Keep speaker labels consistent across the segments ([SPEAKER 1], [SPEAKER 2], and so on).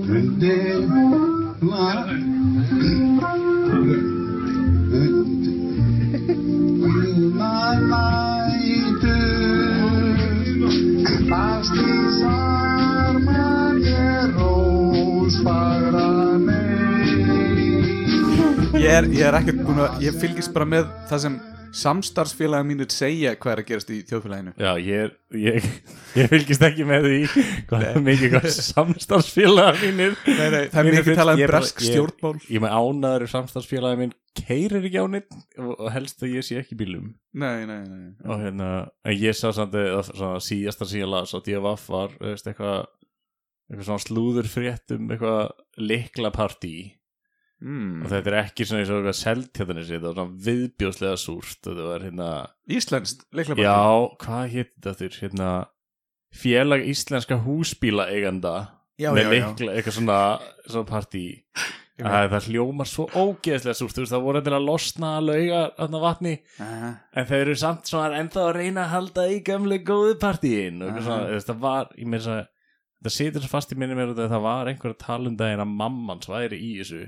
[SPEAKER 1] Önde var.
[SPEAKER 2] Ég er, ég er ekkert búin að, ég fylgist bara með það sem samstarfsfélagi mínir segja hvað er að gerast í þjóðfélaginu.
[SPEAKER 3] Já, ég, er, ég, ég fylgist ekki með því hvað er mikið hvað samstarfsfélaga mínir
[SPEAKER 2] Nei, nei, það er
[SPEAKER 3] mínir
[SPEAKER 2] mikið
[SPEAKER 3] finnst-
[SPEAKER 2] talað um
[SPEAKER 3] ég er bara-
[SPEAKER 2] bresk
[SPEAKER 3] ég-
[SPEAKER 2] stjórnmál.
[SPEAKER 3] Ég með ánaður samstarfsfélaga minn keirir ekki á neitt og og helst að ég sé ekki í bílum
[SPEAKER 2] Nei, nei, nei.
[SPEAKER 3] og hérna, en ég sá samt að að svona, síðasta sem ég las á DFF var þú veist, eitthvað eitthvað svona slúður frétt um eitthvað likla partí
[SPEAKER 2] Mm.
[SPEAKER 3] og þetta er ekki svona eins og eitthvað seltjáttanis þetta var svona viðbjóðslega súrt þetta var hérna,
[SPEAKER 2] Íslenskt, leiklega
[SPEAKER 3] já, hvað hétt þetta þurr hérna, félag íslenska húsbíla eiganda
[SPEAKER 2] Já,
[SPEAKER 3] með
[SPEAKER 2] já, já.
[SPEAKER 3] likla, eitthvað svona, svona partí að það hljómar svo ógeðslega súrt þú veist, það voru til að losna að lauga þarna vatni
[SPEAKER 2] Aha.
[SPEAKER 3] En þeir eru samt svona ennþá að reyna að halda í gamle góðu partíin og eitthvað svona,
[SPEAKER 2] Aha.
[SPEAKER 3] þú veist, það var, ég meira þess að það situr svo fast í minni mér út af því að það var einhver að tala um daginn að mamman sværi í þessu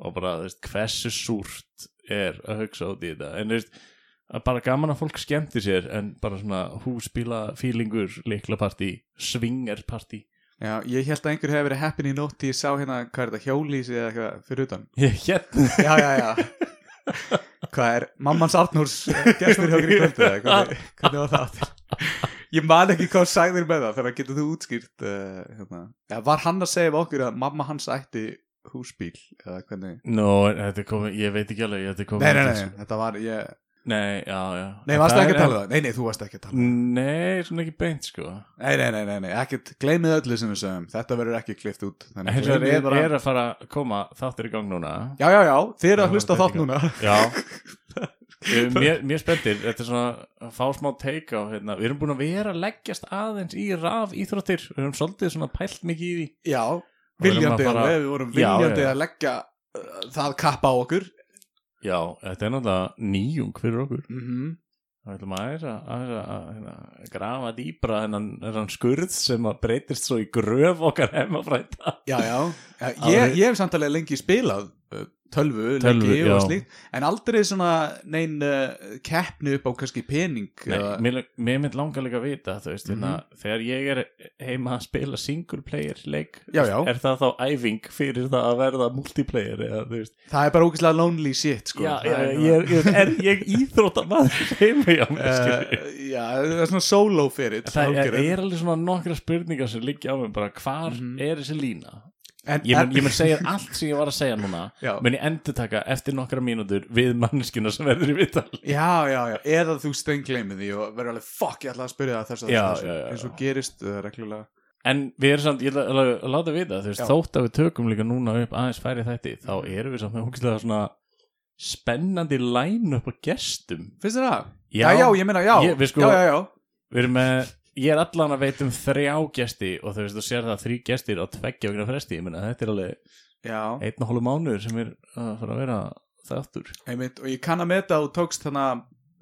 [SPEAKER 3] og bara, þú veist, hversu súrt er að hugsa út í þetta en þú veist, að bara gaman að fólk skemmti sér en bara svona húsbíla fílingur, leiklapartí, svingerpartí
[SPEAKER 2] Já, ég held að einhver hefði verið heppin í nótt því ég sá hérna, hvað er þetta, hjólísi eða eitthvað fyrir utan.
[SPEAKER 3] Ég hérna
[SPEAKER 2] Já, já, já. Hvað er, mammans Arnúrs eh, gestur hjá okkur í kvöldu eða
[SPEAKER 3] Ah.
[SPEAKER 2] hvernig, hvernig var það aftur? Ég man ekki hvað þú sagðir með það, þannig að getur þú útskýrt, uh, hérna. Já, var hann að segja við okkur að mamma hans ætti húsbíl eða hvernig?
[SPEAKER 3] Nó, en þetta er komið, ég veit ekki alveg, þetta er komið
[SPEAKER 2] Nei, nei, nei, þetta var, ég...
[SPEAKER 3] Nei, já, já
[SPEAKER 2] Nei,
[SPEAKER 3] En
[SPEAKER 2] varstu
[SPEAKER 3] það
[SPEAKER 2] ekki að
[SPEAKER 3] er- Mm.
[SPEAKER 2] tala um það? Nei, nei, þú varst ekki að tala um það.
[SPEAKER 3] Nei, svona ekki beint, sko
[SPEAKER 2] Nei, nei, nei, nei, nei, ekkert, gleymið öllu sem við sögum Þetta verður ekki klift út
[SPEAKER 3] En hins vegar
[SPEAKER 2] gleymið
[SPEAKER 3] er, er að fara að koma þáttir í gang núna
[SPEAKER 2] Já, já, já, þið eru
[SPEAKER 3] Já,
[SPEAKER 2] að hlusta á
[SPEAKER 3] þetta
[SPEAKER 2] þátt
[SPEAKER 3] ekki.
[SPEAKER 2] núna
[SPEAKER 3] Já Eh, Mér, mér spenntir, þetta er svona að fá smá take á, hérna, við erum búin að vera að leggjast aðeins í raf íþróttir við erum svolítið svona pælt mikið í því
[SPEAKER 2] Já,
[SPEAKER 3] Og við erum að
[SPEAKER 2] viljandi
[SPEAKER 3] fara-
[SPEAKER 2] alveg, við vorum
[SPEAKER 3] Já,
[SPEAKER 2] viljandi
[SPEAKER 3] já, já.
[SPEAKER 2] að leggja uh, það kappa á okkur
[SPEAKER 3] Já, þetta er náttúrulega nýjung fyrir okkur
[SPEAKER 2] mm
[SPEAKER 3] Það ætlum aðeins að, aðeins að, að hérna, grafa dýbra þennan, þennan skurð sem að breytist svo í gröf okkar heimafrænda
[SPEAKER 2] Já, já, já
[SPEAKER 3] Árið-
[SPEAKER 2] ég, ég hef samtalið lengi spilað uh, tölvu,
[SPEAKER 3] Tölvu,
[SPEAKER 2] lengi
[SPEAKER 3] já.
[SPEAKER 2] og slíkt En aldrei svona nein uh, keppni upp á kannski pening eða-
[SPEAKER 3] Nei, mér, mér mynd langar líka að vita þú veist, mm þegar ég er heima að spila single player leik
[SPEAKER 2] Já, já.
[SPEAKER 3] er það þá æfing fyrir það að verða multiplayer eða, þú veist,
[SPEAKER 2] Það er bara ógeðslega lonely shit sko.
[SPEAKER 3] já,
[SPEAKER 2] Það
[SPEAKER 3] já,
[SPEAKER 2] er-
[SPEAKER 3] ég, er, ég, er ég íþróttamaður heima hjá mér uh,
[SPEAKER 2] Uh, já, það er svona solo fyrir
[SPEAKER 3] það er, er alveg svona nokkra spurningar sem liggja á mér bara hvar
[SPEAKER 2] Mhm.
[SPEAKER 3] er þessi lína
[SPEAKER 2] en,
[SPEAKER 3] ég mun, ég mun segja allt sem ég var að segja núna
[SPEAKER 2] Já.
[SPEAKER 3] mun ég endurtaka eftir nokkra mínútur við manneskina sem verður í vital
[SPEAKER 2] Já, já, já, eða þú steingleimið því og verður alveg fuck, ég ætla að spyrja það þess að
[SPEAKER 3] Já,
[SPEAKER 2] þess
[SPEAKER 3] já, já, já.
[SPEAKER 2] eins og gerist uh, reglulega
[SPEAKER 3] En við erum samt, ég ætla ætla að láta vita þú veist,
[SPEAKER 2] Já.
[SPEAKER 3] þótt að við tökum líka núna upp aðeins færi þætti, þá erum við samt með húkslega svona spennandi læn upp á gestum
[SPEAKER 2] Finnst þér það? Já,
[SPEAKER 3] Já.
[SPEAKER 2] já, ég meina, já,
[SPEAKER 3] Ég- við sko-
[SPEAKER 2] já, já, já
[SPEAKER 3] Við erum með, ég er allan að veit um þrjá gesti og þú veist, þú sér það þrý gestir á tveggja okkur fresti, ég meina þetta er alveg
[SPEAKER 2] Já,
[SPEAKER 3] einn og hólu mánuður sem er að fara að vera þáttur.
[SPEAKER 2] einmitt, og ég kann að meta og tókst þannig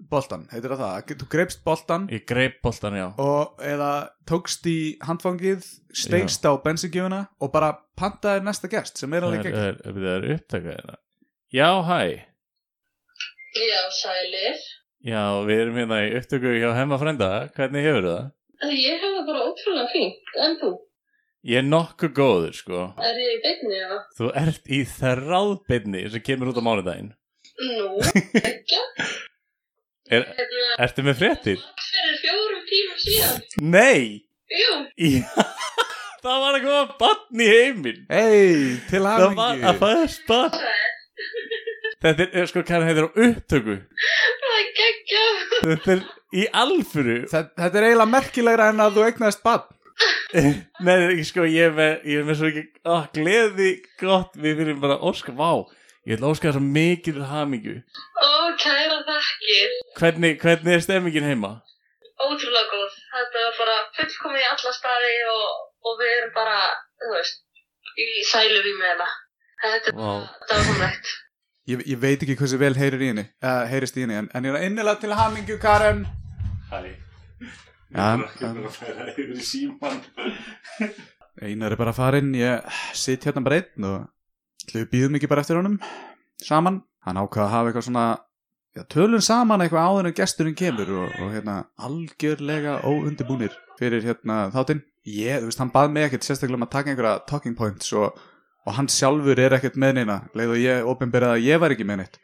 [SPEAKER 2] boltan, heitir það það Þú greipst boltan
[SPEAKER 3] Ég greip boltan, já
[SPEAKER 2] og eða tókst í handfangið steigst á bensingjöfuna og bara pantaðir næsta gest sem er
[SPEAKER 3] Það
[SPEAKER 2] alveg
[SPEAKER 3] er, eh,
[SPEAKER 2] gegn
[SPEAKER 3] er, er, það er upptaka þetta Já, hæ
[SPEAKER 4] Já, sælir.
[SPEAKER 3] Já, við erum hérna í upptöku hjá Hemma frænda, hvernig hefur það?
[SPEAKER 4] Ég hef það bara ótrúlega fínt. En þú?
[SPEAKER 3] Ég er nokkuð góður, sko
[SPEAKER 4] Er ég í beinni eða?
[SPEAKER 3] Þú ert í þráðbyrni sem kemur út á mánudaginn.
[SPEAKER 4] Nú, ekki.
[SPEAKER 3] Er,
[SPEAKER 4] Hérna,
[SPEAKER 3] ertu með fréttir?
[SPEAKER 4] fyrir fjórum tímum síðan.
[SPEAKER 3] Nei!
[SPEAKER 4] Jú,
[SPEAKER 3] Í, það var að koma bann í heiminn.
[SPEAKER 2] Hei, til
[SPEAKER 3] Það var að
[SPEAKER 2] hafingi
[SPEAKER 3] fæðast bann. Þetta er, er sko, hvað heitir á upptöku?
[SPEAKER 4] það er geggja.
[SPEAKER 3] Þetta er í alfuru.
[SPEAKER 2] Þetta er eiginlega merkilegra en að þú eignaðist bann
[SPEAKER 3] Nei, sko, ég er með, ég er með svo ekki, ó, gleði, gott, við viljum bara óska, vá, ég ætla að óska þess að mikil hamingu.
[SPEAKER 4] Ó, kæra þakkir.
[SPEAKER 3] Hvernig, hvernig er stemmingin heima?
[SPEAKER 4] Ótrúlega góð. Þetta var bara fullkomið í alla staði og, og við erum bara, þú veist, í sælu við með það. Þetta er
[SPEAKER 3] Vá.
[SPEAKER 4] bara dásamlegt.
[SPEAKER 2] Ég, ég veit ekki hversu vel heyrir í henni, uh, heyrist í henni en, en ég er innilega til hamingju Karen
[SPEAKER 3] Hæ.
[SPEAKER 2] Já, Ég er ekki að
[SPEAKER 3] færa yfir í síman.
[SPEAKER 2] Einar er bara farinn, ég sitt hérna bara einn og ætli við býðum ekki bara eftir honum saman. Hann ákvað að hafa eitthvað svona, já, tölum saman eitthvað áður en gesturinn kemur og, og hérna algjörlega óundibúnir fyrir hérna þáttinn. Ég, þú veist, hann bað mig ekkert sérstaklega um að taka einhverja talking points og, og hann sjálfur er ekkert með neina, leið og ég opinberað að ég var ekki með neitt.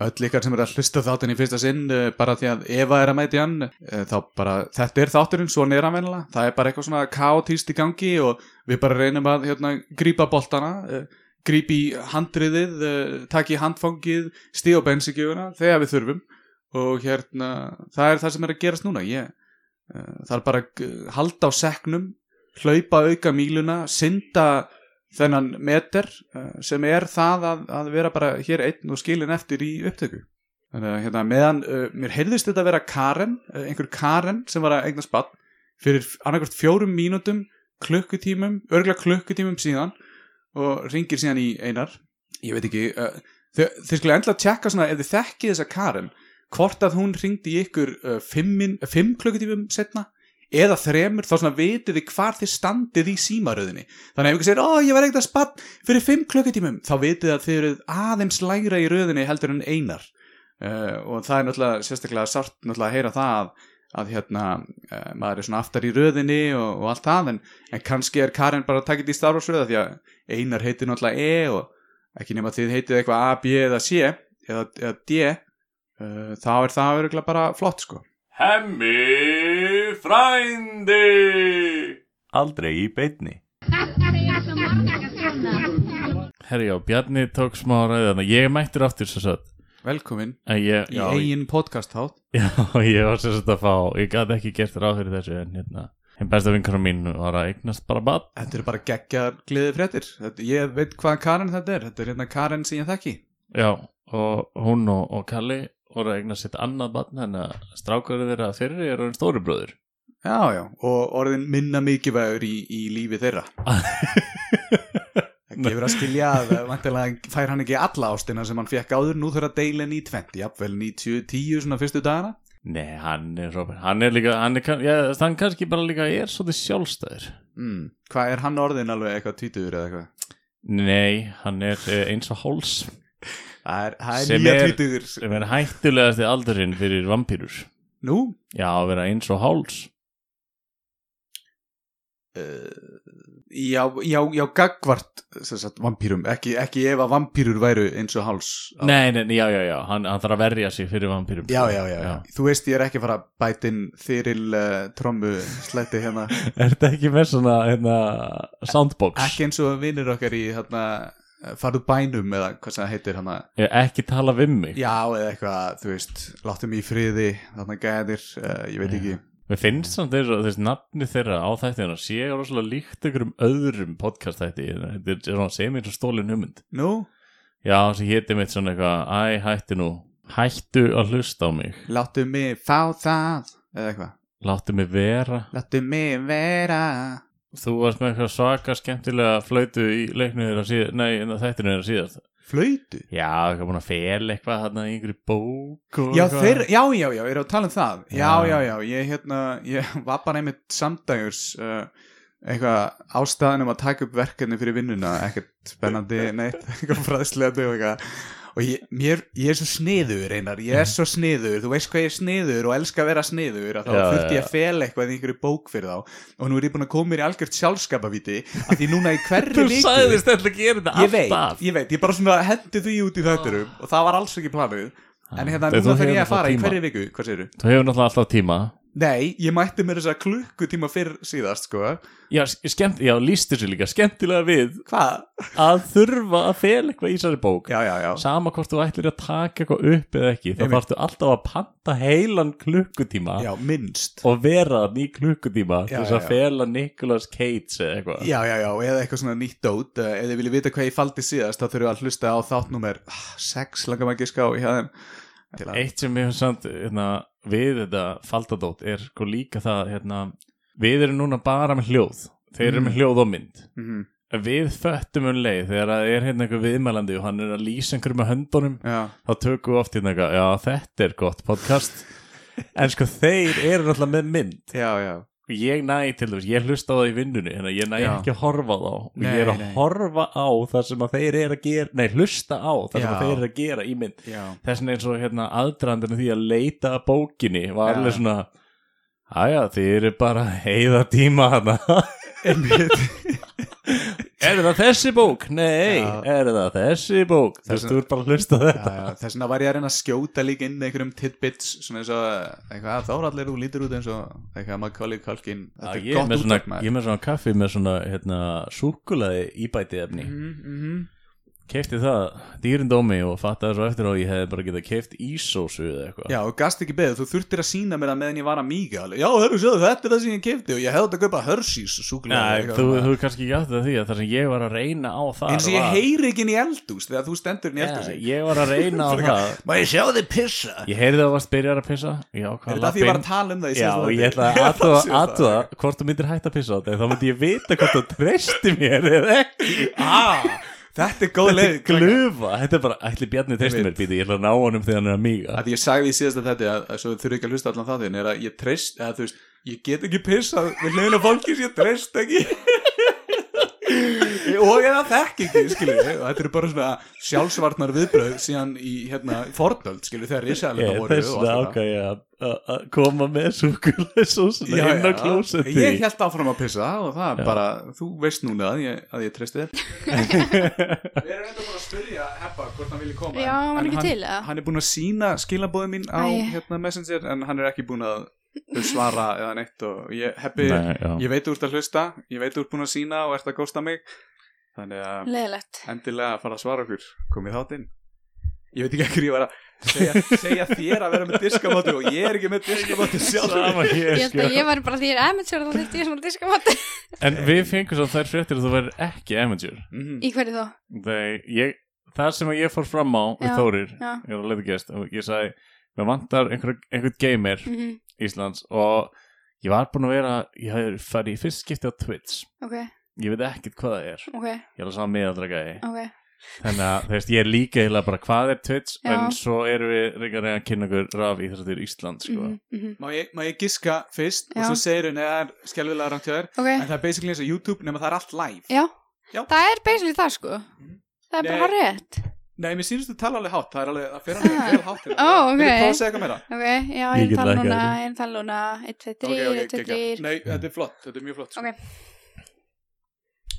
[SPEAKER 2] Öll ykkar sem eru að hlusta á þáttinn í fyrsta sinn eh, bara því að Eva er að mæti hann eh, þá bara, þetta er þátturinn, svona er hann venjulega það er bara eitthvað svona kaotíst í gangi og við bara reynum að hérna, grípa boltana, eh, grípi handriðið, eh, taki handfangið stíð á bensigjöfuna þegar við þurfum og hérna það er það sem er að gerast núna ég eh, þarf bara að eh, halda á seknum hlaupa auka míluna synda þennan meter eh, sem er það að, að vera bara hér einn og skilin eftir í upptöku þannig að hérna meðan uh, mér heyrðist þetta að vera Karen, uh, einhver Karen sem var að eigna spatt fyrir annarkvort fjórum mínútum klukkutímum, örgulega klukkutímum síðan og ringir síðan í einar ég veit ekki, uh, þið, þið skulle endla tjekka svona ef þið þekkið þessa Karen hvort að hún ringdi í ykkur uh, fimmin, fimm klukkutímum setna eða þremur, þá svona vitið þið hvar þið standið í símaröðinni þannig að ef ykkur segir, ó ég var ekkert að spatt fyrir fimm klukkutímum, þá vitið þið að þið eruð aðeins lægra í röðinni heldur en einar uh, og það er náttúrulega sérstaklega sárt náttúrulega að heyra það að, að hérna, uh, maður er svona aftar í röðinni og, og allt það, en, en kannski er Karen bara að taka þetta í starfarsröða því að einar heitir náttúrulega E og ekki nema þið heitið eitthvað A, B eða C eða, eða D uh, þá er það öruglega bara flott sko
[SPEAKER 3] Hemmi frændi
[SPEAKER 5] Aldrei í beinni.
[SPEAKER 3] Herri já, Bjarni tók smá ræðan Ég er mættur aftur svo satt
[SPEAKER 2] velkomin
[SPEAKER 3] En ég,
[SPEAKER 2] í
[SPEAKER 3] já,
[SPEAKER 2] eigin podcast hát
[SPEAKER 3] já, ég var svo satt að fá Ég gat ekki gert ráð fyrir þessu En hérna, hinn besta vinkunum mín var að eignast bara bad
[SPEAKER 2] Þetta eru bara geggjar gleði fréttir þetta, Ég veit hvað Karen þetta er Þetta er hérna Karen sem ég þekki
[SPEAKER 3] Já, og hún og, og Kalli voru að eignast sitt annað bad Þannig að strákarið þeirra þeirri er hann stóri bróður
[SPEAKER 2] Já, já, og orðin minna mikilvægur í, í lífi þeirra Það gefur að skilja að vantilega fær hann ekki alla ástina sem hann fekk áður Nú þurfa að deila henni í 20, jafnvel 90, 10 svona fyrstu dagana
[SPEAKER 3] Nei, hann er Robert, hann er líka, hann er, kann- já, hann kannski bara líka er svolítið sjálfstæður.
[SPEAKER 2] mm. Hvað er hann orðin alveg eitthvað tvítugur eða eitthvað?
[SPEAKER 3] Nei, hann er eh, eins og háls
[SPEAKER 2] Það er, það er
[SPEAKER 3] Sem
[SPEAKER 2] nýja
[SPEAKER 3] er-
[SPEAKER 2] tvítugur
[SPEAKER 3] sem er hættulegasti aldurinn fyrir vampýrur.
[SPEAKER 2] Nú,
[SPEAKER 3] Já, að vera eins og háls.
[SPEAKER 2] uh, já, já, já, gagvart sagt, vampýrum ekki, ekki ef að vampýrur væru eins og háls
[SPEAKER 3] Nei, nei, nei, já, já, já, hann, hann þarf að verja sig fyrir vampýrum.
[SPEAKER 2] Já, já, já, já. Þú veist ég er ekki að fara að bæta inn þyril uh, trommu slætti hérna
[SPEAKER 3] Er þetta ekki með svona, hérna, soundbox?
[SPEAKER 2] ekki eins og vinnir okkar í hérna eh, farðu bænum eða hvað sem það heitir hérna
[SPEAKER 3] Eh, ekki tala við mig.
[SPEAKER 2] já eða eitthvað, þú veist, láttu mig í friði þarna gæðir, uh, ég veit ekki
[SPEAKER 3] Mér finnst samt þess að þess nafni þeirra á þættina sé rosalega líkt einhverjum öðrum podcast þætti. Þetta er svona sem eins og stólin hugmynd.
[SPEAKER 2] Nú,
[SPEAKER 3] Já, sem héti mitt svona eitthvað Æ, hættu nú Hættu að hlusta á mig
[SPEAKER 2] láttu mig fá það eða eitthvað,
[SPEAKER 3] Láttu mig vera
[SPEAKER 2] láttu mig vera
[SPEAKER 3] Þú varst með eitthvað svaka skemmtilega flöytu í leiknu þeirra síðast Nei, en þættinu þeirra síðast
[SPEAKER 2] flöytu
[SPEAKER 3] Já, eitthvað búin að fel eitthvað þarna í yngri bók og
[SPEAKER 2] Já,
[SPEAKER 3] sko, eitthvað.
[SPEAKER 2] þeir, já, já, já, ég er að tala um það Já,
[SPEAKER 3] Já.
[SPEAKER 2] já, já, ég, hérna, ég var bara einmitt samdægurs uh, eitthvað ástæðanum að taka upp verkefni fyrir vinnuna, ekkert spennandi neitt, eitthvað fræðslega og eitthvað og ég, mér, ég er svo sniður einar, ég er svo sniður, þú veist hvað ég er sniður og elska að vera sniður að þá
[SPEAKER 3] Já,
[SPEAKER 2] þurfti
[SPEAKER 3] já,
[SPEAKER 2] ég að fela eitthvað í einhverju bók fyrir þá og nú er ég búin að koma mér í algjört sjálfskapavíti að því núna í hverri
[SPEAKER 3] Þú
[SPEAKER 2] viku
[SPEAKER 3] sagðist ætla að gera þetta
[SPEAKER 2] ég veit,
[SPEAKER 3] alltaf
[SPEAKER 2] ég veit, ég bara svona hendi því út í þættinum og það var alls ekki planið en hérna,
[SPEAKER 3] Þau- Ah. þú
[SPEAKER 2] núna þarf ég
[SPEAKER 3] hefur
[SPEAKER 2] að fara í
[SPEAKER 3] náttúrulega
[SPEAKER 2] hverju viku, hvað segirðu?
[SPEAKER 3] Þú hefur náttúrulega alltaf tíma
[SPEAKER 2] Nei, ég mætti mér þess að klukkutíma fyrr síðast, sko
[SPEAKER 3] Já, s- skemmt, já lístu sér líka skemmtilega við
[SPEAKER 2] Hvað?
[SPEAKER 3] að þurfa að fel eitthvað í þessari bók
[SPEAKER 2] Já, já, já
[SPEAKER 3] Sama hvort þú ætlir að taka eitthvað upp eða ekki þá
[SPEAKER 2] Einmitt.
[SPEAKER 3] þarftu alltaf að panta heilan klukkutíma
[SPEAKER 2] Já, minnst
[SPEAKER 3] og vera þarna í klukkutíma
[SPEAKER 2] Já,
[SPEAKER 3] til þess
[SPEAKER 2] já, já.
[SPEAKER 3] að fela Nicolas Cage eða eitthvað
[SPEAKER 2] Já, já, já, eða eitthvað svona nýtt dót eh, Ef þið viljið vita hvað ég faldi síðast þá þurfum við að hlusta á þáttnúmer 6 langar maður ekki ská í hæðum til að
[SPEAKER 3] eitt sem ég hef samt hérna, við þetta faldadót er sko líka það hérna, við erum núna bara með hljóð þeir eru
[SPEAKER 2] Mm.
[SPEAKER 3] með hljóð og mynd
[SPEAKER 2] Mhm,
[SPEAKER 3] En við föttum um leið þegar það er hérna einhver viðmælandi og hann er að lýsa einhverjum með höndunum
[SPEAKER 2] Já,
[SPEAKER 3] þá tökum við oft hérna eitthvað, já þetta er gott podcast en sko þeir eru náttúrulega með mynd
[SPEAKER 2] já, já
[SPEAKER 3] og ég næ til þess, ég hlusta á það í vinnunni þannig að ég næ
[SPEAKER 2] Já.
[SPEAKER 3] ekki að horfa á þá og ég
[SPEAKER 2] Nei,
[SPEAKER 3] er að
[SPEAKER 2] nei.
[SPEAKER 3] horfa á það sem að þeir eru að gera nei, hlusta á það sem
[SPEAKER 2] Já.
[SPEAKER 3] að þeir eru að gera í mynd
[SPEAKER 2] já,
[SPEAKER 3] þess vegna eins og hérna aðdrandinu því að leita að bókinni var
[SPEAKER 2] Já.
[SPEAKER 3] alveg svona aðja, þið eru bara að heiða tíma hana er það þessi bók? Nei,
[SPEAKER 2] Já.
[SPEAKER 3] er það þessi bók?
[SPEAKER 2] Þess
[SPEAKER 3] Þess
[SPEAKER 2] vegna-
[SPEAKER 3] þú ert bara að hlusta á
[SPEAKER 2] já,
[SPEAKER 3] þetta
[SPEAKER 2] já, þess vegna var ég að reyna að skjóta líka inn einhverjum tidbits svona eins og eitthvað, "Ah, þá er allir úr lítur út eins og eitthvað maður kallið kalkin
[SPEAKER 3] Já,
[SPEAKER 2] þetta
[SPEAKER 3] ég, er
[SPEAKER 2] er
[SPEAKER 3] með
[SPEAKER 2] gott
[SPEAKER 3] svona,
[SPEAKER 2] út
[SPEAKER 3] ég er með svona kaffi með svona hérna, súkulaði íbæti efni
[SPEAKER 2] Mhm.
[SPEAKER 3] mm.
[SPEAKER 2] maður
[SPEAKER 3] Kefti það dýrindómi og fattaði svo eftir á að ég hefði bara getað keft ísósu eða eitthvað
[SPEAKER 2] Já, og gast ekki beðið, þú þurftir að sína mér það meðan ég var að míga alveg. Já, hörru, sjáðu, þetta er það sem ég kefti og ég hefði þetta að kaupa Hershey's
[SPEAKER 3] Nei,
[SPEAKER 2] súkulega
[SPEAKER 3] þú, þú er kannski ekki átt að því að það sem ég var að reyna á það
[SPEAKER 2] eins og ég
[SPEAKER 3] var-
[SPEAKER 2] heyri ekki inn í eldús þegar þú stendur inn í
[SPEAKER 3] Já,
[SPEAKER 2] eldús
[SPEAKER 3] Ég var að reyna á það
[SPEAKER 2] Má ég sjá þig pissa?
[SPEAKER 3] Ég heyrði að það varst byrjar að pissa Ég
[SPEAKER 2] Er
[SPEAKER 3] ákvað að
[SPEAKER 2] þetta af því ég
[SPEAKER 3] labba
[SPEAKER 2] var
[SPEAKER 3] inn.
[SPEAKER 2] að tala um það í
[SPEAKER 3] Já,
[SPEAKER 2] síðasta
[SPEAKER 3] og ég
[SPEAKER 2] þætti?
[SPEAKER 3] ætlaði
[SPEAKER 2] Ég
[SPEAKER 3] aðtúa,
[SPEAKER 2] sé það.
[SPEAKER 3] aðtúa hvort þú myndir hætta að pissa á þetta en þá myndi ég vita hvort þú treysti mér eða ekki
[SPEAKER 2] Ah, Þetta er góð
[SPEAKER 3] Þetta
[SPEAKER 2] leið
[SPEAKER 3] er glufa, þetta er bara ætli Bjarni treysti mér býti, ég ætla að ná honum þegar hann er að míga
[SPEAKER 2] að því ég sagði í síðasta þetta að, að svo þurfi ekki að hlusta allan það þinn er að ég treyst eða þú veist ég get ekki pissað við hliðin á fólki sem ég treyst ekki og eða þekk ekki skilur og þetta eru bara svona sjálfsvarnar viðbröð síðan í hérna fornöld skilur þegar risaðlega
[SPEAKER 3] Ég-
[SPEAKER 2] voru
[SPEAKER 3] Þess
[SPEAKER 2] og
[SPEAKER 3] vegna
[SPEAKER 2] allt þetta.
[SPEAKER 3] ákvað ég að- að- að koma með súkulæsósuna inn á klósetti
[SPEAKER 2] ég held áfram að pissa og það er bara þú veist núna að ég, að ég treysti þér við erum enda búin að spyrja Heppa hvort hann vilja koma
[SPEAKER 5] Já, hann var ekki til, eða?
[SPEAKER 2] hann er búin að sína skilabóðið mín á
[SPEAKER 5] Æ.
[SPEAKER 2] hérna, Messenger en hann er ekki búin að svara eða neitt og ég, Heppi,
[SPEAKER 3] Nei, já.
[SPEAKER 2] ég veit þú ert að hlusta ég veit þú ert búin að sína og ert að gósta mig þannig að
[SPEAKER 5] Leðilegt.
[SPEAKER 2] endilega fara að svara okkur komið þátt inn ég veit ekki ekkur ég var að segja, segja þér að vera með diskamóti og ég er ekki með diskamóti sjálf
[SPEAKER 3] Sama hér,
[SPEAKER 5] Ég held
[SPEAKER 3] sko.
[SPEAKER 5] að ég var bara því ég er amateur þá þetta ég svona diskamátt.
[SPEAKER 3] En við fengum svo þær fréttir að þú verður ekki amateur
[SPEAKER 2] Mhm.
[SPEAKER 5] Í hverju þó?
[SPEAKER 3] Þegar ég, það sem ég fór fram á við
[SPEAKER 5] Já,
[SPEAKER 3] Þórir,
[SPEAKER 5] já.
[SPEAKER 3] ég var að leita gæst og ég sagði, mér vantar einhver, einhvern gamer
[SPEAKER 5] Mm
[SPEAKER 3] Íslands og ég var búin að vera, ég hafði farið í fyrst skipti á Twitch
[SPEAKER 5] Ok,
[SPEAKER 3] ég veit ekkert hvað það er,
[SPEAKER 5] ok,
[SPEAKER 3] ég er að saða miðaldra gæði
[SPEAKER 5] ok.
[SPEAKER 3] þannig að þú veist, ég er líka heila bara hvað er Twitch
[SPEAKER 5] Já.
[SPEAKER 3] en svo erum við reyna að reyna að kynna okkur raf í þessu til Ísland sko.
[SPEAKER 5] Mhm, mhm.
[SPEAKER 2] má ég, má ég giska fyrst og
[SPEAKER 5] Já.
[SPEAKER 2] svo segir hún eða er skelvilega rangt hjá þér
[SPEAKER 5] Ok,
[SPEAKER 2] en það er basically eins og YouTube nema það er allt live
[SPEAKER 5] já.
[SPEAKER 2] Já. Mhm.
[SPEAKER 5] Það er basically það sko. Það er bara
[SPEAKER 2] Nei.
[SPEAKER 5] rétt.
[SPEAKER 2] Nei, mér sínst þú tala alveg hátt, það er alveg, það fer alveg vel hátt
[SPEAKER 5] Ah.
[SPEAKER 2] hérna.
[SPEAKER 5] Ó, ok.
[SPEAKER 2] Vil þú prófa að segja eitthvað meira?
[SPEAKER 5] Ok, já,
[SPEAKER 3] Ég
[SPEAKER 5] ég er
[SPEAKER 3] get
[SPEAKER 5] tala
[SPEAKER 3] lækkað
[SPEAKER 5] núna,
[SPEAKER 3] þessu.
[SPEAKER 5] ég er tala núna. 1, 2,
[SPEAKER 2] Ok,
[SPEAKER 5] 3,
[SPEAKER 2] ok,
[SPEAKER 5] 1, 2,
[SPEAKER 2] geggjað.
[SPEAKER 5] 3.
[SPEAKER 2] Nei, þetta er flott, þetta er mjög flott sko.
[SPEAKER 5] Ok.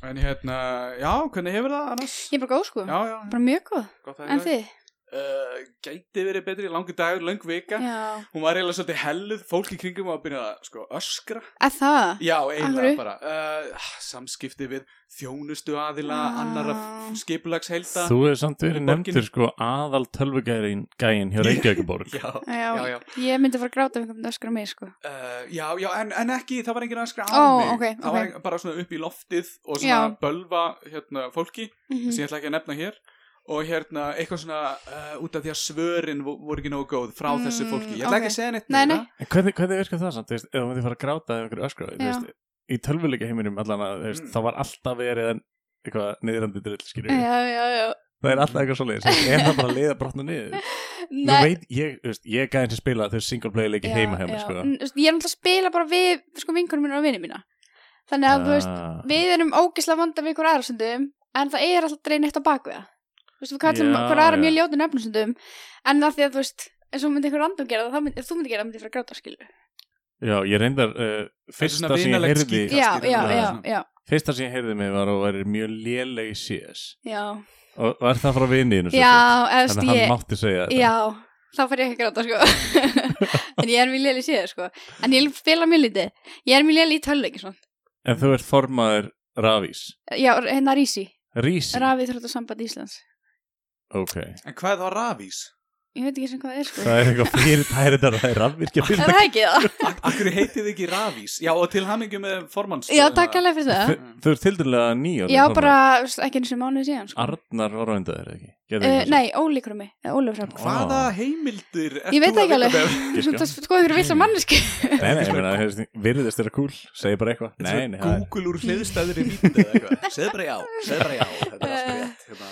[SPEAKER 2] En hérna, já, hvernig hefur það annars?
[SPEAKER 5] Ég er bara góð sko.
[SPEAKER 2] Já, já,
[SPEAKER 5] Bara mjög góð.
[SPEAKER 2] gott
[SPEAKER 5] En þið?
[SPEAKER 2] Uh, gæti verið betri, langur dagur, lang vika
[SPEAKER 5] Já.
[SPEAKER 2] Hún var eiginlega svolítið helluð, fólk í kringum var að byrja að sko, öskra
[SPEAKER 5] Að það?
[SPEAKER 2] Já,
[SPEAKER 5] Af
[SPEAKER 2] eiginlega
[SPEAKER 5] hverju?
[SPEAKER 2] bara uh, Samskipti við þjónustu aðila,
[SPEAKER 5] Ah.
[SPEAKER 2] annara skipulagsheilda
[SPEAKER 3] þú hefur samt
[SPEAKER 2] Borgin-
[SPEAKER 3] verið nefndur sko, aðal tölvugærin gæin hjá Reykjavíkuborg
[SPEAKER 2] Já,
[SPEAKER 5] Já,
[SPEAKER 2] já, já.
[SPEAKER 5] Ég myndi fara að gráta um einhvern öskra mig sko.
[SPEAKER 2] Uh, já, já, en, en ekki, það var enginn að skra á
[SPEAKER 5] Ó,
[SPEAKER 2] mig
[SPEAKER 5] ok,
[SPEAKER 2] Það var
[SPEAKER 5] ok.
[SPEAKER 2] ein- bara svona upp í loftið og svona
[SPEAKER 5] Já.
[SPEAKER 2] bölva hérna, fólki
[SPEAKER 5] Mm
[SPEAKER 2] sem ég ætla ekki að nefna hér og hérna eitthvað svona uh, út af því að svörin vo- voru ekki nógu góð frá
[SPEAKER 5] Mm,
[SPEAKER 2] þessu fólki Ég ætla
[SPEAKER 5] ok.
[SPEAKER 2] ekki að segja neitt
[SPEAKER 5] Nei,
[SPEAKER 2] meira.
[SPEAKER 5] nei.
[SPEAKER 3] En hvernig, hvernig virkar það samt, þú veist, ef þú myndir fara að gráta eða einhverju öskra, þú
[SPEAKER 5] Já.
[SPEAKER 3] veist, í tölvuleika heiminum allan að, þú veist,
[SPEAKER 2] Mm.
[SPEAKER 3] þá var alltaf verið en eitthvað niðrandi drill, skilju
[SPEAKER 5] Já, já, já.
[SPEAKER 3] það er alltaf eitthvað svoleiðis, er það bara að liða brotna niður nú
[SPEAKER 5] Nei.
[SPEAKER 3] veit, ég, þú veist, ég gæði sem spila þau single play leiki
[SPEAKER 5] Já,
[SPEAKER 3] heima heima,
[SPEAKER 5] já.
[SPEAKER 3] sko
[SPEAKER 5] N- þú veist, Ég er náttúrulega að spila bara við sko vinkunum mínu og vinið mína Þannig að þú veist,
[SPEAKER 3] Ah.
[SPEAKER 5] við erum ógislega vonda við einhver aðra stundum En það er alltaf drein eitt á bakvið það Þú veist, við kallum
[SPEAKER 3] Já,
[SPEAKER 5] einhver aðra
[SPEAKER 3] já.
[SPEAKER 5] mjög ljótu nöfnum stundum En það því að þú veist, eins og myndi einhver random gera það þá myndi, Ef þú myndi gera það myndi ég fara að gráta skilu
[SPEAKER 3] já, ég reyndar, uh,
[SPEAKER 2] svona
[SPEAKER 3] fyrsta sem ég
[SPEAKER 2] vinalegt
[SPEAKER 3] heyrði
[SPEAKER 2] skítkast.
[SPEAKER 5] Já,
[SPEAKER 2] skilur,
[SPEAKER 5] já,
[SPEAKER 3] já,
[SPEAKER 5] já,
[SPEAKER 2] svona.
[SPEAKER 5] já,
[SPEAKER 3] fyrsta sem ég heyrði mig var og væri mjög léleg í CS
[SPEAKER 5] já
[SPEAKER 3] og var það frá vinniðinu
[SPEAKER 5] Já, eða
[SPEAKER 3] þannig
[SPEAKER 5] þú veist,
[SPEAKER 3] að hann
[SPEAKER 5] ég
[SPEAKER 3] mátti segja þetta
[SPEAKER 5] Já, þá fær ég ekki að gráta sko En ég er mjög léli síðan sko En ég spila mjög lítið Ég er mjög léli í tölveiki svona
[SPEAKER 3] en þú ert formaður Ravís
[SPEAKER 5] Já, hérna Rísi,
[SPEAKER 3] Rísi,
[SPEAKER 5] Rafið Þróttasamband Íslands
[SPEAKER 3] ok
[SPEAKER 2] En hvað er það rafís?
[SPEAKER 5] Ég veit ekki sem hvað það er sko
[SPEAKER 3] það er eitthvað fyrir tæri þetta það er rafvirkja
[SPEAKER 5] Er það ekki það?
[SPEAKER 2] Ak- Akkur heitið þið ekki rafís? Já, og til hamingju með formanns
[SPEAKER 5] Já, takk alveg fyrir það
[SPEAKER 3] Þau eru tildulega nýja
[SPEAKER 5] Já, bara þú veist, ekki eins og mánuði síðan sko.
[SPEAKER 3] Arnar var rændað þér ekki Gerðu
[SPEAKER 5] uh,
[SPEAKER 3] ekki
[SPEAKER 5] Nei, Ólíkur mig, Eh, Ólíkur fram
[SPEAKER 2] Hvaða heimildir ert
[SPEAKER 5] Ég veit
[SPEAKER 2] þú að
[SPEAKER 5] ekki
[SPEAKER 2] vinna
[SPEAKER 5] alveg.
[SPEAKER 2] með?
[SPEAKER 3] Giska.
[SPEAKER 5] Þú sko ykkur vissar manneski
[SPEAKER 3] Nei, nei, ég meina, hefst, virðist þeirra kúl Segir bara eitthvað
[SPEAKER 2] Þetta
[SPEAKER 3] Nei,
[SPEAKER 2] er
[SPEAKER 3] nei,
[SPEAKER 2] svona
[SPEAKER 3] það er
[SPEAKER 2] Google úr hliðstæðri vítið eða eitthvað Segð bara já, segð bara já Þetta er allt rétt hérna.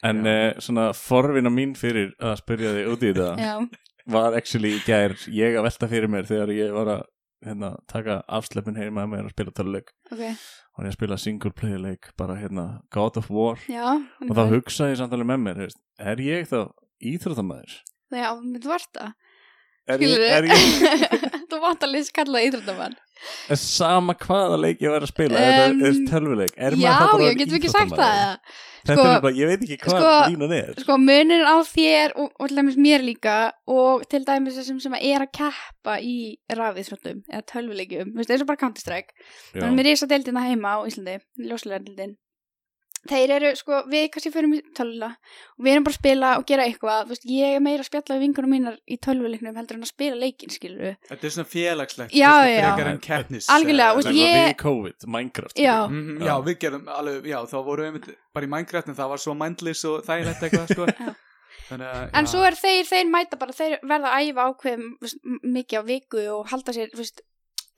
[SPEAKER 3] En uh, svona forvinna mín fyrir að spyrja þig út í þetta
[SPEAKER 5] Já,
[SPEAKER 3] Var actually í gær ég að velta fyrir mér Þegar ég var að hérna, taka afsleppin heima með að spila töluleik
[SPEAKER 5] ok,
[SPEAKER 3] og ég að spila single player leik bara hérna God of War
[SPEAKER 5] já hann
[SPEAKER 3] og þá hugsaði ég samtalið með mér hefst, er ég þá íþróttamæður?
[SPEAKER 5] já, mitt varta
[SPEAKER 3] Er ég, er
[SPEAKER 5] skilur
[SPEAKER 3] ég
[SPEAKER 5] þú vant að lýsa kallað íþróttamann
[SPEAKER 3] er sama hvaða leik ég var að spila þetta er,
[SPEAKER 5] Um,
[SPEAKER 3] er tölvuleik er
[SPEAKER 5] já,
[SPEAKER 3] maður þá bara
[SPEAKER 5] já,
[SPEAKER 3] orðinn
[SPEAKER 5] getum við ekki sagt það
[SPEAKER 3] íþróttamaður?
[SPEAKER 5] eða?
[SPEAKER 3] þetta
[SPEAKER 5] Sko-
[SPEAKER 3] er bara, ég veit ekki hvað
[SPEAKER 5] sko-
[SPEAKER 3] línan er
[SPEAKER 5] sko munir á þér og, og til dæmis mér líka og til dæmis þessum sem er að keppa í rafiðsvöldum eða tölvuleikjum, veist, eins og bara Counter-Strike
[SPEAKER 3] Já.
[SPEAKER 5] þannig mér er svo deildina heima á Íslandi ljóslega deildin þeir eru sko, við kannski förum í tölvula og við erum bara að spila og gera eitthvað þú veist, ég er meira að spjalla við vingunum mínar í tölvuleiknum heldur en að spila leikin, skilur
[SPEAKER 2] Þetta er svona félagslegt
[SPEAKER 5] Já,
[SPEAKER 2] þetta er
[SPEAKER 5] já.
[SPEAKER 2] frekar en keppnis
[SPEAKER 5] Algjörlega,
[SPEAKER 2] eh,
[SPEAKER 5] og
[SPEAKER 3] Nefna
[SPEAKER 5] ég-
[SPEAKER 3] við COVID, Minecraft
[SPEAKER 5] já,
[SPEAKER 2] Mhm,
[SPEAKER 3] Já.
[SPEAKER 2] Já, við gerum alveg, já, þá vorum við einmitt bara í Minecraft en það var svo mindless og þægilegt eitthvað, sko
[SPEAKER 5] Já.
[SPEAKER 2] Þannig að,
[SPEAKER 5] En svo er þeir, þeir mæta bara, þeir verða að æfa ákveðum þú veist, m- mikið á viku og halda sér, þú veist,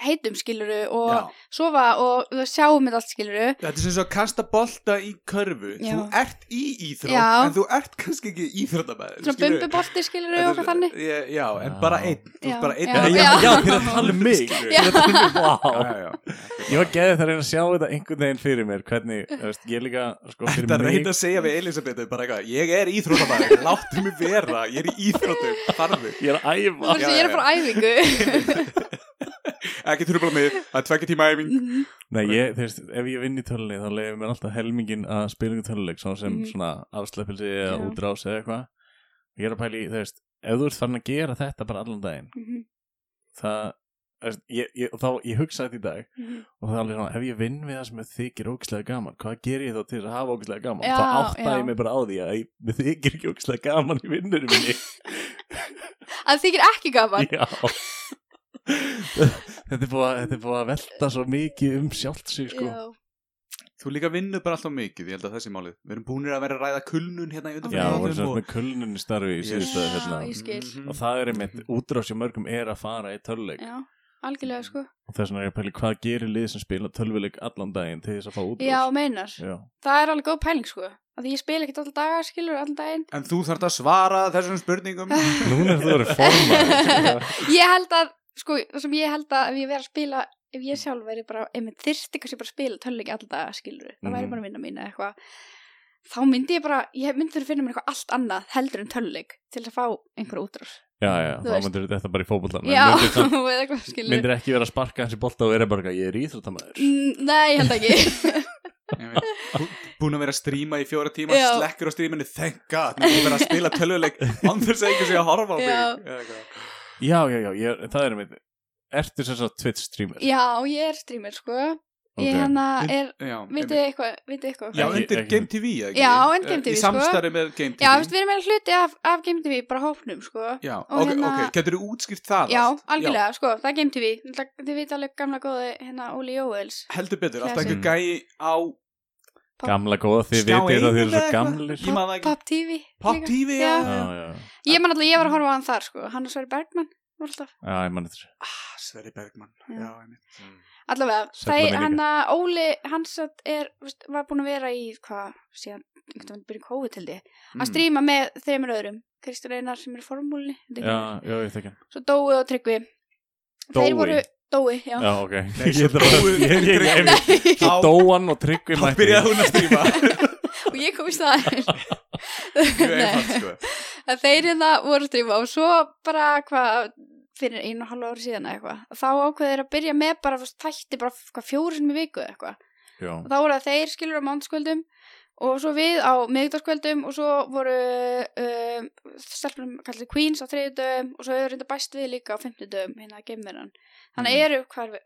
[SPEAKER 5] heitum skiluru og
[SPEAKER 2] Já.
[SPEAKER 5] sofa og þú veist, sjáum þetta allt skiluru.
[SPEAKER 2] Þetta er sem svo að kasta bolta í körfu
[SPEAKER 5] Já.
[SPEAKER 2] Þú ert í íþrótt
[SPEAKER 5] Já.
[SPEAKER 2] en þú ert kannski ekki íþróttabæður
[SPEAKER 5] Svona bumbubolti skiluru og eitthvað þannig.
[SPEAKER 2] Já, en
[SPEAKER 3] Já.
[SPEAKER 2] bara einn Þú
[SPEAKER 5] Já.
[SPEAKER 2] ert bara einn
[SPEAKER 5] Já,
[SPEAKER 3] já,
[SPEAKER 5] já.
[SPEAKER 3] já, ég er að tala um mig Ég er að tala um mig, vá
[SPEAKER 2] já, já.
[SPEAKER 3] Ég var geðið þar að reyna að sjá þetta einhvern veginn fyrir mér Hvernig, þú veist, ég líka sko, fyrir
[SPEAKER 2] Þetta
[SPEAKER 3] mig,
[SPEAKER 2] reynd að segja við Elisabethu bara eitthvað Ég er íþróttabæður, láttu mig vera Ég er í íþróttum, farðu
[SPEAKER 3] Ég er að
[SPEAKER 5] Þú
[SPEAKER 3] æfa
[SPEAKER 2] Já,
[SPEAKER 5] veist, ég
[SPEAKER 2] já,
[SPEAKER 5] er
[SPEAKER 2] já.
[SPEAKER 5] að fara á æfingu.
[SPEAKER 2] Ekki trubla mig, það er tvekki tíma æfing
[SPEAKER 3] Nei, ég, þú veist, ef ég vinn í töluleik þá leiðum mér alltaf helmingin að spila í töluleik svona sem
[SPEAKER 5] Mhm.
[SPEAKER 3] svona afsleppilsi eða
[SPEAKER 5] Já.
[SPEAKER 3] útrás eða eitthvað Ég er að pæla í, þú veist, ef þú ert farin að gera þetta bara allan daginn
[SPEAKER 5] Mhm,
[SPEAKER 3] það, þú veist, ég, ég, þá, ég hugsaði þetta í dag
[SPEAKER 5] mhm.
[SPEAKER 3] og það er alveg svona, ef ég vinn við það sem mér þykir ógislega gaman, hvað ger ég þá til þess að hafa ógislega gaman?
[SPEAKER 5] Já,
[SPEAKER 3] þá átta
[SPEAKER 5] já.
[SPEAKER 3] ég mig bara á því að ég, mér þykir ekki ógislega gaman í vinnunum minni.
[SPEAKER 5] Að þykir ekki gaman.
[SPEAKER 3] já. þetta, er búið, að- þetta er búið að velta svo mikið um sjálft sig, sko.
[SPEAKER 5] Já.
[SPEAKER 2] Þú líka vinnur bara alltaf mikið, ég held að það sé málið Við erum búinir að vera að ræða kulnun hérna í undan
[SPEAKER 3] Já,
[SPEAKER 5] Já,
[SPEAKER 3] og voru svo með kulnunni starfi í
[SPEAKER 2] Yes. Mhm.
[SPEAKER 3] síðustu
[SPEAKER 5] Já,
[SPEAKER 3] hérna.
[SPEAKER 5] ég skil.
[SPEAKER 3] Og það er einmitt, útrás hjá mörgum er að fara í töluleik
[SPEAKER 5] Já, algjörlega sko.
[SPEAKER 3] og þess vegna er ég að pæli hvað gerir lið sem spila töluleik allan daginn til þess að fá útrás.
[SPEAKER 5] Já, meinar.
[SPEAKER 3] Já.
[SPEAKER 5] Það er alveg góð pæling sko. Að því ég spil ekkert alltaf dagar, skilur, alltaf daginn.
[SPEAKER 2] En þú þarft að svara þessum spurningum
[SPEAKER 3] Núna er þú verið formað.
[SPEAKER 5] Ég held að, sko, það sem ég held að ef ég verið að spila, ef ég sjálf verið bara, ef mér þyrsti kannski bara að spila töluleik alltaf, skilur, það væri
[SPEAKER 3] Mhm.
[SPEAKER 5] bara vinna mín eða eitthvað, þá myndi ég bara, ég myndi þurfa að finna mér eitthvað allt annað heldur en töluleik til að fá einhverja útrás.
[SPEAKER 3] Já, já,
[SPEAKER 5] Þú
[SPEAKER 3] þá
[SPEAKER 5] veist.
[SPEAKER 3] myndir þetta bara í fótbollan.
[SPEAKER 5] Já,
[SPEAKER 3] Myndir samt
[SPEAKER 5] eða eitthvað, skilur.
[SPEAKER 3] myndir ekki vera að sparka hans í bolta og vera bara eitthvað, ég er íþróttamæður
[SPEAKER 5] Mm, Nei, ég held ekki.
[SPEAKER 2] Búin að vera að stríma í fjóra tíma
[SPEAKER 5] Já.
[SPEAKER 2] Slekkur á stríminu, thank god Mér er bara að spila töluleik Án þess að einhver sé að horfa á mig
[SPEAKER 5] Já.
[SPEAKER 2] Eða eitthvað.
[SPEAKER 3] já, já, já, ég, það er mitt ertu sem sagt Twitch streamer
[SPEAKER 5] Já, ég er streamer, sko. Ég
[SPEAKER 3] Ok.
[SPEAKER 5] hérna er,
[SPEAKER 2] Já,
[SPEAKER 5] vitið
[SPEAKER 2] einmitt.
[SPEAKER 5] þið eitthvað, vitið þið eitthvað?
[SPEAKER 2] Já,
[SPEAKER 3] Ekki-
[SPEAKER 2] undir
[SPEAKER 3] ekki-
[SPEAKER 2] Game TV, eða ekki?
[SPEAKER 5] Já, en Game TV,
[SPEAKER 2] Í
[SPEAKER 5] sko.
[SPEAKER 2] samstarfi með Game TV
[SPEAKER 5] Já, þú veist, við erum meira hluti af, af Game TV, bara hópnum, sko.
[SPEAKER 2] Já,
[SPEAKER 5] og
[SPEAKER 2] ok,
[SPEAKER 5] hérna-
[SPEAKER 2] ok, getur þú útskýrt það
[SPEAKER 5] Já,
[SPEAKER 2] allt?
[SPEAKER 5] algjörlega, sko, það er Game TV Náttúrulega, Þið vita alveg gamla góði hérna Óli Jóels
[SPEAKER 2] Já, heldur betur, alltaf
[SPEAKER 5] Classic.
[SPEAKER 2] einhver gæi á
[SPEAKER 3] gamla góða, þið
[SPEAKER 2] Skjá
[SPEAKER 3] vitið að þið eru
[SPEAKER 2] einum
[SPEAKER 3] svo
[SPEAKER 2] eða
[SPEAKER 3] gamlir
[SPEAKER 2] Ég man það ekki.
[SPEAKER 5] Pop TV
[SPEAKER 2] Pop
[SPEAKER 5] líka.
[SPEAKER 2] TV
[SPEAKER 5] Já.
[SPEAKER 3] já,
[SPEAKER 2] eða-
[SPEAKER 3] já,
[SPEAKER 5] Ég man alltaf, ég var að horfa á hann þar, sko Hann og Sverri Bergman voru alltaf
[SPEAKER 3] já, ég mann þetta
[SPEAKER 2] Ah, Sverri Bergmann,
[SPEAKER 5] Já.
[SPEAKER 2] já, einmitt
[SPEAKER 5] Allavega,
[SPEAKER 3] Sælla
[SPEAKER 5] það er
[SPEAKER 3] minningar.
[SPEAKER 5] hann að Óli Hans er, veist, var búin að vera í hvað, síðan, einhvern veginn byrja COVID til því
[SPEAKER 2] Mm.
[SPEAKER 5] að stríma með þreymur öðrum Kristján Einar sem er í formúlni
[SPEAKER 3] já, já, ég þekki hann.
[SPEAKER 5] Svo Dói og Tryggvi
[SPEAKER 3] Dói?
[SPEAKER 5] Þeir voru Dói, já,
[SPEAKER 3] já, ok
[SPEAKER 2] Nei,
[SPEAKER 3] ég
[SPEAKER 2] svo
[SPEAKER 3] þarf að-
[SPEAKER 2] dóu-
[SPEAKER 3] ég- ég- ég-
[SPEAKER 5] Nei,
[SPEAKER 3] svo
[SPEAKER 2] Þá-
[SPEAKER 3] dóan og tryggvi
[SPEAKER 2] Þá
[SPEAKER 3] mætti
[SPEAKER 2] byrjaði hún að stríma
[SPEAKER 5] og ég kom í staðin
[SPEAKER 2] Mjög einfalt, sko
[SPEAKER 5] að þeir hérna voru að stríma og svo bara hvað fyrir einu og halva ári síðan eða eitthvað þá ákveðu þeir að byrja með bara þú veist, þætti bara hvað fjóru sinni í viku eða eitthvað
[SPEAKER 3] já,
[SPEAKER 5] og þá voru það þeir skilur á mándaskvöldum og svo við á miðugdagskvöldum og svo voru um, stelpunum kallið Queens á þriðjudögum og svo hefur reynda bæst við líka á fymtudögum hérna að geimverjan þannig
[SPEAKER 2] Mm.
[SPEAKER 5] eru hvað er við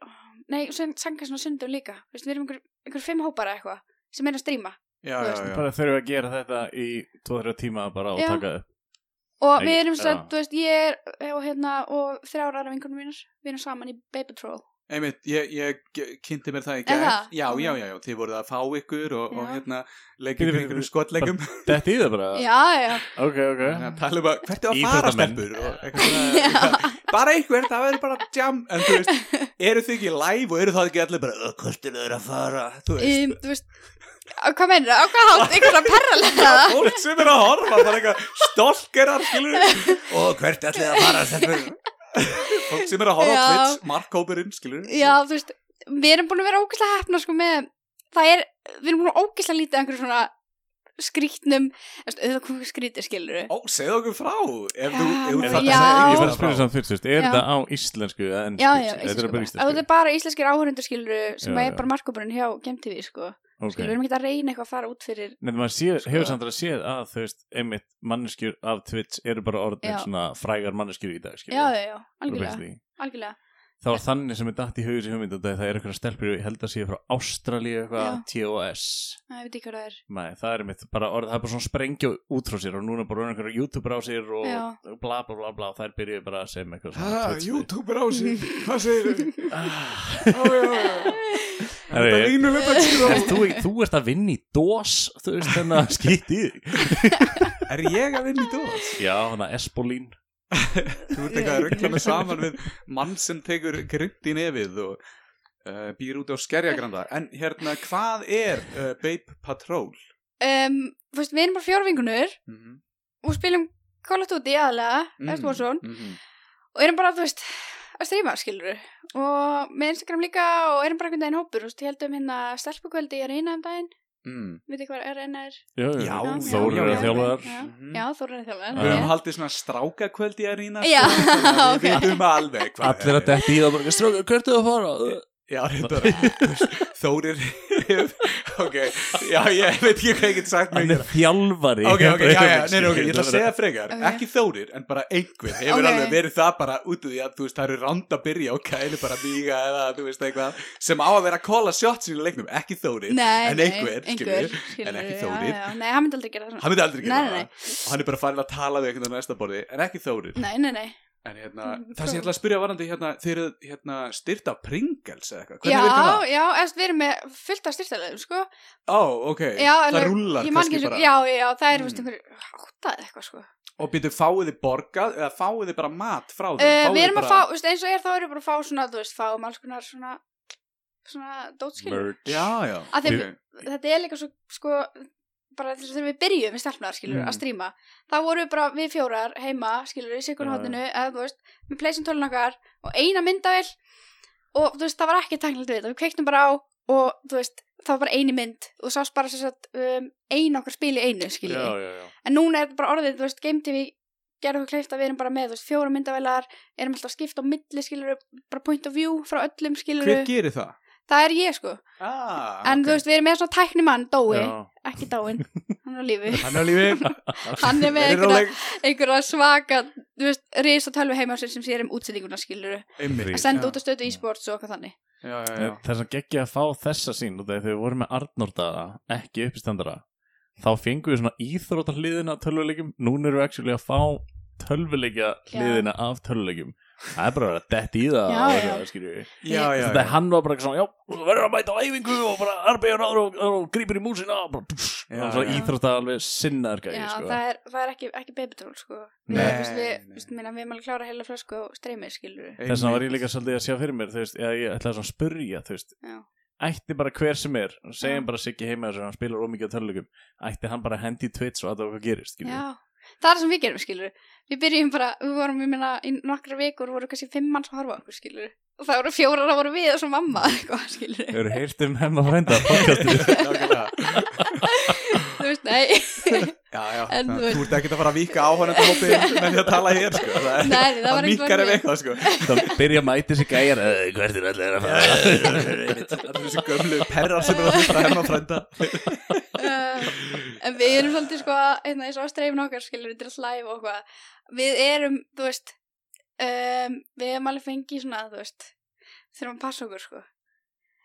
[SPEAKER 5] nei, sanga svona sundum líka Þú veist, við erum einhver, einhver fimm hópar eða eitthvað sem er að stríma
[SPEAKER 2] Já, já, já
[SPEAKER 3] bara þurfum að gera þetta í 2-3 tíma bara og
[SPEAKER 5] Já.
[SPEAKER 3] taka upp
[SPEAKER 5] og
[SPEAKER 3] Nei,
[SPEAKER 5] við erum svo,
[SPEAKER 3] já.
[SPEAKER 5] þú veist, ég er og hérna, og þrjár aðra vinkunum mínar við erum saman í Baby Troll
[SPEAKER 2] Einmitt, ég, ég ge- kynnti mér það í
[SPEAKER 5] Er
[SPEAKER 2] gær
[SPEAKER 5] það?
[SPEAKER 2] Já,
[SPEAKER 5] Ok.
[SPEAKER 2] já, já, já, þið voruð að fá ykkur og, og
[SPEAKER 5] Já.
[SPEAKER 2] hérna leikir
[SPEAKER 3] Bíddu,
[SPEAKER 2] ykkur
[SPEAKER 3] bíddu,
[SPEAKER 2] einhverjum
[SPEAKER 3] bíddu.
[SPEAKER 2] skotleikum
[SPEAKER 3] þetta í það bara,
[SPEAKER 5] já, já,
[SPEAKER 3] ok, ok
[SPEAKER 2] Þannig að tala um að hvert er að fara
[SPEAKER 3] Íþróttamenn.
[SPEAKER 2] stelpur og eitthvað svona- bara einhver, það verður bara jam en þú veist, eru þið ekki live og eru það ekki allir bara, "Ö, hvert er þau að fara þú veist,
[SPEAKER 5] um, þú veist á hvað meinir, á hvað hátt, einhverja perralega
[SPEAKER 2] fólk sem er að horfa bara eitthvað stolkerar, skilur og hvert er allir að fara stelpur fólk sem er að horfa á
[SPEAKER 5] Já.
[SPEAKER 2] Twitch, markkópurinn, skilur
[SPEAKER 5] já, þú veist, við erum búin að vera ógeðslega hefna sko með, það er við erum búin að ógeðslega lítið af einhverjum svona skrítnum, þú veist, auðvitað komið skrítið skilur
[SPEAKER 2] Ó, segðu okkur frá ef þú,
[SPEAKER 5] Já,
[SPEAKER 2] ef þú
[SPEAKER 5] já.
[SPEAKER 2] þarft að
[SPEAKER 5] Já.
[SPEAKER 2] segja
[SPEAKER 3] Ég var
[SPEAKER 2] okkur
[SPEAKER 3] að spyrja
[SPEAKER 2] frá.
[SPEAKER 3] samt fyrst, þú veist, er
[SPEAKER 5] Já.
[SPEAKER 3] þetta á íslensku eða ennsku?
[SPEAKER 5] já, já,
[SPEAKER 3] Þetta
[SPEAKER 5] íslensku
[SPEAKER 3] er bara
[SPEAKER 5] bara. Ef þetta
[SPEAKER 3] íslensku
[SPEAKER 5] er bara íslenskir áhörundur skilur sem
[SPEAKER 3] Já,
[SPEAKER 5] er
[SPEAKER 3] já.
[SPEAKER 5] bara markupurinn hjá GMTV sko,
[SPEAKER 3] Ok.
[SPEAKER 5] skilur, við erum ekki að reyna eitthvað að fara út fyrir
[SPEAKER 3] Nei, maður sé,
[SPEAKER 5] Sko-
[SPEAKER 3] hefur samt að séð að þú veist, einmitt manneskjur af Twitch eru bara orðin
[SPEAKER 5] Já.
[SPEAKER 3] svona frægar manneskjur í dag, skilur.
[SPEAKER 5] já, já, já,
[SPEAKER 3] Þú
[SPEAKER 5] algjörlega,
[SPEAKER 3] veist því.
[SPEAKER 5] algjörlega
[SPEAKER 3] Það var þannig sem ég datt í hugis í hugmyndu það er eitthvað stelpur, ég held að sé frá Ástralíu eitthvað, TOS.
[SPEAKER 5] Æ, ég veit ekki hvað það er
[SPEAKER 3] Nei, það er mitt, bara orð, það er bara svona sprengja út frá sér og núna bara einhverja YouTube á sér og
[SPEAKER 5] Já.
[SPEAKER 3] bla bla bla bla, þær byrjuði bara að segja mig eitthvað
[SPEAKER 2] Ha,
[SPEAKER 3] Twitch-
[SPEAKER 2] YouTuber á sig, hvað segir þau?
[SPEAKER 3] Ah. Herri,
[SPEAKER 2] Þetta línu þetta
[SPEAKER 3] Þú,
[SPEAKER 2] skilur
[SPEAKER 3] þú, þú ert að vinna í DOS þú veist þannig að skýtt í þig
[SPEAKER 2] Er ég að vinna í dós?
[SPEAKER 3] Já, þannig að Espolín
[SPEAKER 2] Þú ert eitthvað að ruggla með saman við mann sem tekur grind í nefið og uh, býr út á skerjagranda En hérna, hvað er uh, Babe Patrol?
[SPEAKER 5] um, þú veist, við erum bara fjórvingunur
[SPEAKER 2] Mhm,
[SPEAKER 5] og spilum Call of Duty aðalega, mm.
[SPEAKER 2] mhm,
[SPEAKER 5] Estuarsson
[SPEAKER 2] mhm.
[SPEAKER 5] og erum bara, þú veist, að streyma, skilur og með Instagram líka og erum bara einhvern daginn hópur, þú veist, ég held um hérna stelpukvöldi er eina um daginn,
[SPEAKER 2] Mm,
[SPEAKER 5] veit ekki hvað er eina er
[SPEAKER 3] Já,
[SPEAKER 2] Já,
[SPEAKER 3] Þórir
[SPEAKER 2] já,
[SPEAKER 3] er
[SPEAKER 2] já.
[SPEAKER 3] þjálfaðar
[SPEAKER 5] Já,
[SPEAKER 2] mhm.
[SPEAKER 5] já Þórir er þjálfaðar
[SPEAKER 2] Við
[SPEAKER 3] Já.
[SPEAKER 2] höfum haldið svona strákakvöld í arína sko.
[SPEAKER 5] Já, ok.
[SPEAKER 2] Við veitum alveg hvað
[SPEAKER 3] Allir að detti í það bara Stróka, hvert er það að fara?
[SPEAKER 2] Já, reyndar Þórir Ok, já, ég veit ekki hvað ég get sagt
[SPEAKER 3] Hann
[SPEAKER 2] mér
[SPEAKER 3] er þjálfari
[SPEAKER 2] Ok, ok, já, já, nei, nei, ok, ég ætla að segja frekar
[SPEAKER 5] Ok.
[SPEAKER 2] Ekki Þórir, en bara einhver Hefur
[SPEAKER 5] Ok.
[SPEAKER 2] alveg verið það bara út af því að þú veist, það eru ránd að byrja og kæli bara mýga eða þú veist eitthvað sem á að vera að kóla shots í leiknum, ekki Þórir
[SPEAKER 5] Nei,
[SPEAKER 2] en
[SPEAKER 5] nei,
[SPEAKER 2] einhver, skilur
[SPEAKER 5] einhver, skilur,
[SPEAKER 2] en ekki
[SPEAKER 5] já,
[SPEAKER 2] Þórir.
[SPEAKER 5] já. Nei, hann myndi aldrei gera það
[SPEAKER 2] Hann myndi aldrei gera
[SPEAKER 5] Nei, nei,
[SPEAKER 2] það og hann er bara farin að tala við einhvern veginn á næsta borði en ekki Þórir
[SPEAKER 5] nei, nei, nei.
[SPEAKER 2] en hérna,
[SPEAKER 5] Mm,
[SPEAKER 2] það sem ég ætla að spyrja varandi hérna, þeir eru hérna styrt af Pringles eða eitthvað,
[SPEAKER 5] Já,
[SPEAKER 2] hvernig virkar það?
[SPEAKER 5] já, eftir, við erum með fullt af styrtalegum, sko
[SPEAKER 2] Ó, ok,
[SPEAKER 5] já,
[SPEAKER 2] það
[SPEAKER 5] alveg-
[SPEAKER 2] rúlar
[SPEAKER 5] ég man
[SPEAKER 2] kannski
[SPEAKER 5] ekki
[SPEAKER 2] bara
[SPEAKER 5] svo- Já, já, það er,
[SPEAKER 2] Mm.
[SPEAKER 5] þú veist, einhver áttað eitthvað, sko
[SPEAKER 2] og byrju fáið þið borgað eða fáið þið bara mat frá þeim
[SPEAKER 5] Uh,
[SPEAKER 2] Fáið
[SPEAKER 5] við
[SPEAKER 2] þið
[SPEAKER 5] erum að fá,
[SPEAKER 2] bara-
[SPEAKER 5] þú veist, eins og er þá erum við bara að fá svona, þú veist, fáum alls konar svona, svona dótskilur.
[SPEAKER 3] Merch
[SPEAKER 2] Já, já,
[SPEAKER 5] Af því að
[SPEAKER 2] ok.
[SPEAKER 5] Þetta er líka svo, sko, bara þess að þegar við byrjum við stelpnar, skilur,
[SPEAKER 2] Mm.
[SPEAKER 5] að stríma, þá vorum við bara við fjórar heima, skilur, í sikur
[SPEAKER 3] Já,
[SPEAKER 5] hátinu, eða, þú veist, við pleysum tölun okkar og eina myndavel og, þú veist, það var ekki tæknilega við, þetta. við kveiktum bara á og, þú veist, það var bara eini mynd og sást bara sem sagt um, ein okkar spil í einu, skilur.
[SPEAKER 3] Já, já, já
[SPEAKER 5] En núna er þetta bara orðið, þú veist, Game TV gerði okkur kleift að við erum bara með, þú veist, fjóra myndavælar, erum alltaf skipt á milli, skilur bara point of view frá öllum, skilur
[SPEAKER 2] hver gerir það?
[SPEAKER 5] Það er ég, sko.
[SPEAKER 2] Ah,
[SPEAKER 5] En
[SPEAKER 2] ok.
[SPEAKER 5] þú veist, við erum með svona tæknimann, Dói,
[SPEAKER 3] Já.
[SPEAKER 5] ekki Dóin, hann er á lífi.
[SPEAKER 2] hann er á lífi
[SPEAKER 5] Hann er með
[SPEAKER 2] Verið
[SPEAKER 5] einhverja,
[SPEAKER 2] róleg.
[SPEAKER 5] einhverja svaka, þú veist, risa tölvi heima á sér sem sér um útsendinguna, skilur
[SPEAKER 2] Einmitt.
[SPEAKER 5] að senda
[SPEAKER 2] Já.
[SPEAKER 5] út að stötu e-sports og eitthvað þannig.
[SPEAKER 2] já, já, já.
[SPEAKER 3] Það er sem geggja að fá þessa sín og þegar við vorum með Arnórdaða, ekki uppistandara þá fengum við svona íþróta hliðina af tölvuleikjum, núna erum við actually að fá tölvuleikja hliðina af tölvuleikjum það er bara að vera dett í það og
[SPEAKER 5] Já, já.
[SPEAKER 3] eitthvað, skilju við.
[SPEAKER 2] já, já,
[SPEAKER 3] þetta er
[SPEAKER 2] já.
[SPEAKER 3] hann var bara eitthvað svona, já, þú verður að mæta á æfingu og bara arbegur áður og, og grýpir í músina og bara, pss,
[SPEAKER 2] Já,
[SPEAKER 3] og svona
[SPEAKER 2] já.
[SPEAKER 3] íþróta alveg sinnaður gæði,
[SPEAKER 5] Já,
[SPEAKER 3] sko
[SPEAKER 5] það er, það er ekki, ekki babytról, sko. Við,
[SPEAKER 2] Nei,
[SPEAKER 5] þú veist, við,
[SPEAKER 2] nei.
[SPEAKER 5] þú veist, minna, við erum alveg klára heila flösku og streymið, skilur
[SPEAKER 3] þess vegna var ég líka svolítið að sjá fyrir mér þú veist, eða ég ætlaði svona að spurja þú veist,
[SPEAKER 5] Já.
[SPEAKER 3] ætti bara hver sem er segjum
[SPEAKER 5] Já.
[SPEAKER 3] bara Siggi heima þess að hann spilar ómikið á töluleikum ætti hann bara að hendi í Twitch og að það hvað gerist skilur við.
[SPEAKER 5] Já, það er það sem við gerum, skilur Við byrjum bara, við vorum, ég meina, í nokkra vikur voru kannski fimm manns að horfa á okkur, skilur Og það voru fjórar að voru við og svo mamma, eitthvað, skilur
[SPEAKER 3] Hefur heyrt um hemma frænda podcastið?
[SPEAKER 2] Nákvæmlega.
[SPEAKER 5] Þú veist, nei,
[SPEAKER 2] já, já, það-
[SPEAKER 5] En þú veist-
[SPEAKER 2] þú ert ekki að fara að vika áhörnandi hópi með því að tala hér sko. það, er-
[SPEAKER 5] Nei, það var
[SPEAKER 2] það
[SPEAKER 5] ekki
[SPEAKER 2] minkar ef
[SPEAKER 5] þannig.
[SPEAKER 2] eitthvað sko.
[SPEAKER 3] þá byrja að mæti sig gæjar "Eh, hvert er allir að fara
[SPEAKER 2] allir þessi gömlu perrar sem er að hlusta henn og frænda
[SPEAKER 5] uh, en við erum svolítið, sko, einna, eins og að streifin okkar, skilur Þetta er allt live og hvað Við erum, þú veist, um, við erum alveg fengið svona, þú veist Þurfum að passa okkur, sko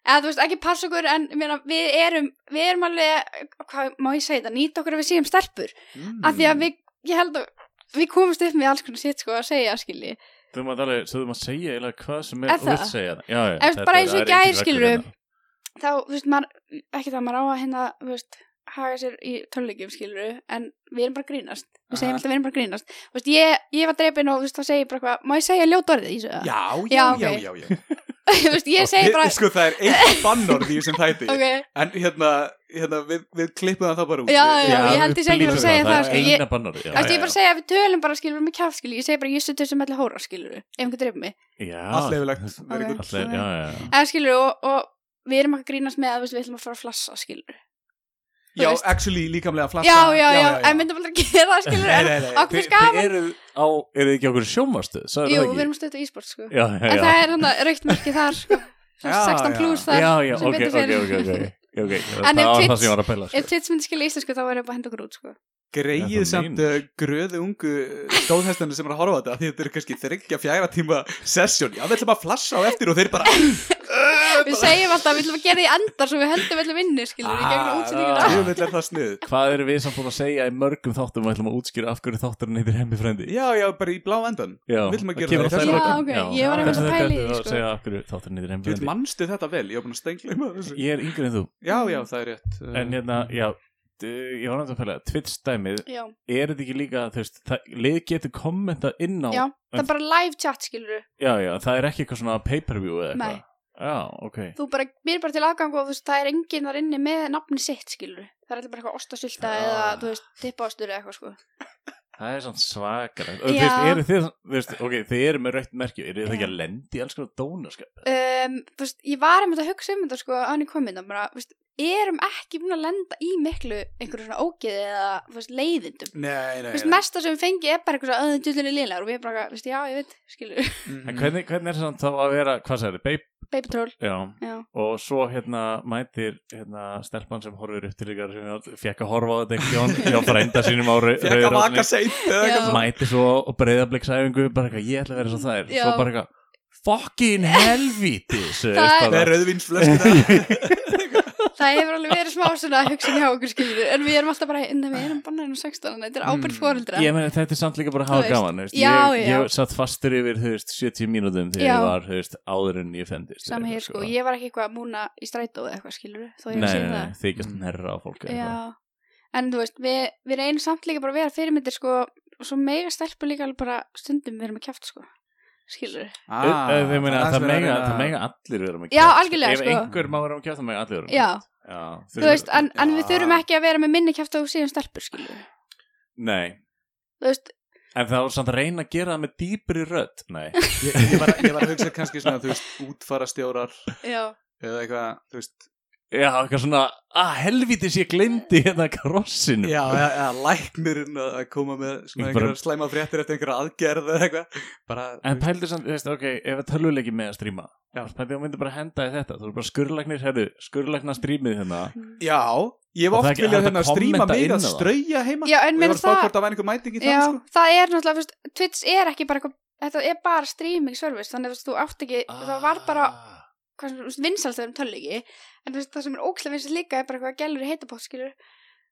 [SPEAKER 5] Eða, þú veist, ekki passa okkur, en ég meina, við erum, við erum alveg, hvað má ég segja þetta, nýta okkur að við séum stelpur.
[SPEAKER 2] mm.
[SPEAKER 5] af því að við, ég held að við komumst upp með alls konar sitt sko að segja skilji
[SPEAKER 3] þú maður alveg, svo þú maður segja eiginlega hvað sem
[SPEAKER 5] Er
[SPEAKER 3] er og
[SPEAKER 5] það?
[SPEAKER 3] vilt segja það. já, já,
[SPEAKER 5] Ef
[SPEAKER 3] þetta
[SPEAKER 5] bara
[SPEAKER 3] er-
[SPEAKER 5] eins og
[SPEAKER 3] það
[SPEAKER 5] í
[SPEAKER 3] er engin
[SPEAKER 5] gær,
[SPEAKER 3] reglur
[SPEAKER 5] skilurðu.
[SPEAKER 3] hérna.
[SPEAKER 5] þá, þú veist, maður ekki það maður á að hérna, þú veist haga sér í tónleikum skilju en við erum bara að grínast, við segjum
[SPEAKER 2] Aha.
[SPEAKER 5] alltaf við erum bara að grínast þú veist, ég, ég var drepin og þú veist, þá segi ég bara hvað, má ég segja ljót orðið í þessu eða?
[SPEAKER 2] já, já,
[SPEAKER 5] Já,
[SPEAKER 2] já,
[SPEAKER 5] ok.
[SPEAKER 2] já, já.
[SPEAKER 5] þú veist, ég segi bara,
[SPEAKER 2] sko það er eitt bannorð í þessum þætti
[SPEAKER 5] ok
[SPEAKER 2] en hérna hérna, við, við klippum það bara út
[SPEAKER 5] Já,
[SPEAKER 2] Við-
[SPEAKER 5] já, ég held ég sé ekki að
[SPEAKER 3] blítur
[SPEAKER 5] segja það,
[SPEAKER 3] það
[SPEAKER 5] sko,
[SPEAKER 3] er
[SPEAKER 5] ég-
[SPEAKER 3] eina bannorði já,
[SPEAKER 5] Þú veist, ég
[SPEAKER 3] já,
[SPEAKER 5] bara að segja að við tölum bara skilur með kjáf skilur, ég segi bara ég stötu sem allir hóra skilur, ef einhvern dreif mig.
[SPEAKER 3] já.
[SPEAKER 2] Allt leifilegt
[SPEAKER 5] Ok.
[SPEAKER 2] okay.
[SPEAKER 3] Allt leið- já, já, já.
[SPEAKER 5] En skilur, og, og við erum ekki að grínast með að þú veist, við ætlum að fara að flassa skilur.
[SPEAKER 2] Já,
[SPEAKER 5] veist.
[SPEAKER 2] actually líkamlega flassa
[SPEAKER 5] Já, já, já, en myndum aldrei að gera það skilur,
[SPEAKER 2] Nei,
[SPEAKER 5] en
[SPEAKER 2] nei, nei.
[SPEAKER 5] okkur
[SPEAKER 3] Þi-
[SPEAKER 5] finnst
[SPEAKER 3] Þið
[SPEAKER 5] gaman.
[SPEAKER 3] eruð á, eruð þið ekki okkur sjómastu? Sagði
[SPEAKER 5] Jú,
[SPEAKER 3] það
[SPEAKER 5] við
[SPEAKER 3] ekki?
[SPEAKER 5] erum að stötu ísport sko.
[SPEAKER 3] Já, já,
[SPEAKER 5] En
[SPEAKER 3] já.
[SPEAKER 5] það er hann að raukt mörki þar sko, svona
[SPEAKER 2] Já,
[SPEAKER 5] 16
[SPEAKER 2] já.
[SPEAKER 3] Já,
[SPEAKER 5] pluss þar.
[SPEAKER 3] já,
[SPEAKER 5] sem
[SPEAKER 3] ok,
[SPEAKER 5] betur
[SPEAKER 3] ok,
[SPEAKER 5] fer.
[SPEAKER 3] ok, ok, ok.
[SPEAKER 5] En
[SPEAKER 3] Það var
[SPEAKER 5] ef Twitch-
[SPEAKER 3] það sem ég var að pæla,
[SPEAKER 5] Ef
[SPEAKER 3] sko.
[SPEAKER 5] tits myndi skilja íslensku þá væri ég bara að henda okkur út sko.
[SPEAKER 2] Greið
[SPEAKER 3] Þetta
[SPEAKER 2] samt
[SPEAKER 3] meinar.
[SPEAKER 2] uh, gröðu ungu stóðhestanu sem er að horfa á þetta Því þetta eru kannski þryggja fjæra tíma sesjón Já, við ætlum að flassa á eftir og þeir bara
[SPEAKER 5] Við segjum alltaf að við ætlum að gera því endar svo við höldum öllum inni skilur, í
[SPEAKER 3] Ah,
[SPEAKER 5] gegnum útsendinguna.
[SPEAKER 3] já.
[SPEAKER 2] Jöfull er það snið
[SPEAKER 3] Hvað erum við samt búin að segja í mörgum þáttum og ætlum að útskýra af hverju þátturinn heitir hemmi frendi?
[SPEAKER 2] Já, já, bara í blá endan
[SPEAKER 3] Já,
[SPEAKER 2] Við ætlum að
[SPEAKER 3] það
[SPEAKER 2] gera
[SPEAKER 3] kemur
[SPEAKER 2] það í
[SPEAKER 3] alltaf í lokin.
[SPEAKER 5] Já, ok, ég var einmitt að
[SPEAKER 3] Þetta
[SPEAKER 5] pæla í
[SPEAKER 3] er
[SPEAKER 5] því,
[SPEAKER 3] að
[SPEAKER 5] sko.
[SPEAKER 3] segja af hverju þátturinn heitir
[SPEAKER 2] Ég
[SPEAKER 3] hemmi
[SPEAKER 2] veit,
[SPEAKER 3] frendi.
[SPEAKER 2] manstu þetta vel, ég var búin að stengla þessu
[SPEAKER 3] Ég er yngri en þú.
[SPEAKER 2] Já, já, það er rétt uh,
[SPEAKER 3] En hérna, já, d- ég var náttúrulega að pæla, Twitch dæmið,
[SPEAKER 5] Já,
[SPEAKER 3] er þetta ekki líka, þú veist, það- lið getur kommentað inn á
[SPEAKER 5] já, það er bara live chat skilur,
[SPEAKER 3] Já, já, það er ekki eitthvað svona pay-per-view eða eitthvað?
[SPEAKER 5] Nei.
[SPEAKER 3] Já, ok.
[SPEAKER 5] þú bara, mér er bara til aðgang og þú veist, það er enginn þar inni með nafni sitt skilur. Það er allir bara eitthvað ostasulta
[SPEAKER 3] Já.
[SPEAKER 5] eða, þú veist, tippaostur eða eitthvað sko.
[SPEAKER 3] Það er svona svakar.
[SPEAKER 5] Já.
[SPEAKER 3] Þú veist, eru þið, þú veist, ok, þið eru með rautt merki, eru þið
[SPEAKER 5] Já.
[SPEAKER 3] ekki að lendi alls konar sko? dónaskap?
[SPEAKER 5] um, þú veist, ég var einmitt að hugsa um þetta sko að hann er komin það bara, þú veist, erum ekki búin að lenda í miklu einhverju svona ógeði eða þú veist, leiðindum
[SPEAKER 2] Nei, nei,
[SPEAKER 5] Þú veist, mesta sem við fengi er bara eitthvað svona öðin djúlinni lélegar og við erum bara, þú veist, já, ég veit, skilur
[SPEAKER 3] En hvernig, hvernig er það samt þá að vera, hvað sagði, beip?
[SPEAKER 5] baby troll,
[SPEAKER 3] Já.
[SPEAKER 5] já,
[SPEAKER 3] Og svo hérna mætir hérna stelpan sem horfir upp til ykkar sem fekk að horfa á þetta ekki hjá, hjá frænda sínum á rau-
[SPEAKER 2] Fekk að
[SPEAKER 3] Rauðarásinni.
[SPEAKER 2] vaka seint eða
[SPEAKER 5] Já.
[SPEAKER 2] eitthvað svona.
[SPEAKER 3] Mætir svo og breyðabliksæfingu, bara eitthvað, ég ætla að vera svo þær.
[SPEAKER 5] Já.
[SPEAKER 3] Svo bara eitthvað, fucking helvítis. þú veist,
[SPEAKER 5] Það er-
[SPEAKER 2] Það
[SPEAKER 3] bara-
[SPEAKER 2] er rauðvinsflöskina
[SPEAKER 5] það hefur alveg verið smá svona hugsun hjá okkur skilur, en við erum alltaf bara, en við erum bannaðin á 16, þannig að þetta er ábyrð
[SPEAKER 2] Mm.
[SPEAKER 5] fóreldra
[SPEAKER 3] Ég meni, þetta er samt líka bara að
[SPEAKER 5] Þú
[SPEAKER 3] hafa
[SPEAKER 5] veist.
[SPEAKER 3] gaman þú veist.
[SPEAKER 5] Já,
[SPEAKER 3] ég,
[SPEAKER 5] já.
[SPEAKER 3] ég satt fastur yfir þú veist, 70 mínútum þegar
[SPEAKER 5] Já.
[SPEAKER 3] ég var þú veist, áður en ég fendist
[SPEAKER 5] saman hér sko, ég var ekki eitthvað að múna í strætó eða eitthvað skilur, þó
[SPEAKER 3] Nei,
[SPEAKER 5] ég
[SPEAKER 3] nei,
[SPEAKER 5] sé það
[SPEAKER 3] nei, þykjast nærra á fólk eða eitthvað.
[SPEAKER 5] Já, en þú veist, við, við reynum samt líka bara að vera fyrirmyndir sko og svo mega stelpur líka alveg bara stundum vera með kjáft sko, skilur við.
[SPEAKER 3] Þau- þau- þau eh, meina,
[SPEAKER 2] Ah, aðeins verið
[SPEAKER 3] það,
[SPEAKER 2] að
[SPEAKER 3] mega,
[SPEAKER 2] reyna-
[SPEAKER 3] það mega allir vera með
[SPEAKER 5] Já,
[SPEAKER 3] kjaft.
[SPEAKER 5] algjörlega,
[SPEAKER 3] Ef
[SPEAKER 5] sko.
[SPEAKER 3] einhver má vera með kjátt, það mega allir vera með
[SPEAKER 5] Já,
[SPEAKER 3] kjaft. Já,
[SPEAKER 5] þú veist, en, en við
[SPEAKER 2] Já.
[SPEAKER 5] þurfum ekki að vera með minni kjáft og síðan stelpur, skilur við.
[SPEAKER 3] Nei,
[SPEAKER 5] Þú veist,
[SPEAKER 3] en það var samt að reyna að gera það með dýpri rödd Nei,
[SPEAKER 2] Ég, ég, var, ég var að hugsa kannski svona, þú veist, útfarastjórar
[SPEAKER 5] já,
[SPEAKER 2] eða eitthvað, þú veist
[SPEAKER 3] já, eitthvað svona "Ah, að helvítis ég glemdi hérna krossinu
[SPEAKER 2] Já, eða, eða læknirinn að að koma með svona
[SPEAKER 3] Bara-
[SPEAKER 2] einhverjar slæma fréttir eftir einhverja aðgerð eða eitthvað bara,
[SPEAKER 3] En pældu samt, þú veist, ok, ef að tölvuleiki með að stríma Já, pældu, þú myndir bara henda í þetta Þú eru bara skurrlagnir, herðu, skurrlagna strímið hérna
[SPEAKER 2] Já, ég hef
[SPEAKER 3] Og það
[SPEAKER 2] oft
[SPEAKER 3] er ekki
[SPEAKER 2] viljað
[SPEAKER 3] hægt að
[SPEAKER 2] hérna stríma
[SPEAKER 3] kommenta
[SPEAKER 2] mig
[SPEAKER 3] inn á
[SPEAKER 2] að
[SPEAKER 3] það.
[SPEAKER 2] strauja heima
[SPEAKER 5] já, en
[SPEAKER 2] Ég
[SPEAKER 5] meina
[SPEAKER 2] var spáð
[SPEAKER 5] það,
[SPEAKER 2] hvort það væri einhver mæting í
[SPEAKER 5] já,
[SPEAKER 2] það sko.
[SPEAKER 5] það er náttúrulega, þú veist, Twitch er ekki bara eitthvað, þetta er bara streaming service, þannig að þú veist, þú átt ekki,
[SPEAKER 2] Ah.
[SPEAKER 5] það var bara,
[SPEAKER 3] Ah.
[SPEAKER 5] hvað sem, þú veist, vinsalt þegar um tölviki, en þú veist, það sem er ókslega vinsalt líka er bara eitthvað gælur í heitapott, skilur.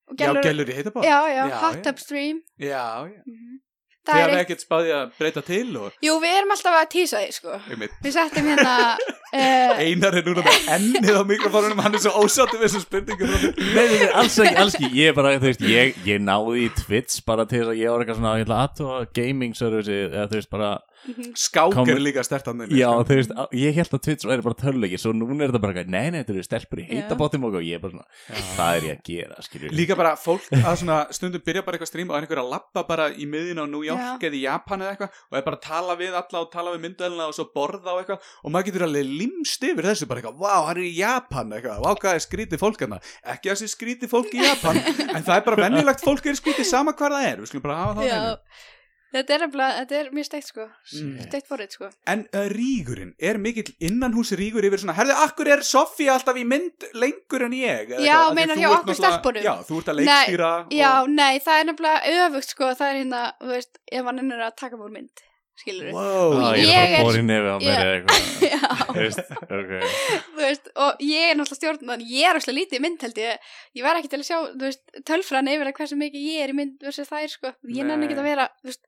[SPEAKER 5] Og
[SPEAKER 2] Já,
[SPEAKER 5] gælur,
[SPEAKER 2] gælur í heita
[SPEAKER 5] já, já,
[SPEAKER 2] Já,
[SPEAKER 5] hot
[SPEAKER 2] já.
[SPEAKER 5] tub stream.
[SPEAKER 2] Já, já.
[SPEAKER 5] Mhm. Það
[SPEAKER 2] Þið
[SPEAKER 5] er
[SPEAKER 2] hafið ekkert spáðið að breyta til og
[SPEAKER 5] Jú, við erum alltaf að tísa því, sko.
[SPEAKER 2] einmitt.
[SPEAKER 5] Við settum hérna... Uh,
[SPEAKER 2] Einar er núna með ennið á mikrofónunum hann er svo ósáttu við þessum spurningum
[SPEAKER 3] Nei, nei, nei, alls ekki, alls ekki Ég er bara, þú veist, ég, ég náði í Twitch bara til þess að ég var eitthvað svona Ég ætla aðtóa gaming service eða þú veist bara
[SPEAKER 5] mhm.
[SPEAKER 2] Skák er
[SPEAKER 3] Kom-
[SPEAKER 2] líka stertan
[SPEAKER 3] Já, þú veist, á- ég held að Twitch væri bara töluleiki Svo núna er þetta bara, eitthvað, nei, nei, þetta eru stelpur í
[SPEAKER 5] Já.
[SPEAKER 3] heitabóttum og eitthvað, ég er bara svona, það er ég að gera, skilur
[SPEAKER 2] Líka bara fólk að svona stundum byrja bara eitthvað strím og er einhver að lappa bara í miðin á New York eða í Japan eða eitthvað og er bara að tala við alla og tala við myndalina og svo borða og eitthvað og maður getur alveg limst yfir þessu bara eitthvað, vá, hann er í Japan eitthvað, vá, hvað er skrítið fólk hérna ekki að sé skrítið fólk í Japan en það er bara venjulegt fólk er skrítið sama hvar það er, við skulum bara hafa það á
[SPEAKER 5] já,
[SPEAKER 2] hreinu.
[SPEAKER 5] þetta er, nefnilega- þetta er mjög steikt, sko.
[SPEAKER 2] hérna. Mm.
[SPEAKER 5] Steikt forrið, sko.
[SPEAKER 2] En uh, rígurinn, er mikill innanhús rígur yfir svona, herðu, akkur er Sofía alltaf í mynd lengur en ég? eða
[SPEAKER 5] Já,
[SPEAKER 2] eitthvað? Af því
[SPEAKER 5] meinar
[SPEAKER 2] þú
[SPEAKER 5] hjá
[SPEAKER 2] ert
[SPEAKER 5] okkur
[SPEAKER 2] náttúrulega-
[SPEAKER 5] stelpunum?
[SPEAKER 2] Já, þú ert að
[SPEAKER 5] Nei,
[SPEAKER 2] leikstýra
[SPEAKER 5] Já, nei, það er nefnilega öfugt, sko. Það er hérna, þú veist, ef hann ennur að taka mór mynd, skilur við.
[SPEAKER 2] Wow,
[SPEAKER 3] Ah, ég
[SPEAKER 5] ég
[SPEAKER 3] er
[SPEAKER 5] er-
[SPEAKER 3] bara bóri nefi á mér
[SPEAKER 5] Já.
[SPEAKER 3] eða eitthvað
[SPEAKER 5] Já,
[SPEAKER 3] Þú veist, ok
[SPEAKER 5] þú veist, og ég er náttúrulega stjórnum, ég er óslega lítið í mynd, held ég. Ég var ekki til að sjá, þú veist, tölfran yfir að hversu mikið ég er í mynd versus þær, sko. Ég nenni ekki
[SPEAKER 2] Nei.
[SPEAKER 5] að vera, þú veist,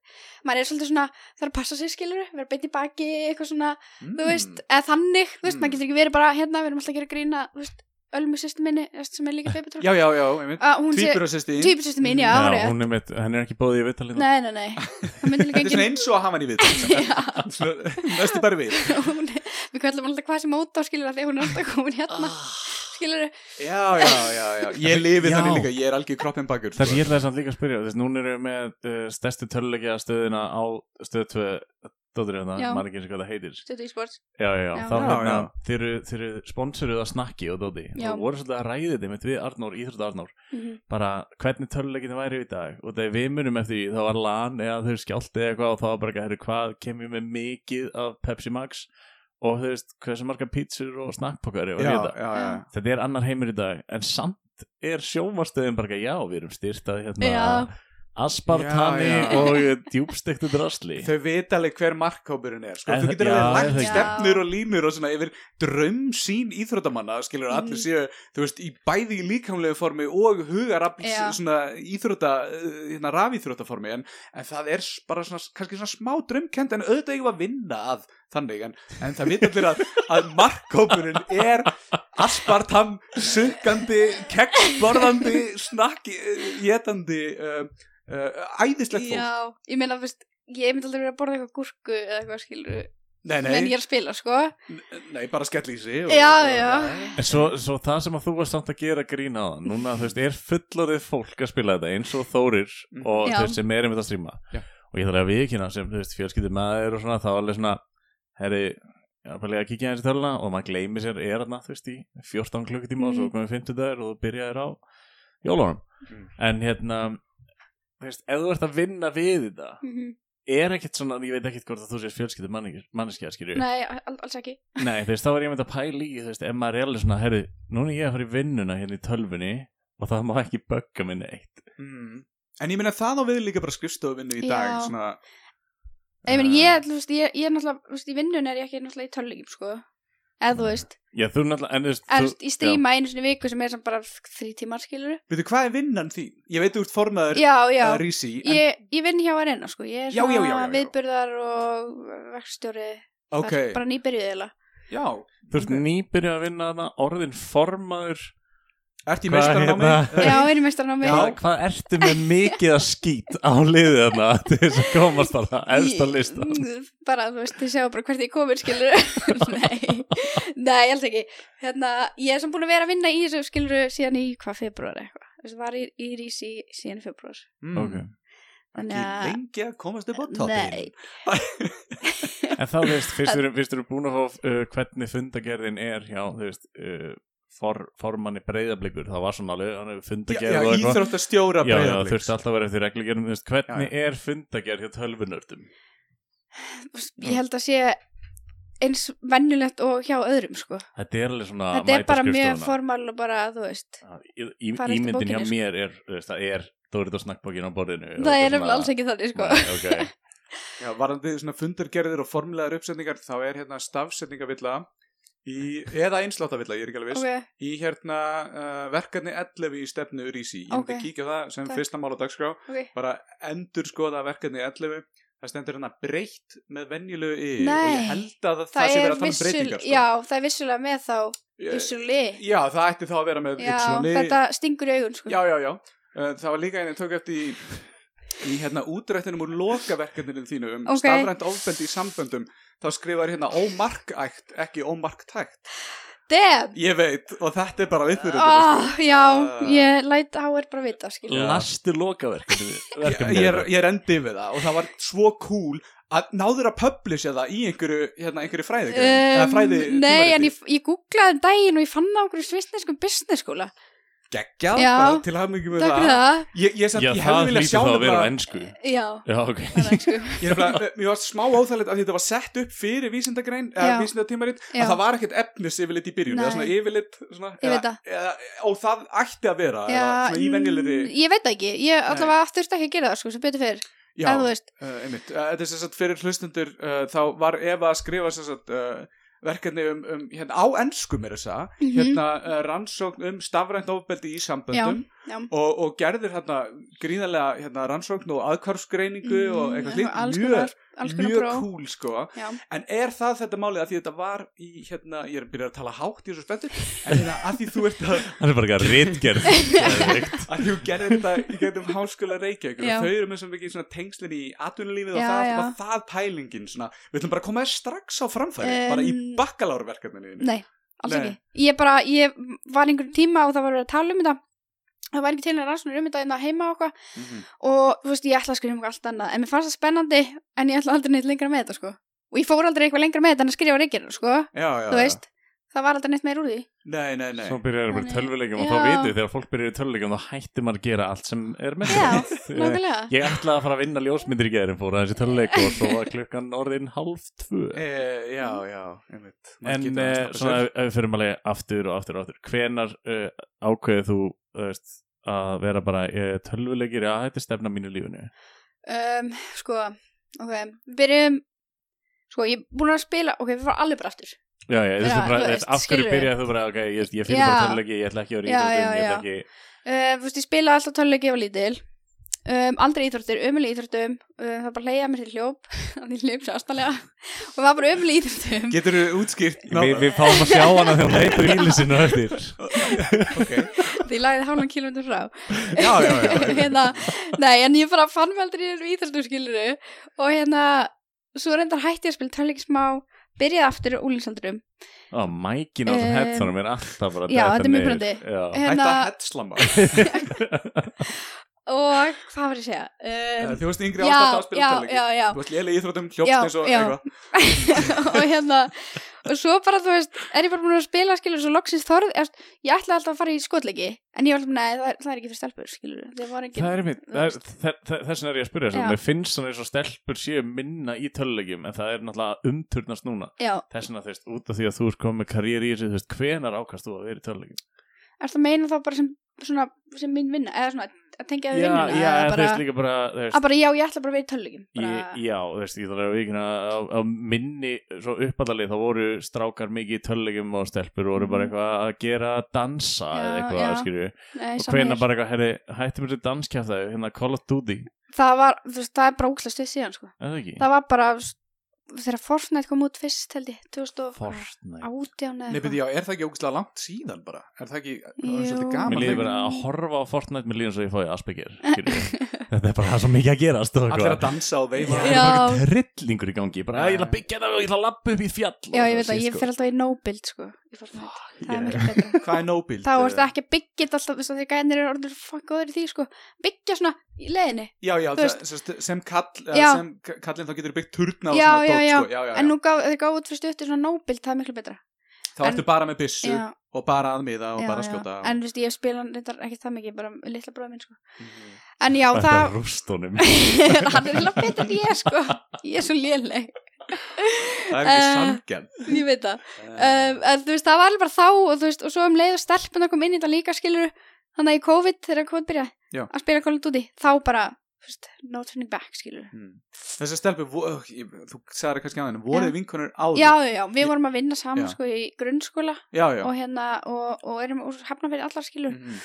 [SPEAKER 5] maður er svolítið svona, það er að passa sig, skilur vera beitt í baki, eitthvað svona, þú veist, eða þannig, þú veist,
[SPEAKER 2] Mm.
[SPEAKER 5] maður getur ekki verið bara hérna, við erum alltaf að gera grína, þú veist, Ölmu sýstu minni, þú veist, sem er líka beibitról.
[SPEAKER 2] Já, já, já, einmitt.
[SPEAKER 5] að hún sé,
[SPEAKER 2] Týpur að sýsti.
[SPEAKER 5] týpur sýstu mín, já, já
[SPEAKER 3] Já,
[SPEAKER 5] árið.
[SPEAKER 3] hún er mitt, henn er ekki bóðið í vittalina
[SPEAKER 5] Nei, nei, nei, það myndi líka
[SPEAKER 2] Þetta er svona
[SPEAKER 5] engin,
[SPEAKER 2] eins og að hafa hann í við.
[SPEAKER 5] já,
[SPEAKER 2] Næstu bara við. Ah.
[SPEAKER 5] hún, við kallum alltaf hvað sem óta á skilur að því að hún er alltaf komin hérna, skilur
[SPEAKER 2] já, já, já, já. Ég lifi
[SPEAKER 3] Já.
[SPEAKER 2] þannig líka, ég er algjör sko. kroppin bakur
[SPEAKER 3] Það sem ég ætlaði samt líka að spyrja, þess núna erum við með uh, stærstu töluleikja stöðina á stöð 2 Dóttir hérna,
[SPEAKER 5] Já.
[SPEAKER 3] maður ekki eins og hvað það heitir
[SPEAKER 5] Stötu í sport
[SPEAKER 3] Já, já, já,
[SPEAKER 5] Já.
[SPEAKER 3] þá
[SPEAKER 2] Já,
[SPEAKER 3] hérna,
[SPEAKER 2] já.
[SPEAKER 3] þeir eru- þeir eru sponsoruð að snakki og Dótti
[SPEAKER 5] Já.
[SPEAKER 3] og voru svolítið að ræði þeim mitt við Arnór, Íþrótt Arnór
[SPEAKER 5] mm -hmm.
[SPEAKER 3] bara hvernig töluleikinni væri í dag og þegar við munum eftir því, þá var LAN eða þau skjálti eða eitthvað og þá var bara, herru, hvað kem ég með mikið af Pepsi Max og þú veist, hversu marga pítsur og snakkpokkar og
[SPEAKER 2] já,
[SPEAKER 3] þetta
[SPEAKER 2] já, já.
[SPEAKER 3] þetta er annar heimur í dag en samt er sjómarstöðin bara ekki, já, við erum styrtað hérna
[SPEAKER 5] Já.
[SPEAKER 3] aspartami
[SPEAKER 2] Já, já.
[SPEAKER 3] og djúbstektu drasli
[SPEAKER 2] Þau veit alveg hver markhópurinn er sko.
[SPEAKER 3] En
[SPEAKER 2] Þú
[SPEAKER 3] það-
[SPEAKER 2] getur
[SPEAKER 3] já,
[SPEAKER 2] alveg
[SPEAKER 3] það-
[SPEAKER 2] lagt
[SPEAKER 5] Já.
[SPEAKER 2] stefnur og línur og svona yfir draumsýn íþróttamanna skilur að
[SPEAKER 5] Mhm.
[SPEAKER 2] allir séu, þú veist, í bæði í líkamlegu formi og hugarafls
[SPEAKER 5] Já.
[SPEAKER 2] svona íþrótta, uh, hérna rafíþróttaformi en, en það er s- bara svona kannski svona smá draumkend en auðvitað ekki að vinna að þannig en, en það veit allir að, að markhópurinn er aspartam, sukkandi keksborðandi, snakki jetandi uh, uh, æðislegt fólk
[SPEAKER 5] Já, ég meina, þú veist, ég myndi aldrei verið að borða eitthvað gúrku eða eitthvað skilur
[SPEAKER 2] Nei, nei.
[SPEAKER 5] en ég er að spila, sko
[SPEAKER 2] Nei, bara skellísi og,
[SPEAKER 5] Já,
[SPEAKER 2] og,
[SPEAKER 5] já.
[SPEAKER 3] en svo, svo það sem að þú varst samt að gera grína á það núna þú veist, er fullorðið fólk að spila þetta eins og Þórir
[SPEAKER 2] Mhm.
[SPEAKER 3] og
[SPEAKER 5] Já.
[SPEAKER 3] þeir sem er einmitt að stríma
[SPEAKER 2] Já.
[SPEAKER 3] og ég þarf að viðkynna sem þú veist, fjölskyldi maður og svona þá er alveg svona, herri Já, bara lega að kíkja hans í töluna og maður gleymi sér er þarna, þú veist, í 14 klukkutíma og svo
[SPEAKER 5] Mhm.
[SPEAKER 3] komið 50 dagar og þú byrjaðir á jólunum.
[SPEAKER 2] Mhm.
[SPEAKER 3] En hérna, þú veist, ef þú ert að vinna við þetta,
[SPEAKER 5] Mhm.
[SPEAKER 3] er ekkert svona, ég veit ekkert hvort að þú sér fjölskyldur manneskja, skilju. Nei.
[SPEAKER 5] Nei, al- alls ekki
[SPEAKER 3] Nei, þú veist, þá er ég mynd að pæla í, þú veist, ef maður er alveg svona, herri, núna er ég að fara í vinnuna hérna í tölfunni og það má ekki bögga mig neitt.
[SPEAKER 2] Mm. En ég meina það á við líka bara skrifstofuvinnu í
[SPEAKER 5] Já.
[SPEAKER 2] dag svona,
[SPEAKER 5] Ég meina,
[SPEAKER 3] Ah.
[SPEAKER 5] ég, þú veist, ég, ég er náttúrulega, þú veist, í vinnun er ég ekki náttúrulega í tölulegjum, sko eða þú veist,
[SPEAKER 3] Já, þú náttúrulega, en þú veist,
[SPEAKER 5] en þú
[SPEAKER 3] þú,
[SPEAKER 5] veist, ég stríma einu sinni í viku sem er samt bara þrý tímar, skilur
[SPEAKER 2] Veitu, hvað er vinnan þín? Ég veit þú ert formaður
[SPEAKER 5] Já, já,
[SPEAKER 2] að rísi en,
[SPEAKER 5] ég, ég vinn hjá Arena, sko ég er
[SPEAKER 2] Já, já, já, já, já.
[SPEAKER 5] viðburðar og verkstjóri,
[SPEAKER 2] Ok,
[SPEAKER 5] það er bara nýbyrjuð eða
[SPEAKER 2] já
[SPEAKER 3] þú veist,
[SPEAKER 2] Ok.
[SPEAKER 3] nýbyrja að vinna þarna, orðin formaður,
[SPEAKER 2] Ert í
[SPEAKER 3] Hvað
[SPEAKER 2] meistarnámi?
[SPEAKER 3] hérna?
[SPEAKER 5] Já, einu mestarna á mig
[SPEAKER 3] hvað, hvað ertu með mikið að skýt á liðið þarna til þess að komast þarna, efst á listan?
[SPEAKER 5] bara, þú veist, þið sjá bara hvert ég komið skilur nei, nei, alls ekki hérna, ég er sem búin að vera að vinna í þessu skilur síðan í hvað februar eitthvað Þú veist, var í, í rísi síðan í februar
[SPEAKER 2] Mm.
[SPEAKER 3] Ok.
[SPEAKER 5] Þannig
[SPEAKER 2] Ekki
[SPEAKER 5] að-
[SPEAKER 2] lengi að komast upp á
[SPEAKER 5] nei,
[SPEAKER 2] toppin
[SPEAKER 3] En þá, þú veist, fyrst við erum- fyrst við erum búin að fá uh, hvernig fundagerðin er hjá, þú veist, uh, for, formanni breyðablikur, það var svona alveg, hann hefur
[SPEAKER 2] Já,
[SPEAKER 3] fundagerð
[SPEAKER 2] já
[SPEAKER 3] og eitthvað.
[SPEAKER 2] íþróttastjóra
[SPEAKER 3] Já, já,
[SPEAKER 2] Breiðabliks.
[SPEAKER 3] þurfti alltaf að vera eftir reglugjörnum, þú veist, hvernig er fundagerð hjá tölvunördum?
[SPEAKER 5] Þú veist, ég held að sé eins vennulegt og hjá öðrum sko.
[SPEAKER 3] Þetta er alveg svona
[SPEAKER 5] þetta er
[SPEAKER 3] mæta
[SPEAKER 5] bara mjög
[SPEAKER 3] skrifstofuna.
[SPEAKER 5] formal og bara, þú veist
[SPEAKER 3] Já, í- í-
[SPEAKER 5] fara eftir
[SPEAKER 3] Ímyndin hjá
[SPEAKER 5] bókinni, sko.
[SPEAKER 3] mér er, þú veist, það er Dórit og snakkbókin á borðinu.
[SPEAKER 5] það er nefnilega alls ekki þannig sko.
[SPEAKER 3] Nei, ok.
[SPEAKER 2] Já, varandi svona fundargerðir og formlegar uppsetningar þá er hérna stafsetningavilla í, eða einsláttavilla, ég er ekki alveg viss
[SPEAKER 5] ok,
[SPEAKER 2] í hérna uh, verkefni 11 í stefnu Rísi. Ég myndi
[SPEAKER 5] Ok.
[SPEAKER 2] kíkja á það sem
[SPEAKER 5] Takk.
[SPEAKER 2] fyrsta mál á dagskrá,
[SPEAKER 5] ok
[SPEAKER 2] bara endur skoða verkefni 11. Það stendur hérna breytt með venjulegu y
[SPEAKER 5] Nei.
[SPEAKER 2] og ég held að það, sé verið að tala um breytingar. Sko.
[SPEAKER 5] já, það er vissulega með þá
[SPEAKER 2] Já,
[SPEAKER 5] vissuli,
[SPEAKER 2] já, það ætti þá að vera með
[SPEAKER 5] já,
[SPEAKER 2] yxunni.
[SPEAKER 5] þetta stingur í augun sko.
[SPEAKER 2] Já, já, já. Uh, það var líka einu tök eftir í, í hérna útrættinum úr lokaverkefninu þínu um
[SPEAKER 5] Ok.
[SPEAKER 2] stafrænt ofbendi í samböndum. Þá skrifar hérna ómarkægt, ekki ómarktækt.
[SPEAKER 5] damn
[SPEAKER 2] Ég veit, og þetta er bara vittur.
[SPEAKER 5] Oh, já,
[SPEAKER 2] Ah.
[SPEAKER 5] ég læt HR bara vita skilur.
[SPEAKER 3] Lastu lokaverkefni.
[SPEAKER 2] ég, ég
[SPEAKER 3] verkefnið þeirra.
[SPEAKER 2] er- ég er endið við það og það var svo cool að náður að publisha það í einhverju, hérna, einhverju fræði, eða fræði
[SPEAKER 5] Um, Nei, en ég, ég googlaði um daginn og ég fann á okkur svissneskum business skóla
[SPEAKER 2] geggjað
[SPEAKER 5] Já.
[SPEAKER 2] bara til hafði mikið með
[SPEAKER 5] Takk fyrir
[SPEAKER 2] það
[SPEAKER 5] það,
[SPEAKER 2] ég, ég, samt,
[SPEAKER 3] Já,
[SPEAKER 2] ég hefði
[SPEAKER 3] það
[SPEAKER 2] viljað
[SPEAKER 3] hlýtur
[SPEAKER 2] sjá
[SPEAKER 3] þá að vera á
[SPEAKER 2] nefnilega-
[SPEAKER 3] ennsku.
[SPEAKER 5] já
[SPEAKER 3] Já, ok.
[SPEAKER 5] það sko. er ensku.
[SPEAKER 2] ég nefnilega- mér var smá óþægilegt að þetta var sett upp fyrir vísindagrein eða
[SPEAKER 5] Já.
[SPEAKER 2] vísindatímarit
[SPEAKER 5] Já.
[SPEAKER 2] að það var ekkert efnis yfirleitt í byrjun eða
[SPEAKER 5] Nei.
[SPEAKER 2] svona yfirleitt svona,
[SPEAKER 5] Ég veit
[SPEAKER 2] eða, eða, og það ætti að vera
[SPEAKER 5] Já,
[SPEAKER 2] eða, svona í
[SPEAKER 5] mm,
[SPEAKER 2] venjulegri
[SPEAKER 5] Ég veit það ekki, ég allavega þurfti ekki að gera það sko, sem betur fyrir,
[SPEAKER 2] já,
[SPEAKER 5] ef þú veist
[SPEAKER 2] Uh, einmitt, uh, þetta er sem sagt fyrir hlustundur uh, þá var Eva að skrifa sem sagt uh, verkefni um, um hérna á ennsku mér þess að,
[SPEAKER 5] Mhm.
[SPEAKER 2] hérna uh, rannsókn um stafrænt ofbeldi í samböndum
[SPEAKER 5] já.
[SPEAKER 2] og, og gerður hérna gríðarlega hérna rannsókn og aðkvarfsgreiningu og eitthvað
[SPEAKER 5] Mhm, alls
[SPEAKER 2] slíkt,
[SPEAKER 5] konar,
[SPEAKER 2] mjög
[SPEAKER 5] alls konar
[SPEAKER 2] mjög
[SPEAKER 5] pró
[SPEAKER 2] cool sko
[SPEAKER 5] já.
[SPEAKER 2] en er það þetta málið að því þetta var í hérna, ég er að byrja að tala hátt í þessu spenntur en hérna að því þú ert að
[SPEAKER 3] Það er bara eitthvað rítgerð Geðveikt.
[SPEAKER 2] að þú gerir þetta í getum háskóla Reykjavík
[SPEAKER 5] Já.
[SPEAKER 2] og þau eru með svo mikið svona tengslin í atvinnulífið
[SPEAKER 5] Já,
[SPEAKER 2] og það
[SPEAKER 5] já.
[SPEAKER 2] var það pælingin svona, við ætlum bara að koma þér strax á framfæri
[SPEAKER 5] Em,
[SPEAKER 2] bara í bakkalárverkefninu þínu.
[SPEAKER 5] Nei, alls
[SPEAKER 2] Nei.
[SPEAKER 5] ekki ég bara, ég var einhverjum tíma og það var verið að tala um þetta það var ekki til að rannsóknir um þetta en það heima okkar
[SPEAKER 2] Mhm.
[SPEAKER 5] og þú veist, ég ætla að skrifa um eitthvað allt annað en mér fannst það spennandi en ég ætla aldrei neitt lengra með þetta sko og ég fór aldrei eitthvað lengra með þetta en að skrifa reykir sko,
[SPEAKER 2] Já, já,
[SPEAKER 5] þú
[SPEAKER 2] já.
[SPEAKER 5] veist það var aldrei neitt meir úr því
[SPEAKER 2] Nei, nei, nei
[SPEAKER 3] Svo byrjar það bara í
[SPEAKER 5] Þannig-
[SPEAKER 3] tölvuleikjum og
[SPEAKER 5] Já.
[SPEAKER 3] þá vitið þegar fólk byrjar í tölvuleikjum þá hættir maður að gera allt sem er með
[SPEAKER 5] Já,
[SPEAKER 3] þeim.
[SPEAKER 5] nákvæmlega
[SPEAKER 3] Ég ætlaði að fara að vinna ljósmyndir í geðurinn fór aðeins í tölvuleik og svo var klukkan orðin halv tvö.
[SPEAKER 2] e, Já, já, einmitt Maður
[SPEAKER 3] En
[SPEAKER 2] getur
[SPEAKER 3] eh,
[SPEAKER 2] aðeins
[SPEAKER 3] svona
[SPEAKER 2] stappað
[SPEAKER 3] ef ef við fyrir alveg aftur og aftur og aftur, hvenar uh, ákveðið þú þú veist, að vera bara uh, tölvuleikir, já þetta er stefna mínu í lífinu.
[SPEAKER 5] um, sko, ok, við byrjum sko, ég er búin að spila ok, við fara alveg bara aftur
[SPEAKER 3] Já, já, þú
[SPEAKER 5] Já,
[SPEAKER 3] veist, bara,
[SPEAKER 5] þú
[SPEAKER 3] þú
[SPEAKER 5] veist,
[SPEAKER 3] veist, af hverju
[SPEAKER 5] skilurðu.
[SPEAKER 3] byrjaði þú bara, ok, ég, ég fyrir
[SPEAKER 5] Já.
[SPEAKER 3] bara tölvuleiki, ég ætla ekki að vera í
[SPEAKER 5] Já,
[SPEAKER 3] íþróttum,
[SPEAKER 5] já,
[SPEAKER 3] ég ætla
[SPEAKER 5] já.
[SPEAKER 3] ekki...
[SPEAKER 5] uh, þú veist, ég spilaði alltaf töluleik ég var lítil um, aldrei íþróttir, ömuleg íþróttum um, það bara leiða mér til hljóp þannig að ég hljóp sér astanlega og það var bara ömuleg íþróttum
[SPEAKER 2] Geturðu útskýrt ná-
[SPEAKER 3] Við, við fáum að sjá hana þegar hún heitir ílisinn og eftir.
[SPEAKER 2] Ok.
[SPEAKER 5] því ég lagði hálfum kilómetrum frá
[SPEAKER 2] Já, já, já, já.
[SPEAKER 5] hérna, nei, en ég bara fann mig aldrei í þessum íþróttum skiluru og hérna, svo reyndar hætti ég að spila töluleik smá byrjaði aftur úlíksandrum
[SPEAKER 3] Á, mækin á þessum
[SPEAKER 5] Um,
[SPEAKER 3] headsanum er alltaf bara að
[SPEAKER 5] já,
[SPEAKER 3] detta
[SPEAKER 5] þetta er mjög
[SPEAKER 3] niður.
[SPEAKER 5] pirrandi.
[SPEAKER 3] Já.
[SPEAKER 2] Hætta
[SPEAKER 5] hérna,
[SPEAKER 2] að headslama
[SPEAKER 5] og hvað var ég að segja um,
[SPEAKER 2] Eh, Þú veist yngri
[SPEAKER 5] já,
[SPEAKER 2] ástætt að spila
[SPEAKER 5] já,
[SPEAKER 2] tölvuleiki
[SPEAKER 5] já, já.
[SPEAKER 2] Þú veist lélega íþrótum,
[SPEAKER 5] Já,
[SPEAKER 2] hljópst eins og
[SPEAKER 5] já.
[SPEAKER 2] eitthvað
[SPEAKER 5] og hérna og svo bara þú veist, er ég bara búin að spila skilur svo loksins þorð, ég, ég ætlaði alltaf að fara í skotleiki, en ég var alltaf, nei, það er, það er ekki fyrir stelpur, skilur, það var ekki
[SPEAKER 3] Það er mitt, þess vegna er ég að spyrja þess
[SPEAKER 5] Já.
[SPEAKER 3] að mér finnst svona eins og stelpur séu minna í tölulegjum en það er náttúrulega að umturnast núna
[SPEAKER 5] já,
[SPEAKER 3] þess vegna þú veist, út af því að þú ert komið með karrieri í þessu, þú veist, hvenar ákast þú að vera í tölulegjum?
[SPEAKER 5] er það meina þá bara sem svona, sem mín vinna, eða svona að tengja
[SPEAKER 3] já,
[SPEAKER 5] við
[SPEAKER 3] já,
[SPEAKER 5] vinnuna,
[SPEAKER 3] en
[SPEAKER 5] eða
[SPEAKER 3] þú
[SPEAKER 5] bara,
[SPEAKER 3] veist líka bara, þú veist,
[SPEAKER 5] að bara, já, ég ætla bara að vera í töluleikum bara,
[SPEAKER 3] Ég, já, þú veist, ég þarf að vikina á, á minni svo uppallalið þá voru strákar mikið í tölulegjum og stelpur voru bara eitthvað að gera dansa eða
[SPEAKER 5] Mhm. Já,
[SPEAKER 3] eitthvað,
[SPEAKER 5] já.
[SPEAKER 3] skilju
[SPEAKER 5] nei,
[SPEAKER 3] og
[SPEAKER 5] sama
[SPEAKER 3] hvenar
[SPEAKER 5] hér.
[SPEAKER 3] bara eitthvað, herri, hættum við þessu danskjaftaði hérna Call of Duty,
[SPEAKER 5] það var, þú veist, það er bara úkslega stuð síðan, sko,
[SPEAKER 3] er það ekki?
[SPEAKER 5] það var bara þú veist, þegar Fortnite kom út fyrst, held ég, 2018
[SPEAKER 3] Fortnite
[SPEAKER 5] eða
[SPEAKER 2] Nei,
[SPEAKER 5] eitthvað.
[SPEAKER 2] beti, já, er það ekki ógustlega langt síðan bara? Er það ekki, það er
[SPEAKER 5] Jú.
[SPEAKER 2] svolítið
[SPEAKER 5] Mér
[SPEAKER 3] Mér
[SPEAKER 2] gaman
[SPEAKER 3] líður bara að horfa á Fortnite Mér líður eins og ég fái Asperger skilur við. Þetta er bara það er svo mikið að gerast og
[SPEAKER 2] Allir
[SPEAKER 3] eitthvað.
[SPEAKER 2] að dansa og veifa
[SPEAKER 3] Það er
[SPEAKER 5] Já.
[SPEAKER 3] bara trillingur í gangi bara,
[SPEAKER 2] Já.
[SPEAKER 3] Ég ætla að byggja það og ég ætla að lappa upp í fjall
[SPEAKER 5] Já, ég veit að ég fer alltaf í no-build, sko, í Fortnite. Það er mikið betra.
[SPEAKER 2] Hvað er nóbíld?
[SPEAKER 5] þá ertu ekki að byggja þetta alltaf þess að því gænir eru orðin fuck góður í því sko byggja svona í leiðinni
[SPEAKER 2] Já, já,
[SPEAKER 5] þú
[SPEAKER 2] það-
[SPEAKER 5] veist-
[SPEAKER 2] sem, sem kall, já.
[SPEAKER 5] Já.
[SPEAKER 2] sem k- kallinn þá getur byggt turna og
[SPEAKER 5] Já,
[SPEAKER 2] svona
[SPEAKER 5] já,
[SPEAKER 2] dót,
[SPEAKER 5] já.
[SPEAKER 2] Sko. já, já,
[SPEAKER 5] en
[SPEAKER 2] já.
[SPEAKER 5] nú gaf, þeir gáðu út fyrir stuttur svona nóbild það er miklu betra
[SPEAKER 2] Þá ertu bara með byssu
[SPEAKER 5] já,
[SPEAKER 2] og bara að miða og
[SPEAKER 5] já,
[SPEAKER 2] bara að
[SPEAKER 5] já.
[SPEAKER 2] skjóta og-
[SPEAKER 5] en viðst ég spila hann reyndar ekki það mikið bara með litla bróða minn sko
[SPEAKER 2] Mhm.
[SPEAKER 5] en já
[SPEAKER 3] Þetta er
[SPEAKER 5] það
[SPEAKER 3] rústunum
[SPEAKER 5] hann er eitthvað betur en ég sko ég er svo léleg
[SPEAKER 2] Það er ekki
[SPEAKER 5] Eh,
[SPEAKER 2] sangen
[SPEAKER 5] ég veit það um, en þú veist það var alveg bara þá og þú veist og svo um leið og stelpun kom inn í þetta líka skilur þannig að í COVID þegar COVID byrjaði
[SPEAKER 2] Já.
[SPEAKER 5] að spila Call of Duty þá bara þú veist, no turning back skilur
[SPEAKER 2] Þessi stelpu, vo- ögh, ég- þú sagði það kannski að henni Voruð
[SPEAKER 5] Já.
[SPEAKER 2] vinkonur áður?
[SPEAKER 5] já, já, já, við vorum að vinna saman
[SPEAKER 2] Já.
[SPEAKER 5] sko í grunnskóla
[SPEAKER 2] já, já.
[SPEAKER 5] og hérna og, og erum úr hafnafyrir allar skilur
[SPEAKER 2] Mhm.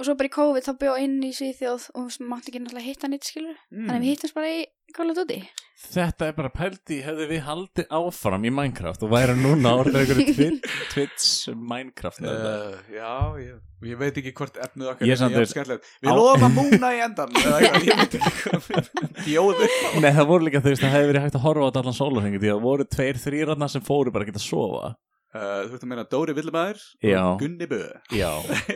[SPEAKER 5] og svo bara í COVID þá bjóð inn í Svíþjóð og sem mátti ekki náttúrulega hitta nýtt skilur
[SPEAKER 2] Hmm.
[SPEAKER 5] þannig
[SPEAKER 2] Mm.
[SPEAKER 5] við hittum bara í Call of Duty
[SPEAKER 3] Þetta er bara pældi Hefðu við haldið áfram í Minecraft og væri núna orðið einhverju Twitch, Twitch Minecraft uh,
[SPEAKER 2] Eh, já, ég, ég veit ekki hvort efnuð okkar
[SPEAKER 3] Ég
[SPEAKER 2] er
[SPEAKER 3] samt
[SPEAKER 2] jafn
[SPEAKER 3] er-
[SPEAKER 2] skemmtilegt.
[SPEAKER 3] Á-
[SPEAKER 2] Við lofum að múna í endan eða eitthvað, Ég veit ekki hvað Bjóðu
[SPEAKER 3] Nei, það voru líka þú veist, það hefði verið hægt að horfa á þetta allan sólarhengi því að það voru tveir þrýratna sem fóru bara að geta að sofa
[SPEAKER 2] Uh, Þú ert að meina Dóri Villumæður
[SPEAKER 3] Já.
[SPEAKER 2] og Gunni Bö
[SPEAKER 3] Já,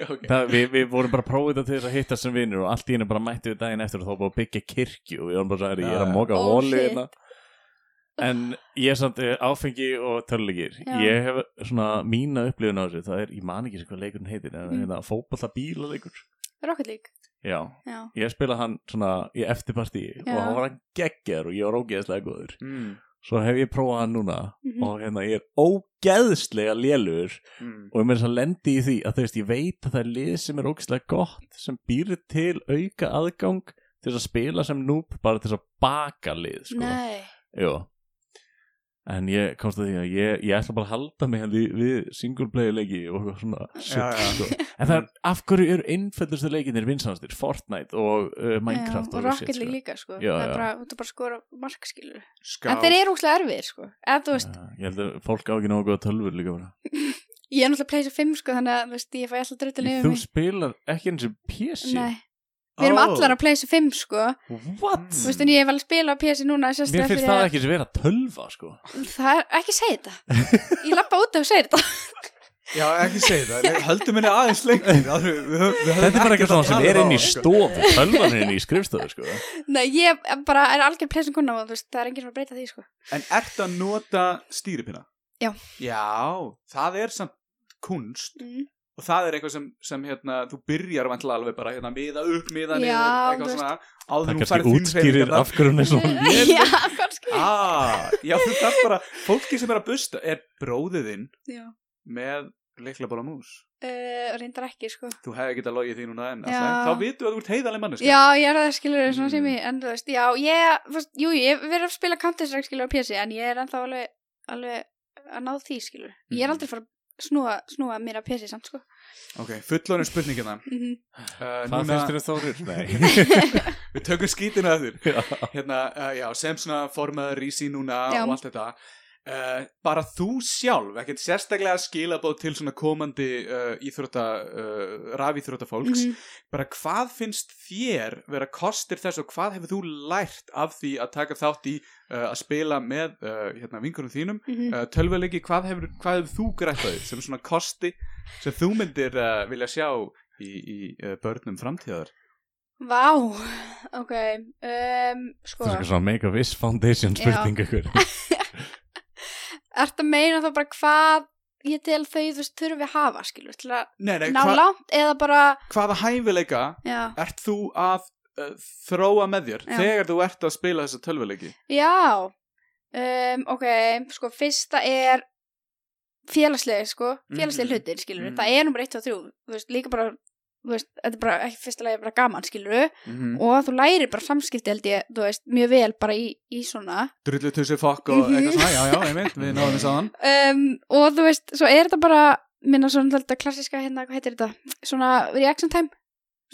[SPEAKER 2] okay.
[SPEAKER 3] Það, við, við vorum bara að prófa þetta til þess að hitta sem vinnur og allt í hennu bara mætti við daginn eftir og þá búið að byggja kirkju og við vorum bara að sagði, ég er að móka
[SPEAKER 5] Oh,
[SPEAKER 3] hólu
[SPEAKER 5] shit.
[SPEAKER 3] hérna en ég er samt eh, áfengi og töluleikir
[SPEAKER 5] Já.
[SPEAKER 3] ég hef svona mína upplifun á þessu það er, ég man ekki sem hvað leikurinn heitir en
[SPEAKER 5] Mm.
[SPEAKER 3] mm. hérna, fótballa bílaleikur
[SPEAKER 5] Rocket League
[SPEAKER 3] Já,
[SPEAKER 5] já,
[SPEAKER 3] ég spilaði hann svona í eftirparti
[SPEAKER 5] Já.
[SPEAKER 3] og hann var hann geggjar og ég var ógeðslega góður
[SPEAKER 2] mm,
[SPEAKER 3] svo hef ég prófað hann núna
[SPEAKER 5] Mhm.
[SPEAKER 3] og hérna, ég er ógeðslega lélur
[SPEAKER 2] mm.
[SPEAKER 3] og ég með þess að lendi í því að þú veist ég veit að það er lið sem er ógislega gott sem býr til auka aðgang til þess að spila sem núb bara til þess að baka lið sko.
[SPEAKER 5] nei
[SPEAKER 3] Jú. en ég komst að því að ég, ég ætla bara að halda mig við, við single player leiki og eitthvað svona
[SPEAKER 2] Já,
[SPEAKER 3] shit,
[SPEAKER 2] já.
[SPEAKER 3] sko. en það er af hverju eru innfællustu leikinir vinsanastir Fortnite og uh, Minecraft
[SPEAKER 5] já, Um, og
[SPEAKER 3] og
[SPEAKER 5] Rocket League líka sko
[SPEAKER 3] Já, já.
[SPEAKER 5] það er bara, þú ert bara að skora mark skilur
[SPEAKER 2] Skál
[SPEAKER 5] en þeir eru úrslega erfiðir sko eða þú veist,
[SPEAKER 3] Já, ég held að fólk á ekki nógu góða tölfur líka bara.
[SPEAKER 5] ég er náttúrulega pleysa 5 sko þannig að þú veist, ég fæ alltaf dröttin yfir
[SPEAKER 3] Þú
[SPEAKER 5] mig
[SPEAKER 3] spilar ekki eins og PC?
[SPEAKER 5] nei, við erum
[SPEAKER 2] Ó.
[SPEAKER 5] allar að pleysa 5 sko
[SPEAKER 3] What?
[SPEAKER 5] þú veist, en ég hef alveg spilað á PS núna
[SPEAKER 3] Mér
[SPEAKER 5] sérstaklega
[SPEAKER 3] finnst
[SPEAKER 5] fyrir
[SPEAKER 3] það
[SPEAKER 5] að-
[SPEAKER 3] ekki sem vera tölva sko
[SPEAKER 5] Það er ekki að segja þetta Ég lappa út og segja þetta
[SPEAKER 2] Já, ekki segja það, Nei, höldum henni aðeins lengur Það er- við höfum- við höfum
[SPEAKER 3] Þetta er bara
[SPEAKER 2] ekkert
[SPEAKER 3] eitthvað
[SPEAKER 2] að
[SPEAKER 3] svona sem
[SPEAKER 2] tala
[SPEAKER 3] er
[SPEAKER 2] um
[SPEAKER 3] inn í
[SPEAKER 2] það, sko.
[SPEAKER 3] stofu Tölvan er inn í skrifstofu sko
[SPEAKER 5] Nei, ég bara er algjör plessin kona og þú veist, það er enginn sem er að breyta því, sko.
[SPEAKER 2] En ert að nota stýripina?
[SPEAKER 5] Já.
[SPEAKER 2] Já, það er samt kunst
[SPEAKER 5] Mm.
[SPEAKER 2] og það er eitthvað sem, sem hérna, þú byrjar vantilega alveg bara hérna, miða upp, miða
[SPEAKER 5] Já,
[SPEAKER 2] niður,
[SPEAKER 5] þú
[SPEAKER 2] eitthvað
[SPEAKER 5] veist.
[SPEAKER 2] svona
[SPEAKER 3] Það
[SPEAKER 2] áður nú
[SPEAKER 3] kannski
[SPEAKER 2] færið þín
[SPEAKER 3] útskýrir af hverju hún er svona léleg.
[SPEAKER 5] Já, kannski.
[SPEAKER 2] Ah, já, þú þarf bara, fólki sem er að busta er bróðiðinn
[SPEAKER 5] Já,
[SPEAKER 2] með leiklabóla mús.
[SPEAKER 5] uh, reyndar ekki, sko.
[SPEAKER 2] Þú hefði getað logið því núna en
[SPEAKER 5] Já.
[SPEAKER 2] alltaf, þá vitum við að þú ert heiðaleg manneska.
[SPEAKER 5] Já, ég er það skilur svona sem
[SPEAKER 2] Mm.
[SPEAKER 5] ég, en þú veist, já, ég, fast, jú, ég hef verið að spila Counter-Strike skilur á PC, en ég er ennþá alveg, alveg að ná því skilur. Ég er
[SPEAKER 2] Mhm.
[SPEAKER 5] aldrei fara að snúa, snúa mér að PC samt, sko.
[SPEAKER 2] Ok, fullonum spurningina.
[SPEAKER 5] Mm
[SPEAKER 2] Uh,
[SPEAKER 3] Hvað
[SPEAKER 2] núna,
[SPEAKER 3] finnst þér um þórir?
[SPEAKER 2] við tökum skítina að þér.
[SPEAKER 3] Nei
[SPEAKER 2] hérna, uh, já, sem svona formaður í sín núna
[SPEAKER 5] Já.
[SPEAKER 2] og allt þetta uh, bara þú sjálf, ekkert sérstaklega skilabóð til svona komandi uh, íþrótta, uh, rafíþrótta
[SPEAKER 5] Mhm.
[SPEAKER 2] fólks bara hvað finnst þér vera kostir þess og hvað hefur þú lært af því að taka þátt í uh, að spila með uh, hérna, vingurum þínum
[SPEAKER 5] Mhm,
[SPEAKER 2] uh, tölvuleiki, hvað hefur, hvað hefur þú grættaði sem svona kosti sem þú myndir uh, vilja sjá í, í uh, börnum framtíðar
[SPEAKER 5] Vá, ok, um, sko,
[SPEAKER 3] Það er eitthvað svona make a wish foundation spurning ykkur
[SPEAKER 5] ert að meina þá bara hvað ég tel þau, þú veist, þurfi að hafa, skilur, til að
[SPEAKER 2] nei, nei,
[SPEAKER 5] ná
[SPEAKER 2] hva,
[SPEAKER 5] langt eða bara,
[SPEAKER 2] hvaða hæfileika
[SPEAKER 5] já,
[SPEAKER 2] ert þú að uh, þróa með þér
[SPEAKER 5] Já.
[SPEAKER 2] þegar þú ert að spila þessa tölvuleiki
[SPEAKER 5] já, um, ok, sko, fyrsta er félagslega, sko, félagslega
[SPEAKER 2] Mhm.
[SPEAKER 5] hlutir, skilur,
[SPEAKER 2] Mhm.
[SPEAKER 5] það er nummer 1 og 3, þú veist, líka bara, þú veist, þetta er bara, ekki fyrsta lagi bara gaman, skilur,
[SPEAKER 2] Mhm.
[SPEAKER 5] og þú lærir bara samskipti, held ég, þú veist, mjög vel bara í, í svona,
[SPEAKER 2] drullu tussi fokk og
[SPEAKER 5] Mhm.
[SPEAKER 2] eitthvað svona já, já, einmitt, við náðum þess aðan
[SPEAKER 5] um, og þú veist, svo er þetta bara minna svona þetta klassiska hérna, hvað heitir þetta, svona reaction time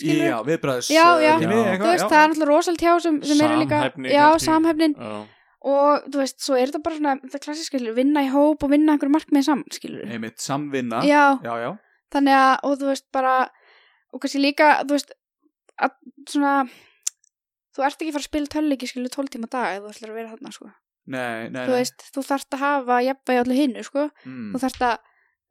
[SPEAKER 5] skilur,
[SPEAKER 2] já, viðbræðs
[SPEAKER 5] Já, já.
[SPEAKER 3] Já.
[SPEAKER 5] þú veist, það er náttúrulega rosalt hjá sem, sem eru líka,
[SPEAKER 3] Samhæfni
[SPEAKER 5] já,
[SPEAKER 3] kannski.
[SPEAKER 5] samhæfnin
[SPEAKER 3] Já.
[SPEAKER 5] og þú veist, svo er þetta bara svona þetta klassiska, skilur, vinna í hóp og vinna einhverjum markmið saman, skilur,
[SPEAKER 2] einmitt, samvinna
[SPEAKER 5] já,
[SPEAKER 2] já, já.
[SPEAKER 5] þannig að, og þú veist, bara og kannski líka, þú veist að, svona þú ert ekki að fara að spila tölleiki, skilur, 12 tíma á dag ef þú ætlar að vera þarna, sko,
[SPEAKER 2] Nei, nei,
[SPEAKER 5] þú
[SPEAKER 2] nei.
[SPEAKER 5] veist, þú þarft að hafa jafnvægi á öllu hinu, sko, þú
[SPEAKER 2] Mm.
[SPEAKER 5] þarft að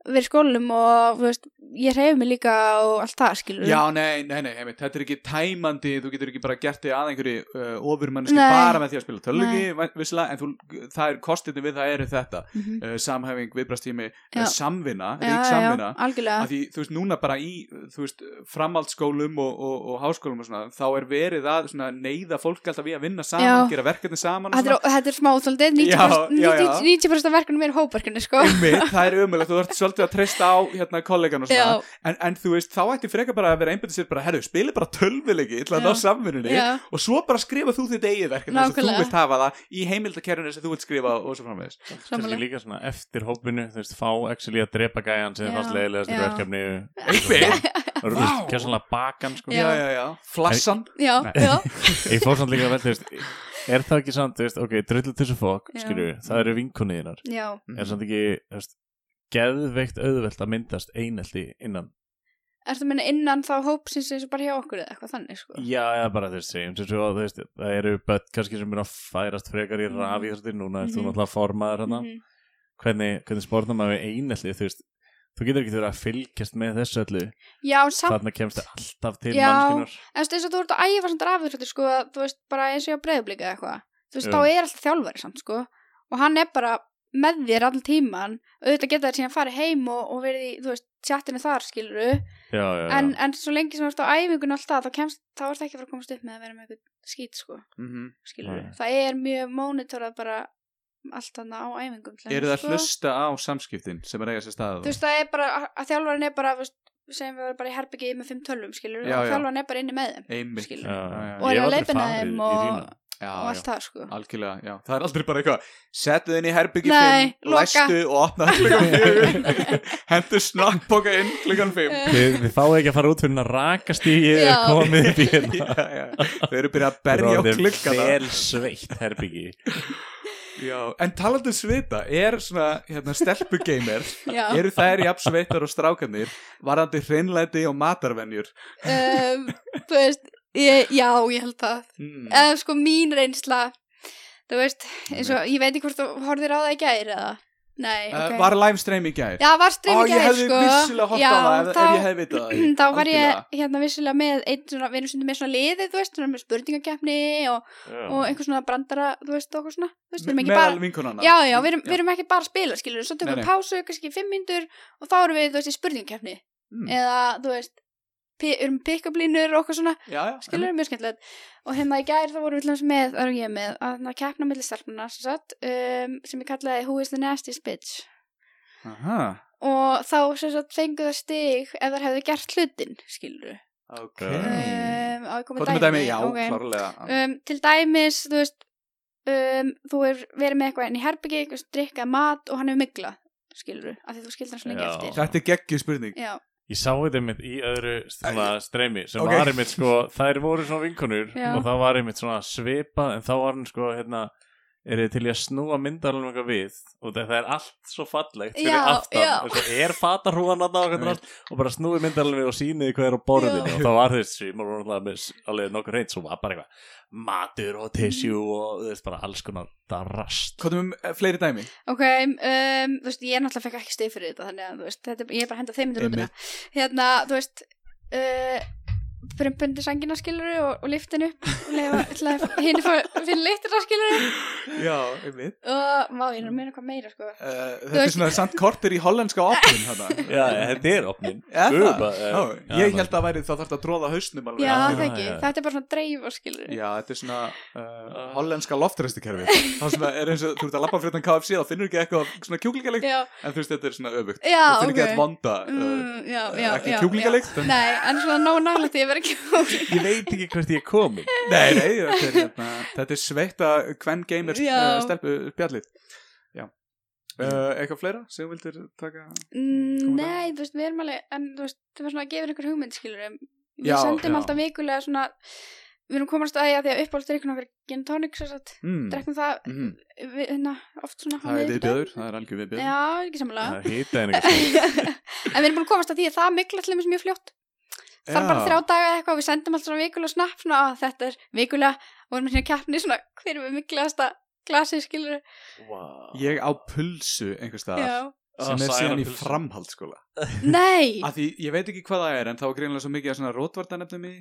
[SPEAKER 5] vera í skólum og þú veist, ég reyfi mig líka og allt það, skilur
[SPEAKER 2] já, nei, nei, nei, einmitt, þetta er ekki tæmandi þú getur ekki bara gert þig að einhverju uh, ofurmanniski
[SPEAKER 5] Nei.
[SPEAKER 2] bara með því að spila tölvuleiki visslega, en þú, það er kostinu við það eru þetta
[SPEAKER 5] Mhm.
[SPEAKER 2] uh, samhæfing, viðbræðstími,
[SPEAKER 5] Já.
[SPEAKER 2] uh, samvinna
[SPEAKER 5] já,
[SPEAKER 2] rík samvinna
[SPEAKER 5] já, algjörlega
[SPEAKER 2] að því, þú veist, núna bara í, þú veist, framhaldsskólum og, og, og háskólum og svona, þá er verið að svona neyða fólk alltaf við að vinna saman,
[SPEAKER 5] Já.
[SPEAKER 2] gera verkefni saman og
[SPEAKER 5] þetta er,
[SPEAKER 2] svona.
[SPEAKER 5] þetta er smá svolítið
[SPEAKER 2] Já, já, já.
[SPEAKER 5] 90% 90% af verkunum er hóparkunni, sko
[SPEAKER 2] Einmitt, það er umöðulegt, þú ert svolítið að treysta á hérna kollegan og
[SPEAKER 5] já,
[SPEAKER 2] svona, en, en þú veist, þá ætti frekar bara að vera einbætið sér bara, herru, spili bara tölvileiki til að
[SPEAKER 5] Já.
[SPEAKER 2] ná samvinnunni
[SPEAKER 5] já,
[SPEAKER 2] og svo bara skrifa þú þitt eigið verkefni þess að þú
[SPEAKER 5] Nákvæmlega.
[SPEAKER 2] vilt hafa það í heimildakerfinu sem þú vilt skrifa og svo framvegis.
[SPEAKER 3] kannski
[SPEAKER 5] samanlega
[SPEAKER 3] líka svona eftir hópinu þú veist, fá actually að drepa gæjan sem
[SPEAKER 5] Já,
[SPEAKER 3] fannst leiðilegast í
[SPEAKER 5] já.
[SPEAKER 3] verkefni
[SPEAKER 2] Einmitt,
[SPEAKER 3] og þú veist, kjæssanlega bakan sko.
[SPEAKER 2] já, já, já, flassan,
[SPEAKER 5] já,
[SPEAKER 3] Nei.
[SPEAKER 5] já,
[SPEAKER 3] ég fór samt líka vel, þú veist er það ekki samt, þú veist, ok, drullu til þessu fólk
[SPEAKER 5] Já.
[SPEAKER 3] skilju, það eru vinkunniðinar
[SPEAKER 5] já,
[SPEAKER 2] Mhm.
[SPEAKER 3] er samt ekki, þú veist, geðveikt auðvelt að myndast einelti innan
[SPEAKER 5] ertu að minna innan þá hópsins eins og bara hjá okkur eða eitthvað þannig, sko
[SPEAKER 3] já, já, bara þú veist, segjum sem svo, þú veist það eru börn kannski sem er að færast frekar í
[SPEAKER 5] Mhm.
[SPEAKER 3] rafi þar núna ert þú
[SPEAKER 5] Mhm.
[SPEAKER 3] náttúrulega formaður hana
[SPEAKER 5] Mhm.
[SPEAKER 3] hvernig, hvernig spórna maður við einelti þú veist, þú getur ekki verið að fylgjast með þessu öllu
[SPEAKER 5] já, samt,
[SPEAKER 3] þarna kemst það alltaf til
[SPEAKER 5] Já.
[SPEAKER 3] mannskunar
[SPEAKER 5] en þú veist, eins og þú ert að æfa samt rafið, sko, að, þú veist, bara eins og ég á breyðublika eða eitthvað, þú veist,
[SPEAKER 3] Já.
[SPEAKER 5] þá er alltaf þjálfari samt, sko, og hann er bara með þér allan tíman, auðvitað geta þér síðan farið heim og, og verið í, þú veist, tjattinu þar, skiluru,
[SPEAKER 3] já, já, já.
[SPEAKER 5] en, en svo lengi sem þú ert á æfingun alltaf, þá kemst, þá ert ekki að fara að komast upp með að vera með eitthvað skýt, sko,
[SPEAKER 2] Mhm.
[SPEAKER 5] skiluru,
[SPEAKER 3] Nei.
[SPEAKER 5] það er mjög mónitorað bara allt þarna á æfingum. til sko.
[SPEAKER 2] eru
[SPEAKER 5] hennar,
[SPEAKER 2] það að hlusta á samskiptin sem er eiga sér staðið?
[SPEAKER 5] Þú veist, það er bara, að þjálfarin er bara, þú veist, segjum við varum bara í herbyggi með fimm tölvum, skiluru,
[SPEAKER 2] Já,
[SPEAKER 5] og
[SPEAKER 2] já.
[SPEAKER 5] þjálfarin er bara inni með þeim
[SPEAKER 2] Einmitt.
[SPEAKER 5] skilur.
[SPEAKER 3] Já, já, já.
[SPEAKER 5] Og
[SPEAKER 3] Ég
[SPEAKER 5] er
[SPEAKER 3] hef
[SPEAKER 5] að
[SPEAKER 3] aldrei
[SPEAKER 5] leiðbeina
[SPEAKER 3] farið
[SPEAKER 5] þeim
[SPEAKER 3] í
[SPEAKER 5] og-
[SPEAKER 3] rýmið.
[SPEAKER 2] Já,
[SPEAKER 5] og
[SPEAKER 2] já.
[SPEAKER 5] allt það, sko.
[SPEAKER 2] Algjörlega, já, það er aldrei bara eitthvað Settu þinn í herbyggi 5
[SPEAKER 5] Nei, loka.
[SPEAKER 2] Læstu og opna klukkan 4 Hentu snakkboka inn klukkan
[SPEAKER 5] Eh.
[SPEAKER 2] 5
[SPEAKER 3] Þið, þið fáið ekki að fara út fyrir að rakast í
[SPEAKER 5] Já.
[SPEAKER 3] komið upp í hérna
[SPEAKER 2] já, já. Þau eru byrjað að berja á
[SPEAKER 3] Þið eru
[SPEAKER 2] klukkana
[SPEAKER 3] vel sveitt herbyggi
[SPEAKER 2] já. En talandi um svita Er svona hérna, stelpugeimer
[SPEAKER 5] Já,
[SPEAKER 2] Eru þær jafn sveitar og strákanir Varandi hreinlæti og matarvenjur
[SPEAKER 5] um, þú veist, ég, já, ég held það.
[SPEAKER 2] mm.
[SPEAKER 5] eða
[SPEAKER 2] Mm.
[SPEAKER 5] sko mín reynsla þú veist, eins og ég veit ekki hvort þú horfir á það í gæri eða Nei,
[SPEAKER 2] okay.
[SPEAKER 5] ok.
[SPEAKER 2] Eh, Var livestream í gær
[SPEAKER 5] Já, var
[SPEAKER 2] Á,
[SPEAKER 5] stream í
[SPEAKER 2] ég
[SPEAKER 5] gær,
[SPEAKER 2] hefði
[SPEAKER 5] sko.
[SPEAKER 2] vissulega hort á
[SPEAKER 5] Já,
[SPEAKER 2] það ef,
[SPEAKER 5] þá-
[SPEAKER 2] ef ég hefði vitað það
[SPEAKER 5] þá var
[SPEAKER 2] Algjörlega.
[SPEAKER 5] ég hérna vissulega með einn svona, við erum stundum með svona liðið, þú veist, svona með spurningakeppni og, og einhver svona brandara, þú veist, og okkur svona, þú veist, við erum ekki
[SPEAKER 2] Meðal
[SPEAKER 5] bara,
[SPEAKER 2] vinkonana
[SPEAKER 5] já, já, við erum,
[SPEAKER 2] Já.
[SPEAKER 5] við erum ekki bara að spila, skilur, svo tökum
[SPEAKER 2] Nei, nei.
[SPEAKER 5] við pásu, kannski fimm myndur og þá erum við, þú veist, í spurningakeppni
[SPEAKER 2] Mm.
[SPEAKER 5] eða, þú veist, pi- erum pick-up-línur og okkur svona,
[SPEAKER 2] já, já,
[SPEAKER 5] skilur, mjög skemmtilegt og hérna í gær þá vorum við til dæmis með, það erum ég með að hérna keppna milli stelpuna, sem sagt um, sem ég kallaði Who is the nastiest bitch
[SPEAKER 2] Aha,
[SPEAKER 5] og þá sem sagt fengu það stig ef þær hefðu gert hlutin, skilur
[SPEAKER 2] ok
[SPEAKER 5] um, á ég komið
[SPEAKER 2] Hvað er með Eh,
[SPEAKER 5] dæmi,
[SPEAKER 2] dæmi? Hmm. Já,
[SPEAKER 5] Ok.
[SPEAKER 2] klárlega
[SPEAKER 5] um, til dæmis þú veist um, þú er verið með eitthvað inn í herbyggi eitthvað drikkað mat og hann hefur miglað skilur af því þú skildir hann svona ekki
[SPEAKER 3] Já.
[SPEAKER 5] eftir
[SPEAKER 2] Þetta er geggjuð spurning
[SPEAKER 5] já,
[SPEAKER 3] Ég sá þetta mitt í öðru svona, streymi sem
[SPEAKER 2] ok.
[SPEAKER 3] var einmitt sko, þær voru svona vinkonur
[SPEAKER 5] Já.
[SPEAKER 3] og það var einmitt svona svipað en þá var hann sko hérna er þið til í að snúa myndarlega eitthvað við og það það er allt svo fallegt fyrir
[SPEAKER 5] Já,
[SPEAKER 3] aftan
[SPEAKER 5] já.
[SPEAKER 3] og svo er fatarhúan að það
[SPEAKER 2] Einmitt.
[SPEAKER 3] allt, og bara snúi myndarlega við og sýniði hvað er á borðinu
[SPEAKER 5] Já.
[SPEAKER 3] og það var þess símur og náttúrulega með s- alveg nokkur reynd svo var bara eitthvað matur og tissjú
[SPEAKER 5] Mm.
[SPEAKER 3] og þú veist bara alls konar darast
[SPEAKER 2] Hvað er með eh, fleiri dæmi?
[SPEAKER 5] ok um, þú veist, ég náttúrulega fekk ekki stig fyrir þetta þannig að þú veist, þetta, er- ég er bara að henda þeim myndir út í það. hérna, þú veist uh, prumpundi sangina skilur og, og liftinu hinn fyrir liftina skilur
[SPEAKER 2] Já, einmitt
[SPEAKER 5] og má ég er að meina eitthvað meira sko
[SPEAKER 2] Eh, Þetta er
[SPEAKER 5] veist-
[SPEAKER 2] svona samt korter í hollenska opnum þarna.
[SPEAKER 3] Já, þetta er opnin
[SPEAKER 2] Er
[SPEAKER 3] Guð,
[SPEAKER 2] það?
[SPEAKER 3] bara, eh,
[SPEAKER 2] Já,
[SPEAKER 3] já,
[SPEAKER 2] Ég
[SPEAKER 3] bara-
[SPEAKER 2] held að væri þá þarf að tróða hausnum alveg
[SPEAKER 5] já,
[SPEAKER 2] af
[SPEAKER 5] það
[SPEAKER 2] þér.
[SPEAKER 5] ekki,
[SPEAKER 3] já, já.
[SPEAKER 5] þetta er bara svona dreifa skilur
[SPEAKER 2] Já, þetta er svona uh, hollenska loftræstikerfi Það sem er eins og þú ert að labba fyrir þann KFC þá finnur ekki eitthvað svona kjúklingalikt
[SPEAKER 5] já,
[SPEAKER 2] en þú veist þetta er svona öfugt
[SPEAKER 5] já,
[SPEAKER 2] Þú finnur
[SPEAKER 5] ok
[SPEAKER 2] ekki eitthvað vonda uh,
[SPEAKER 5] Mm, já, já,
[SPEAKER 2] ekki
[SPEAKER 5] já,
[SPEAKER 2] kjúklingalykt,
[SPEAKER 5] já.
[SPEAKER 2] en-
[SPEAKER 5] Nei, en svona nóg nálægt því að vera kjúkling
[SPEAKER 3] Ég veit ekki hvert ég er komin
[SPEAKER 2] Nei, nei, þetta er, hérna, þetta er sveita hvern gamer
[SPEAKER 5] Já.
[SPEAKER 2] uh, stelpu bjallið Já uh, Eitthvað fleira sem þú vildir taka
[SPEAKER 5] Mm, Nei, þú veist, við erum alveg En þú veist, það var svona að gefa einhver hugmynd skilur Við
[SPEAKER 2] Já,
[SPEAKER 5] sendum
[SPEAKER 2] já.
[SPEAKER 5] alltaf vikulega svona Við erum komast að því að því að uppáhaldsdrykkur okkar gin og tonic, svo satt
[SPEAKER 2] mm.
[SPEAKER 5] Drekkum það,
[SPEAKER 2] Mm.
[SPEAKER 5] við, hérna, oft svona á
[SPEAKER 2] Það er
[SPEAKER 5] miðvikudaginn.
[SPEAKER 2] viðbjöður, það er algjör viðbjöður
[SPEAKER 5] Já, ekki samlega
[SPEAKER 3] Það hýta einhver
[SPEAKER 5] En við erum búin að komast að því að það mikla til þeim mjög fljótt Það er bara
[SPEAKER 2] Já.
[SPEAKER 5] þrjá daga eða eitthvað Við sendum alltaf svona vikulega snapp svona, að Þetta er vikulega og við erum hérna kjarni svona Hver er við miklaðasta glasið skilur
[SPEAKER 3] wow.
[SPEAKER 2] Ég á pulsu einhvers staðar
[SPEAKER 5] Já
[SPEAKER 2] sem er síðan í framhaldsskóla
[SPEAKER 5] Nei
[SPEAKER 2] af því ég veit ekki hvað það er en þá er greinlega svo mikið að svona rótvartanefnum í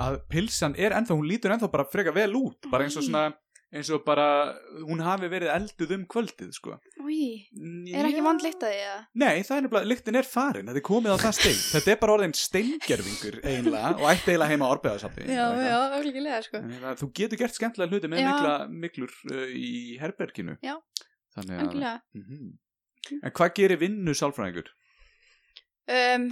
[SPEAKER 2] að pilsan er ennþá, hún lítur ennþá bara freka vel út bara
[SPEAKER 5] Mm.
[SPEAKER 2] eins og svona eins og bara hún hafi verið elduð um kvöldið sko
[SPEAKER 5] Új,
[SPEAKER 2] N-
[SPEAKER 5] er ekki
[SPEAKER 2] já.
[SPEAKER 5] vond lykt að því að
[SPEAKER 2] Nei, það er nefnilega, lyktin er farin, þetta er komið á það stein þetta er bara orðin steingerfingur eiginlega og ætti eiginlega heima á orbeðasafni
[SPEAKER 5] Já, já, öllíkilega sko
[SPEAKER 2] Þú getur gert skemmtilega hluti með
[SPEAKER 5] Já.
[SPEAKER 2] mikla, miklur uh, í herberginu
[SPEAKER 5] Já.
[SPEAKER 2] Þannig að
[SPEAKER 5] Öllíkilega
[SPEAKER 2] Mhm. En hvað gerir vinnu sálfræðingur?
[SPEAKER 5] um,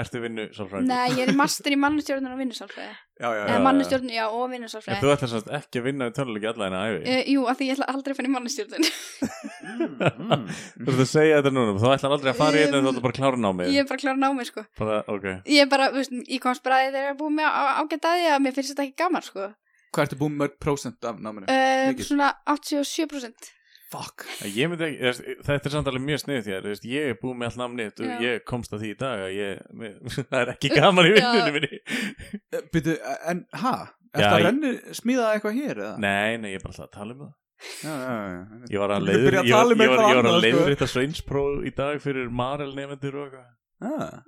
[SPEAKER 3] Ertu vinnu sálfræðingur?
[SPEAKER 5] Nei, ég er master í mannustjórnun og vinnusálfræði
[SPEAKER 2] Já, já,
[SPEAKER 5] Eða
[SPEAKER 3] já.
[SPEAKER 5] mannustjórnun, já, og
[SPEAKER 3] En þú
[SPEAKER 5] vinnusálfræði
[SPEAKER 3] ætlar sannst ekki að vinna í töluleiki alla þína æfi
[SPEAKER 5] uh, Jú, af því ég ætla aldrei að finna í mannustjórnun
[SPEAKER 2] Mm.
[SPEAKER 3] Þú ert að segja þetta núna Þú ætlar aldrei að fara í þetta en þú ætlar bara að klára námið
[SPEAKER 5] Ég er bara að klára námi sko
[SPEAKER 3] bara, ok
[SPEAKER 5] Ég er bara, þú veist, ég komst bara að því þegar ég er búið með ágætaði að mér finnst þetta ekki gaman sko
[SPEAKER 2] Hvað ertu búin mörg prósent af náminu?
[SPEAKER 5] um,
[SPEAKER 2] Mikið.
[SPEAKER 5] Svona 87%
[SPEAKER 2] Fuck
[SPEAKER 3] Ég myndi ekki, þú veist, þetta er samt alveg mjög snið þér þú veist, Ég er búið með all námið
[SPEAKER 5] Já.
[SPEAKER 3] Ég komst að því í dag að ég, mér, Það er ekki gaman í vinnunni minni
[SPEAKER 2] Býtu, Eh, en ha? Er
[SPEAKER 3] Já,
[SPEAKER 2] það
[SPEAKER 3] ég-
[SPEAKER 2] renni smíðað eitthvað hér eða?
[SPEAKER 3] Nei, nei, ég er bara alltaf að tala um það
[SPEAKER 2] Já, já, já, já.
[SPEAKER 3] Ég var að
[SPEAKER 2] Þú getur
[SPEAKER 3] leiður
[SPEAKER 2] byrjað að
[SPEAKER 3] Ég var,
[SPEAKER 2] tala um
[SPEAKER 3] ég var,
[SPEAKER 2] eitthvað
[SPEAKER 3] ég var að
[SPEAKER 2] annað, sko.
[SPEAKER 3] leiður þetta sveinspróf í dag Fyrir Marel nefendur og eitthvað
[SPEAKER 2] Ah,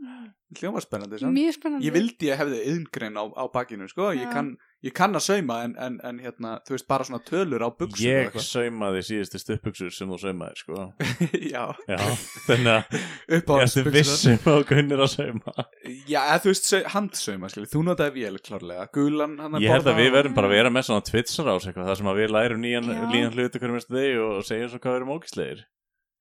[SPEAKER 2] Hljómar spennandi sant?
[SPEAKER 5] Mjög spennandi
[SPEAKER 2] Ég vildi ég hefði yðngrein á, á bakinu sko. ég,
[SPEAKER 5] Já.
[SPEAKER 2] kann, ég kann að sauma en, en, en hérna, þú veist bara svona tölur á buksum
[SPEAKER 3] Ég saumaði síðustu stuppuksur sem þú saumaði sko.
[SPEAKER 2] Já,
[SPEAKER 3] Já, þannig að
[SPEAKER 2] upp á
[SPEAKER 3] Ég ætti vissum að kunnir að sauma
[SPEAKER 2] Já, eða þú veist, sau- handsauma skilur. Þú notaði vél klárlega Gulan hann
[SPEAKER 3] Ég held að við
[SPEAKER 5] verð-
[SPEAKER 3] verðum bara að vera með svona twitsar ás eitthvað Það sem að við lærum nýjan,
[SPEAKER 5] Já.
[SPEAKER 3] nýjan hluti hverjum minnst þig og segjum svo hvað við erum ógæslegir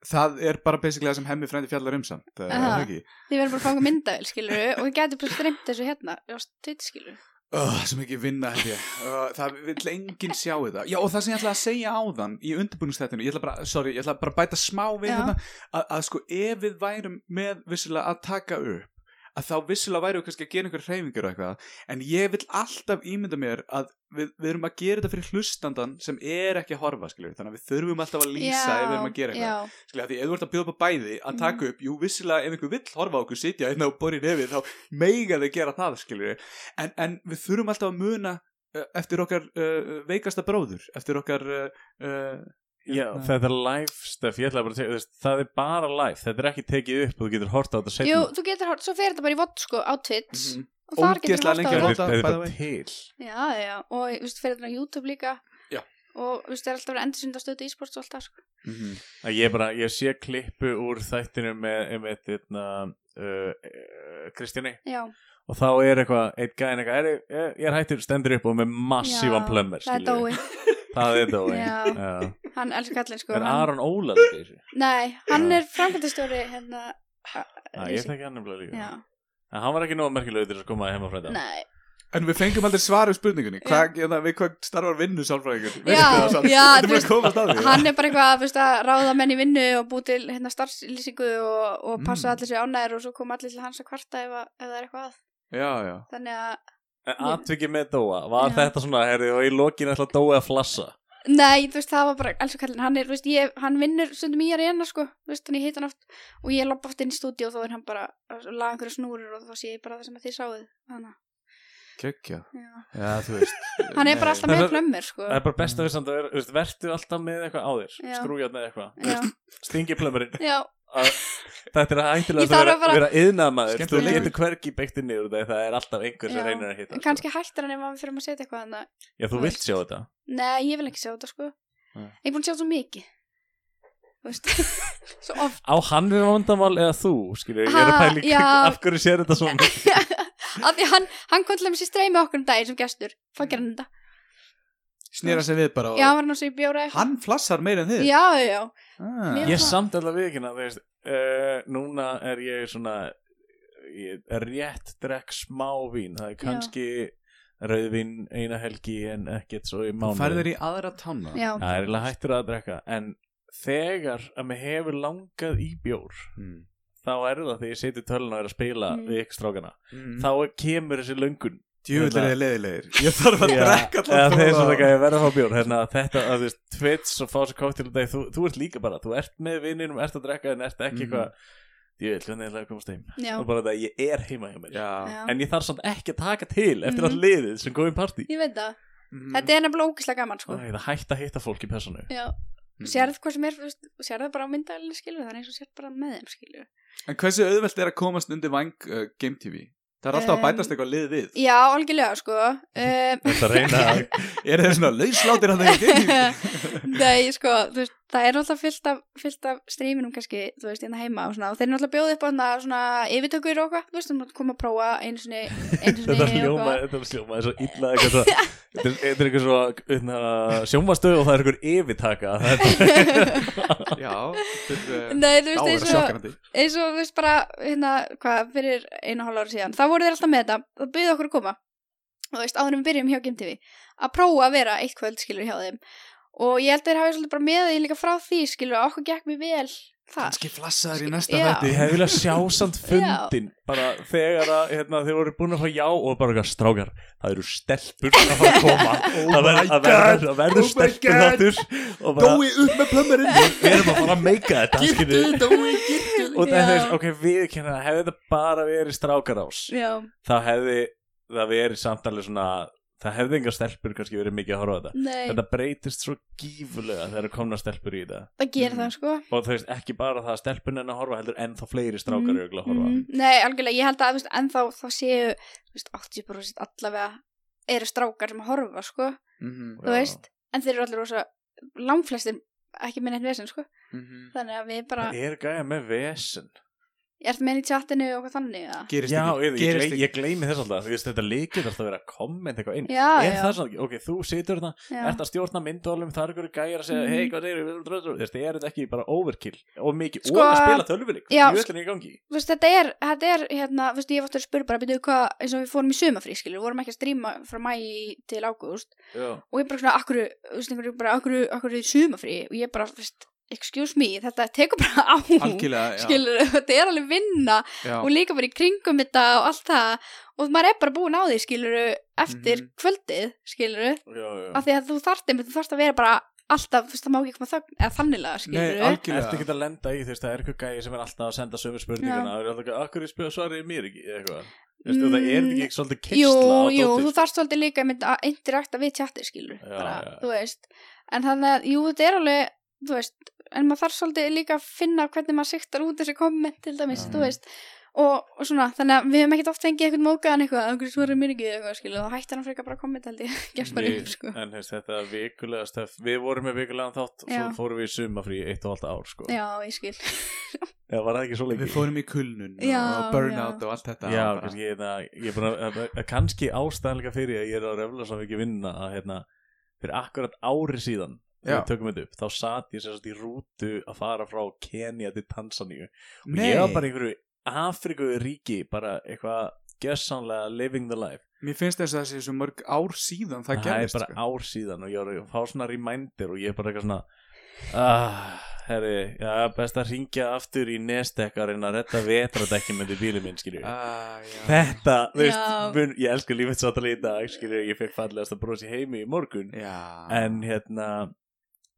[SPEAKER 2] Það er bara basically það sem hemmi frændi fjallar um samt uh,
[SPEAKER 5] Aha.
[SPEAKER 2] uh,
[SPEAKER 5] Þið verður bara að fanga myndavel, skilur Og við getum bara streymt þessu hérna Já, tvitt, skilur
[SPEAKER 2] Oh, sem ekki vinna held ég uh, Það vil enginn sjá þetta Já og það sem ég ætla að segja áðan í undirbúningstættinu Ég ætla bara, sorry, ég ætla bara að bæta smá við
[SPEAKER 5] Já.
[SPEAKER 2] hérna að, að sko ef við værum með vissulega að taka upp að þá vissulega værum við kannski að gera einhver hreyfingur og eitthvað En ég vil alltaf ímynda mér að við, við erum að gera þetta fyrir hlustandan sem er ekki að horfa skilur Þannig að við þurfum alltaf að lýsa ef við erum að gera eitthvað
[SPEAKER 5] Já,
[SPEAKER 2] Skilja, því ef þú ert að bjóða upp á bæði
[SPEAKER 5] Mhm.
[SPEAKER 2] að taka upp, jú, vissilega ef einhver vill horfa á okkur sitja hérna einn á borri nefið, þá meiga þau gera það, skilju. En, en við eh, þurfum alltaf að muna uh, eftir okkar uh, veikasta bróður, eftir okkar uh, uh,
[SPEAKER 3] Já, þetta er live stuff, ég ætla bara að segja, þú veist, það er bara live, þetta er ekki tekið upp og þú getur hort á þetta
[SPEAKER 5] Jú,
[SPEAKER 3] setna.
[SPEAKER 5] þú getur hort, svo fer þetta bara í vott sko á Twitch
[SPEAKER 2] Mhm.
[SPEAKER 5] og þar getur
[SPEAKER 2] Ógeðslega
[SPEAKER 5] hort á
[SPEAKER 2] lengi
[SPEAKER 5] þetta
[SPEAKER 2] á
[SPEAKER 3] þetta
[SPEAKER 2] Votta,
[SPEAKER 3] er- þetta er
[SPEAKER 2] by the
[SPEAKER 3] bara
[SPEAKER 2] way.
[SPEAKER 3] til.
[SPEAKER 5] Já, já, og þú veist, fer þetta á YouTube líka
[SPEAKER 2] Já.
[SPEAKER 5] og þú veist, það er alltaf verið endursynda stöðu e-sports og alltaf sko.
[SPEAKER 2] Mhm.
[SPEAKER 3] Að ég bara, ég sé klippu úr þættinu með, um eitt, eitna, uh, uh, Kristjáni
[SPEAKER 5] Já,
[SPEAKER 3] og þá er eitthvað, eitt gæðin eitthvað, er, ég, ég er hættur, stendur upp og með massívan
[SPEAKER 5] Já,
[SPEAKER 3] plömmar,
[SPEAKER 5] það er Dói
[SPEAKER 3] Það er dói.
[SPEAKER 5] Já.
[SPEAKER 3] Já.
[SPEAKER 5] hann elskar kallinn sko
[SPEAKER 3] Er
[SPEAKER 5] hann,
[SPEAKER 3] Aron Ólaður í þessu?
[SPEAKER 5] Nei, hann
[SPEAKER 3] Já.
[SPEAKER 5] er framkvæmdastjóri hérna a-
[SPEAKER 3] Já, ég
[SPEAKER 5] Lýsing.
[SPEAKER 3] þekki hann nefnilega líka.
[SPEAKER 5] Já,
[SPEAKER 3] En hann var ekki nóg merkilegur til þess að koma heim og frænda.
[SPEAKER 5] nei
[SPEAKER 2] En við fengum aldrei svar við spurningunni Hvað, eða við hvað starfar vinnu sálfræðingur
[SPEAKER 5] Já, já,
[SPEAKER 2] Þetta
[SPEAKER 5] þú
[SPEAKER 2] er bara
[SPEAKER 5] veist,
[SPEAKER 2] að komast að því
[SPEAKER 5] Hann er bara eitthvað þú veist, að ráða menn í vinnu og búi til hérna starfslýsingu og, og passa
[SPEAKER 2] Mm.
[SPEAKER 5] allir sér ánæður og svo koma allir til hans að kvarta ef, að, ef það er eitthvað að
[SPEAKER 2] Já, já
[SPEAKER 5] Þannig að,
[SPEAKER 3] En atvikið með Dóa, var
[SPEAKER 5] Já.
[SPEAKER 3] þetta svona, herri, og í lokin ætla Dóa að flassa?
[SPEAKER 5] nei, þú veist, það var bara alls og kallinn, hann er, þú veist, ég, hann vinnur stundum í að reyna, sko, þú veist, þannig ég heit hann oft og ég lappa oft inn í stúdíu og þá er hann bara að laga einhverju snúrur og þá sé ég bara það sem að þið sáuð þannig,
[SPEAKER 2] Kjökkja
[SPEAKER 5] að, já.
[SPEAKER 2] Já, þú veist
[SPEAKER 5] Hann er bara alltaf
[SPEAKER 3] Það
[SPEAKER 5] með
[SPEAKER 3] er-
[SPEAKER 5] plömmir, sko
[SPEAKER 3] Það er bara best að við samt að vera, þú veist, vertu alltaf með eitthvað á þér,
[SPEAKER 5] Já.
[SPEAKER 3] skrújað með eitthvað,
[SPEAKER 5] Já,
[SPEAKER 3] stingi plömburinn.
[SPEAKER 5] já,
[SPEAKER 3] Þetta er hættilega
[SPEAKER 5] Ég
[SPEAKER 3] að
[SPEAKER 5] þarf
[SPEAKER 3] vera,
[SPEAKER 5] að fara-
[SPEAKER 3] vera yðnaðmaður, þú
[SPEAKER 2] Skemmtilegur.
[SPEAKER 3] getur hvergi beikti niður úr það, það er alltaf einhver sem
[SPEAKER 5] Já.
[SPEAKER 3] reynir að hitta.
[SPEAKER 5] en kannski hættir hann ef við fyrir að setja eitthvað þannig að,
[SPEAKER 3] Sko. Já, þú vilt sjá þetta.
[SPEAKER 5] nei, ég vil ekki sjá þetta, sko
[SPEAKER 2] Nei.
[SPEAKER 5] Ég er búin að sjá svo mikið Þú veist, svo oft
[SPEAKER 3] Á hann við vandamál eða þú, skilur, ég er að
[SPEAKER 5] Ha,
[SPEAKER 3] pæli
[SPEAKER 5] já.
[SPEAKER 3] af hverju sér þetta svona.
[SPEAKER 5] af því hann, hann kom til að mér sér streymi okkur um daginn sem gestur þá gerir hann þetta
[SPEAKER 2] Snýra sem við bara
[SPEAKER 5] já,
[SPEAKER 2] og
[SPEAKER 5] hann var hann að segja bjóra eitthvað
[SPEAKER 2] Hann flassar meira en þið
[SPEAKER 5] já, já, já,
[SPEAKER 2] Ah.
[SPEAKER 5] Mér-
[SPEAKER 3] Ég er samt alltaf viðkynna, þú veist, uh, núna er ég svona, ég er rétt drekk smá vín, það er
[SPEAKER 5] Já.
[SPEAKER 3] kannski rauðvín eina helgi en ekkert svo í mánuði.
[SPEAKER 2] Færður í aðra tanna
[SPEAKER 5] já,
[SPEAKER 3] Það er eiginlega hættur að drekka En þegar að mér hefur langað í bjór
[SPEAKER 2] Mm.
[SPEAKER 3] Þá er það þegar ég seti tölun og er að spila
[SPEAKER 5] Mm.
[SPEAKER 3] Við ykkur strákana
[SPEAKER 2] Mm.
[SPEAKER 3] Þá kemur þessi löngun
[SPEAKER 2] Djúvill er
[SPEAKER 3] Hérna-
[SPEAKER 2] þið leiðilegir Ég þarf að drekka
[SPEAKER 3] Eða
[SPEAKER 2] allan
[SPEAKER 3] þeir sem
[SPEAKER 2] þóla.
[SPEAKER 3] það gæði að vera að fá bjór hérna, Þetta að þú veist Twits og fá sér kóttil dag, þú, þú ert líka bara Þú ert með vinninum, ert að drekka En ert
[SPEAKER 2] Mhm.
[SPEAKER 3] ekki eitthvað Ég vil hvernig ég ætla að komast heim
[SPEAKER 5] já,
[SPEAKER 3] Og bara það ég er heima hjá mér
[SPEAKER 2] Já
[SPEAKER 5] já.
[SPEAKER 3] En ég þarf samt ekki að taka til Eftir
[SPEAKER 5] Mhm.
[SPEAKER 3] allt liðið sem góðum partí
[SPEAKER 5] ég veit það
[SPEAKER 2] Mm.
[SPEAKER 5] þetta er nefnilega ógislega gaman sko
[SPEAKER 3] Það er hægt að hitta fólk í personu
[SPEAKER 5] já,
[SPEAKER 2] Mm.
[SPEAKER 5] sérð hvað sem er þú veist, sérð bara á myndagalinu skilur það er eins og sérð bara með þeim skilur
[SPEAKER 2] En hversu auðvelt er að komast undir vang uh, Game TV? Það er alltaf að
[SPEAKER 5] Um,
[SPEAKER 2] bætast eitthvað lið við
[SPEAKER 5] já, algjörlega sko um,
[SPEAKER 3] Þetta reyna að
[SPEAKER 2] Er þeir svona lauslátir að það er Game TV?
[SPEAKER 5] nei, sko, þú veist, það er náttúrulega fyllt af, fyllt af streaminum kannski, þú veist, hérna heima og svona, og þeir eru náttúrulega bjóðið upp á svona, svona yfirtökur og eitthvað, þú veist, þú mátt koma að prófa einu sinni, einu sinni
[SPEAKER 3] þetta
[SPEAKER 5] og
[SPEAKER 3] hljóma,
[SPEAKER 5] eitthvað.
[SPEAKER 3] þetta hljóma er svo illa eitthvað svo, þetta er- þetta er eitthvað svo sjómastöð og það er eitthvað yfirtaka það er bara-
[SPEAKER 2] Já Þetta er uh,
[SPEAKER 5] Nei, þú veist,
[SPEAKER 2] Á, er
[SPEAKER 5] eins og,
[SPEAKER 2] sjokkandi
[SPEAKER 5] eins og þú veist bara hérna, hvað, fyrir einu og hálf ára síðan þá voru þeir alltaf með þetta og byggðu okkur að koma og þú veist, áður en við byrjum hjá Game TV að prófa að vera eitt kvöld skilur hjá þeim og ég held að þeir hafi svolítið bara með því líka frá því skilur að okkur gekk mjög vel það
[SPEAKER 2] Kanski flassaður í næsta
[SPEAKER 5] Já.
[SPEAKER 3] ég
[SPEAKER 2] hætti
[SPEAKER 3] hef viljað sjá samt fundin bara þegar að hérna, þeir voru búin að fá já og bara eitthvað strákar það eru stelpur að fara að koma
[SPEAKER 2] Oh
[SPEAKER 3] það verður-
[SPEAKER 2] my
[SPEAKER 3] það verður- það
[SPEAKER 2] Oh
[SPEAKER 3] verður
[SPEAKER 2] my
[SPEAKER 3] stelpur
[SPEAKER 2] God.
[SPEAKER 3] þáttur og bara
[SPEAKER 2] Dói upp með plömmarinn
[SPEAKER 3] við erum að fara að meika þetta skilju
[SPEAKER 2] Dói, gittu
[SPEAKER 3] og það er
[SPEAKER 5] Já.
[SPEAKER 3] þess, ok, við kynna hefði þetta bara verið strákar ás
[SPEAKER 5] Já,
[SPEAKER 3] þá hefði það verið samt alveg svona það hefði engar stelpur kannski verið mikið að horfa á þetta
[SPEAKER 5] nei,
[SPEAKER 3] þetta breytist svo gífulega þegar það komna stelpur í þetta
[SPEAKER 5] það gerir
[SPEAKER 2] Mm.
[SPEAKER 5] það sko
[SPEAKER 3] og þú veist ekki bara það að stelpun en að horfa heldur ennþá fleiri strákar
[SPEAKER 5] Mm,
[SPEAKER 3] mm. að horfa
[SPEAKER 5] mhm. Nei, algjörlega, ég held að þú veist, ennþá þá séu, þú veist, 80% allavega eru strákar sem að horfa sko,
[SPEAKER 2] Mhm,
[SPEAKER 5] þú
[SPEAKER 3] Já.
[SPEAKER 5] veist en þeir eru allir rosa, langflestir ekki minn eitt vesen sko,
[SPEAKER 2] mhm.
[SPEAKER 5] þannig að við bara
[SPEAKER 3] það er gæja með vesen
[SPEAKER 5] Ég ert með henni í tjattinu og hvað þannig eða?
[SPEAKER 2] Gerist
[SPEAKER 3] já,
[SPEAKER 2] ekki
[SPEAKER 3] ég, ég,
[SPEAKER 2] Gerist
[SPEAKER 3] gley,
[SPEAKER 2] ekki
[SPEAKER 3] ég gleymi þess alltaf þú veist þetta líkið þarf að vera að komment eitthvað inn
[SPEAKER 5] Já,
[SPEAKER 3] er
[SPEAKER 5] já,
[SPEAKER 3] það svona, ok, þú situr þarna
[SPEAKER 5] já.
[SPEAKER 3] ert að stjórna myndólum, það er ykkur gæjar að segja
[SPEAKER 5] Mhm.
[SPEAKER 3] hei, hvað er þetta, þetta er þetta ekki bara overkill og mikið,
[SPEAKER 5] Sko-
[SPEAKER 3] og að spila tölvuleik
[SPEAKER 5] Já,
[SPEAKER 3] ég veit henni í gangi
[SPEAKER 5] Þú veist, þetta er, þetta er, hérna, þú veist, ég vartur að spura bara, byrjuðu hvað, eins og við fórum í sumafrí, skilur, við vorum ekki að stríma frá mæ í- til ágúst
[SPEAKER 3] já.
[SPEAKER 5] og ég bara svona, akkur, þú veist, einhverju, bara, akkur, akkur í sumafrí og ég bara, þú veist, excuse me, þetta tekur bara á,
[SPEAKER 2] Algjörlega, já
[SPEAKER 5] skilur, þetta er alveg vinna
[SPEAKER 2] já.
[SPEAKER 5] og líka bara í kringum þetta og allt það og maður er bara búin á því, skilur, eftir
[SPEAKER 2] Mhm.
[SPEAKER 5] kvöldið, skilur,
[SPEAKER 3] Já, já.
[SPEAKER 5] af því að þú þarft einmitt, þú þarft að vera bara alltaf, þú veist, það má ekki koma þögn, eða þanniglega,
[SPEAKER 2] Nei,
[SPEAKER 5] skilur
[SPEAKER 2] algjörlega
[SPEAKER 3] Ertu ekki að lenda í þú veist, það er eitthvað gæði sem er alltaf að senda sömu spurninguna og er alltaf að, akkur ég svaraði mér ekki eða eitthvað, þú veist, og það er þetta ekki svolítið
[SPEAKER 5] Mm. Jú,
[SPEAKER 3] kistla á
[SPEAKER 5] jú,
[SPEAKER 3] dótið
[SPEAKER 5] þú þarft svolítið líka einmitt að interakta við tjatti, skilur
[SPEAKER 3] Já,
[SPEAKER 5] bara,
[SPEAKER 3] já.
[SPEAKER 5] þú veist en þannig að, jú, þetta er alveg þú veist, en maður þarf svolítið líka að finna hvernig maður siktar út þessi komment til dæmis,
[SPEAKER 2] Já.
[SPEAKER 3] Mm.
[SPEAKER 5] þú veist og, og svona, þannig að við hefum ekkert oft fengið eitthvað mókaðan eitthvað, að einhverju svarar mér ekki eða eitthvað skilu, þá hættir hann frekar bara að kommenta held ég, gefst bara
[SPEAKER 3] Við-
[SPEAKER 5] yfir sko
[SPEAKER 3] En hefst, þetta er vikulega stöf Við vorum með vikulegan þátt Svo
[SPEAKER 5] Já.
[SPEAKER 3] fórum við í sumafrí eitt og alltaf ár sko.
[SPEAKER 5] Já, ég skil
[SPEAKER 3] Eða var það ekki svo lengi?
[SPEAKER 2] Við fórum í kulnun
[SPEAKER 5] Já,
[SPEAKER 2] og burnout
[SPEAKER 5] já.
[SPEAKER 2] og allt þetta
[SPEAKER 3] Já,
[SPEAKER 2] bara-
[SPEAKER 3] kannski, hérna, ég er búin að, að, að kannski ástæðanlega fyrir að ég er að röfla svo mikið vinna að hérna, fyrir akkurat ári síðan þegar
[SPEAKER 2] Já.
[SPEAKER 3] við tökum þetta upp, þá sat ég sérst í rútu að fara frá Kenya til Tansaníu og
[SPEAKER 2] Nei,
[SPEAKER 3] ég var bara í einhverju Afriku ríki, bara eitthvað gjössanlega living the life
[SPEAKER 2] mér finnst þess að það sé svo mörg ár síðan það gerist
[SPEAKER 3] er bara
[SPEAKER 2] sko.
[SPEAKER 3] ár síðan og ég var að fá svona reminder og ég er bara eitthvað svona ah, herri, já, best að ringja aftur í nestekar en að retta vetradekki með því bílum minn, skilju
[SPEAKER 2] Ah, já.
[SPEAKER 3] Þetta, þú veist,
[SPEAKER 5] Já.
[SPEAKER 3] mun, ég elska lífið sáttalega í dag, skilur, ég fekk fallegast að brosi heimi í morgun,
[SPEAKER 2] Já.
[SPEAKER 3] en hérna,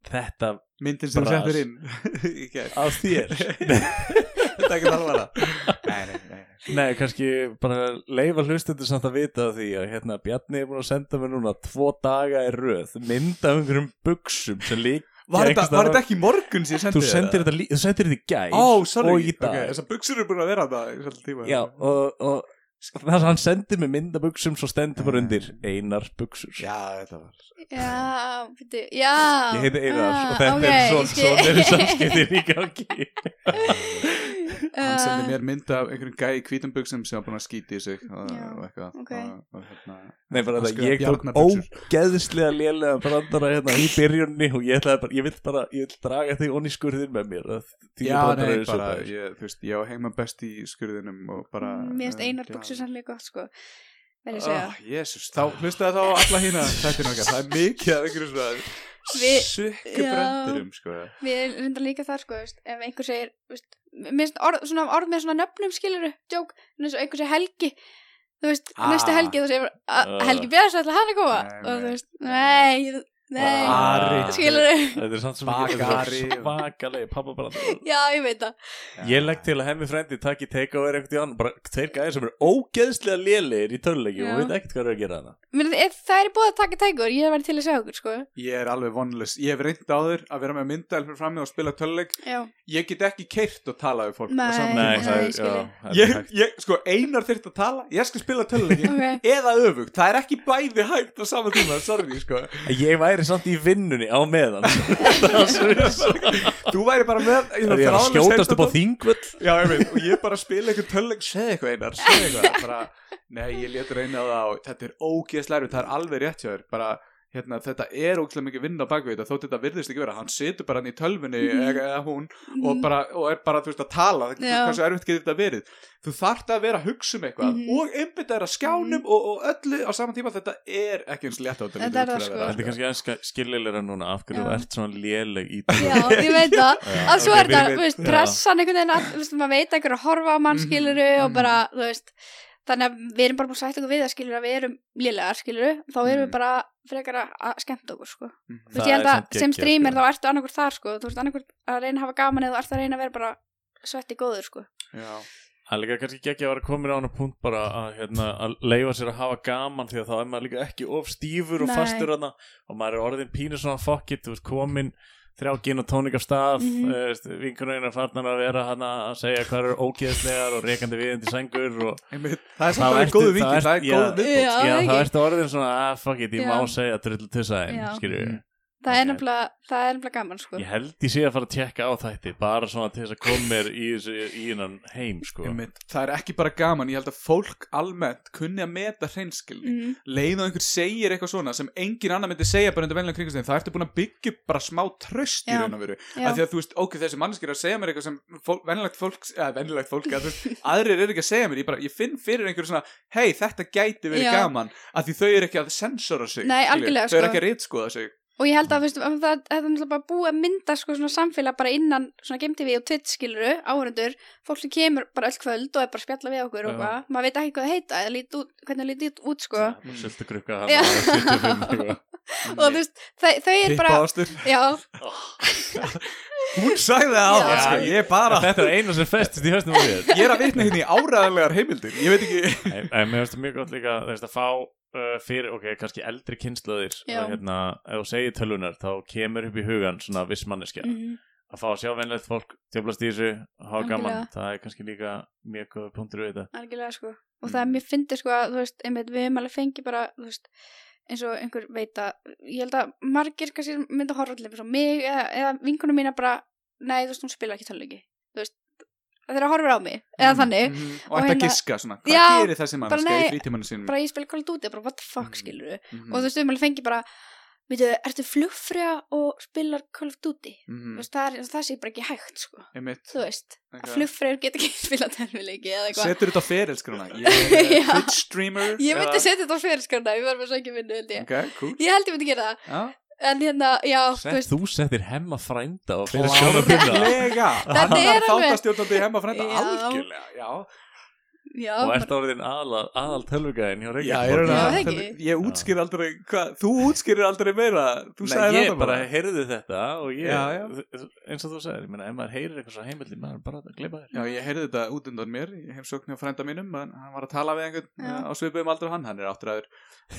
[SPEAKER 3] þetta
[SPEAKER 2] myndin sem þú
[SPEAKER 3] Bras.
[SPEAKER 2] settir inn í gerð
[SPEAKER 3] á þér,
[SPEAKER 2] þetta er ekki alvara nei, nei, nei, nei.
[SPEAKER 3] nei, kannski bara leifa hlustundur samt að vita af því að hérna, Bjarni er búin að senda mér núna tvo daga í röð, mynda um einhverjum buksum sem lík,
[SPEAKER 2] Var,
[SPEAKER 3] Ég
[SPEAKER 2] þetta,
[SPEAKER 3] ekki
[SPEAKER 2] var
[SPEAKER 3] staðar-
[SPEAKER 2] þetta ekki í morgun sem ég sendi
[SPEAKER 3] þú sendir þetta, lí- þú sendir þetta í gæl
[SPEAKER 2] Ó, sorry,
[SPEAKER 3] og í
[SPEAKER 2] ok,
[SPEAKER 3] dag,
[SPEAKER 2] þessar buksur eru búin að vera það í svolítið tíma
[SPEAKER 3] já, og, og það sem hann sendir mér mynda buksum svo stendur bara undir einar buksur.
[SPEAKER 2] Ah. já, þetta var
[SPEAKER 5] Já, byrju, já
[SPEAKER 3] Ég heiti Einar
[SPEAKER 5] ah,
[SPEAKER 3] og þetta
[SPEAKER 5] ok,
[SPEAKER 3] er svo,
[SPEAKER 5] ég
[SPEAKER 3] svo
[SPEAKER 5] skil.
[SPEAKER 3] nefnir samskiptin í gangi
[SPEAKER 2] hann sendi
[SPEAKER 5] Ah,
[SPEAKER 2] mér mynda af einhverjum gæi í hvítum buksum sem var búin að skýti í sig og,
[SPEAKER 5] Já,
[SPEAKER 2] og eitthvað
[SPEAKER 5] ok.
[SPEAKER 2] og, og, hérna,
[SPEAKER 3] Nei, bara
[SPEAKER 2] Hann
[SPEAKER 3] þetta,
[SPEAKER 2] skrifaði
[SPEAKER 3] ég tók
[SPEAKER 2] Bjarnabuxur.
[SPEAKER 3] ógeðslega lélega brandara hérna í byrjunni og ég ætlaði bara, ég vil bara, ég vil draga þig onni skurðin með mér að því
[SPEAKER 2] já,
[SPEAKER 3] að brandara
[SPEAKER 2] nei,
[SPEAKER 3] eru svo
[SPEAKER 2] bara
[SPEAKER 3] bæðir.
[SPEAKER 2] ég, þú veist, ég á heima best í skurðinum og bara
[SPEAKER 5] Ah, Mér finnst
[SPEAKER 2] eh,
[SPEAKER 5] einar
[SPEAKER 2] já.
[SPEAKER 5] buksur sannlega gott sko Verði að segja
[SPEAKER 2] Ah, Jésús, þá hlustaði þá á alla hína þetta er nokkað, það er mikið af einhverjum svona
[SPEAKER 5] Við-
[SPEAKER 2] sukkubrendurum sko.
[SPEAKER 5] Við erum reyndar líka þar sko, veist, ef einhver segir veist, mér finnst orð, svona, orð með svona nöfnum skiluru, djók, en eins og einhver segir helgi þú veist,
[SPEAKER 2] Ah.
[SPEAKER 5] næstu helgi þú segir bara, "A-
[SPEAKER 3] Ah.
[SPEAKER 5] helgi Björns ætla hann að koma
[SPEAKER 2] Nei, nei.
[SPEAKER 5] og þú veist, nei, nei
[SPEAKER 3] Ah.
[SPEAKER 5] skiluru,
[SPEAKER 3] Þetta er samt sem
[SPEAKER 2] Bakari og-
[SPEAKER 3] Bakari, pappa brandara
[SPEAKER 5] já, ég veit það
[SPEAKER 3] Ég legg til að hemmi frendi takk í takeover einhvern tíðan bara tveir gæðir sem eru ógeðslega lélegir í töluleiki og
[SPEAKER 5] Já.
[SPEAKER 3] veit ekkert hvað eru að gera þarna
[SPEAKER 5] Mér, finnst- það er búið að taka tækur, ég er verið til að segja okkur sko.
[SPEAKER 2] Ég er alveg vonlust. Ég hef reynd áður að vera með myndaðil fyrir frammi og spila töluleik.
[SPEAKER 5] já,
[SPEAKER 2] Ég get ekki keirt og tala við fólk. á
[SPEAKER 5] Nei.
[SPEAKER 2] sama tíma.
[SPEAKER 5] Nei,
[SPEAKER 3] það
[SPEAKER 5] ég
[SPEAKER 3] er,
[SPEAKER 5] skil
[SPEAKER 3] já,
[SPEAKER 5] ég.
[SPEAKER 3] það er
[SPEAKER 2] Ég,
[SPEAKER 3] hægt.
[SPEAKER 2] ég, sko, einar þurft að tala, ég skal spila töluleikin.
[SPEAKER 5] ok
[SPEAKER 2] Eða öfugt, það er ekki bæði hægt á sama tíma, sorry, sko.
[SPEAKER 3] Ég væri samt í vinnunni á meðan
[SPEAKER 2] Þú væri bara með...
[SPEAKER 3] Það er að skjótast upp á
[SPEAKER 2] því.
[SPEAKER 3] þingvöld
[SPEAKER 2] Já, ég veit, og ég bara spila eitthvað töluleik, segð eitthvað einar, segð eitthvað. Bara, nei, ég let reyna á það og þetta er ógeðslega, það er alveg rétt hjá þér, bara... Hérna, þetta er ógeðslega mikið vinna á bakvið þetta þótt þetta virðist ekki vera, hann situr bara hann í tölvunni eða eða hún og, bara, og er bara þú veist að tala það-
[SPEAKER 5] Mhm. Já.
[SPEAKER 2] hversu erfitt getur þetta verið þú þarft að vera að hugsa um eitthvað
[SPEAKER 5] Mhm.
[SPEAKER 2] og einbytta þér að skjánum og, og öllu á saman tíma þetta er ekki eins létt á
[SPEAKER 5] Þetta er það, sko.
[SPEAKER 3] Þetta er kannski aðeins skiljilega núna af hverju
[SPEAKER 5] Já.
[SPEAKER 3] þú ert svona léleg í
[SPEAKER 5] Já, ég veit það að svo
[SPEAKER 2] ok,
[SPEAKER 5] er þetta,
[SPEAKER 2] við-
[SPEAKER 5] þú veist,
[SPEAKER 3] já.
[SPEAKER 5] pressan einhvern veginn, all, þú veist, maður veit að einhver er að horfa á mann
[SPEAKER 2] Mhm,
[SPEAKER 5] skiluru og
[SPEAKER 2] mhm.
[SPEAKER 5] bara, þú veist þannig að við erum bara búin að sætt okkur við að skiluru að við erum lélegar skiluru, þá erum við
[SPEAKER 2] Mhm.
[SPEAKER 5] bara frekar að- að skemmta okkur, sko þú
[SPEAKER 3] Það
[SPEAKER 5] veist, ég held
[SPEAKER 3] er samt
[SPEAKER 5] að sem
[SPEAKER 3] geggjað,
[SPEAKER 5] streamer
[SPEAKER 3] sko.
[SPEAKER 5] þá ertu annarkur þar, sko, þú veist, annarkur að reyna að hafa gaman eða þú ert að reyna að vera bara svetti góður, sko
[SPEAKER 2] já,
[SPEAKER 3] Það er líka kannski ekki að vera komin á hann að punkt bara að, hérna, að leifa sér að hafa gaman því að þá er maður líka ekki of stífur og
[SPEAKER 5] Nei.
[SPEAKER 3] fastur hana og maður er orðin pínur svona fuck it, þú veist, komin þrjá gin og tónik af stað mm
[SPEAKER 5] Mhm.
[SPEAKER 3] -hmm. vinkunarinn er farnar að vera hana að segja hvað eru ógeðslegar og rekandi viðindi sængur og
[SPEAKER 2] einmitt, það er
[SPEAKER 3] Þá
[SPEAKER 2] samt alveg
[SPEAKER 3] ertu-
[SPEAKER 2] góðu
[SPEAKER 3] þá
[SPEAKER 2] vikið
[SPEAKER 3] ert-
[SPEAKER 2] það er
[SPEAKER 3] já.
[SPEAKER 2] góðu viðbútt
[SPEAKER 5] Já,
[SPEAKER 3] já, þá
[SPEAKER 5] það ekki.
[SPEAKER 3] ertu orðin svona að fuck it, ég
[SPEAKER 5] Já.
[SPEAKER 3] má segja drullu tussaðin,
[SPEAKER 5] Já. Mm,
[SPEAKER 3] skilju
[SPEAKER 2] Mhm.
[SPEAKER 5] það er
[SPEAKER 3] Ok.
[SPEAKER 5] nefnilega, það er nefnilega gaman, sko
[SPEAKER 3] Ég held ég sé að fara að tjekka á þætti bara svona til þess að koma mér í, þessu- í innan heim, sko
[SPEAKER 2] einmitt, það er ekki bara gaman, ég held að fólk almennt kunni að meta hreinskilni
[SPEAKER 5] Mhm.
[SPEAKER 2] leið og einhver segir eitthvað svona sem engin annar myndi segja bara undir venlega kringastæðin það ertu búin að byggja upp bara smá tröst í
[SPEAKER 5] Já.
[SPEAKER 2] raun og veru
[SPEAKER 5] Já.
[SPEAKER 2] að því að þú veist, ok, þessi mannskir að segja mér eitthvað sem fól, venlilegt fólk, eða venlilegt fólk að, þú veist, aðrir eru ekki að segja mér, ég bara ég finn fyrir einhverju svona, hei, þetta gæti verið
[SPEAKER 5] Já.
[SPEAKER 2] gaman, að því þau eru ekki að sensora sig,
[SPEAKER 5] Nei,
[SPEAKER 2] skilur.
[SPEAKER 5] algjörlega,
[SPEAKER 2] þau eru
[SPEAKER 5] sko.
[SPEAKER 2] ekki að rítskoða sig
[SPEAKER 5] og ég held að, þú veist, að það, það er náttúrulega bara búið að mynda sko, svona samfélag bara innan svona Game TV og Twitch skiluru, áhörendur fólk sem kemur bara öll kvöld og er bara að spjalla við okkur og
[SPEAKER 3] Já.
[SPEAKER 5] hvað, maður veit ekki hvað það heita eða lít út, hvernig það lítið út, út sko
[SPEAKER 3] Söldu grukka hann
[SPEAKER 5] Já.
[SPEAKER 3] og sko. 25 eitthvað.
[SPEAKER 5] og þú veist, þau, þau er bara
[SPEAKER 2] Pippaástur.
[SPEAKER 5] já,
[SPEAKER 2] hún sagði það á
[SPEAKER 5] Já.
[SPEAKER 2] sko. ég er bara,
[SPEAKER 3] Þetta er eina sem festist í höstum á þér
[SPEAKER 2] ég er að vitna hérna í áræðanlegar heimildir, ég veit ekki
[SPEAKER 3] En en mér finnst það mjög gott líka þú veist, að fá uh, fyrir, ok, kannski eldri kynslaðir
[SPEAKER 5] Já.
[SPEAKER 3] og hérna, ef þú segir tölunar þá kemur upp í hugan svona viss manneskja
[SPEAKER 5] Mhm.
[SPEAKER 3] að fá að sjá venlegt fólk tjöflast í þessu, hafa gaman
[SPEAKER 5] Algjörlega.
[SPEAKER 3] það er kannski líka mjög góð punktur við þetta
[SPEAKER 5] algjörlega sko og
[SPEAKER 3] Mm.
[SPEAKER 5] það er mér fyndið sko að þú veist, einmitt, við höfum alveg fengið bara þú veist, eins og einhver veit að ég held að margir kannski mynda horfa til eins og mig eða, eða vinkunum mína bara nei þú veist hún spila ekki tölviki þú veist þeirra horfir á mig
[SPEAKER 3] Mm,
[SPEAKER 5] eða þannig
[SPEAKER 2] Mhm. og
[SPEAKER 5] Og
[SPEAKER 2] ætti að
[SPEAKER 5] hérna-
[SPEAKER 2] giska svona hvað
[SPEAKER 5] Já,
[SPEAKER 2] gerir þessi mannska
[SPEAKER 5] nei,
[SPEAKER 2] í frítímanu
[SPEAKER 3] Mm.
[SPEAKER 2] sínum
[SPEAKER 5] bara ég spila Call of Duty bara what the fuck
[SPEAKER 2] Mm.
[SPEAKER 5] skilur við
[SPEAKER 2] Mhm.
[SPEAKER 5] og þú veist við höfum alveg fengið bara veitu ertu flugfrega og spilar Call of Duty
[SPEAKER 3] Mm.
[SPEAKER 2] Mhm.
[SPEAKER 5] þú veist það, er, það sé bara ekki hægt sko
[SPEAKER 2] Einmitt.
[SPEAKER 5] þú veist
[SPEAKER 2] Ok.
[SPEAKER 5] að flugfregur get ekki spila tölviki eða eitthvað
[SPEAKER 2] setur þetta á ferilskrona ég er
[SPEAKER 5] Já.
[SPEAKER 2] Twitch streamer
[SPEAKER 5] ég myndi
[SPEAKER 2] eða-
[SPEAKER 5] setja þetta á fyrirskarna við verðum að sækja vinnu held ég
[SPEAKER 2] ok, cool
[SPEAKER 5] Ég held ég myndi gera það
[SPEAKER 2] Já.
[SPEAKER 5] En hérna, já, þú
[SPEAKER 3] Sett,
[SPEAKER 5] veist
[SPEAKER 3] þú settir hemma frænda og fyrir skjóna byrða
[SPEAKER 2] klárlega
[SPEAKER 5] Þetta
[SPEAKER 2] hann
[SPEAKER 5] er
[SPEAKER 2] er
[SPEAKER 5] alveg-
[SPEAKER 2] þáttastjórnandi heima frænda
[SPEAKER 5] Já.
[SPEAKER 2] algjörlega já,
[SPEAKER 5] já,
[SPEAKER 3] og
[SPEAKER 5] bara,
[SPEAKER 3] ert orðin aðal, aðal tölvugæðin hjá
[SPEAKER 2] já,
[SPEAKER 3] Reykjavík
[SPEAKER 2] ég,
[SPEAKER 5] Já, það
[SPEAKER 2] ég,
[SPEAKER 5] ekki.
[SPEAKER 2] ég útskýr aldrei hva, þú útskýrir aldrei meira þú
[SPEAKER 3] Nei,
[SPEAKER 2] sagði
[SPEAKER 3] ég
[SPEAKER 2] þetta
[SPEAKER 3] bara heyrði þetta og ég,
[SPEAKER 2] Já, já.
[SPEAKER 3] eins og þú sagðir, ég meina, ef maður heyrir eitthvað svo heimildi, maður bara að gleypa þér.
[SPEAKER 2] Já, ég heyrði þetta út undan mér, ég hef sókn hjá frænda mínum, en hann var að tala við einhvern
[SPEAKER 5] Já.
[SPEAKER 2] eh, á svipum aldur hann, hann er áttræður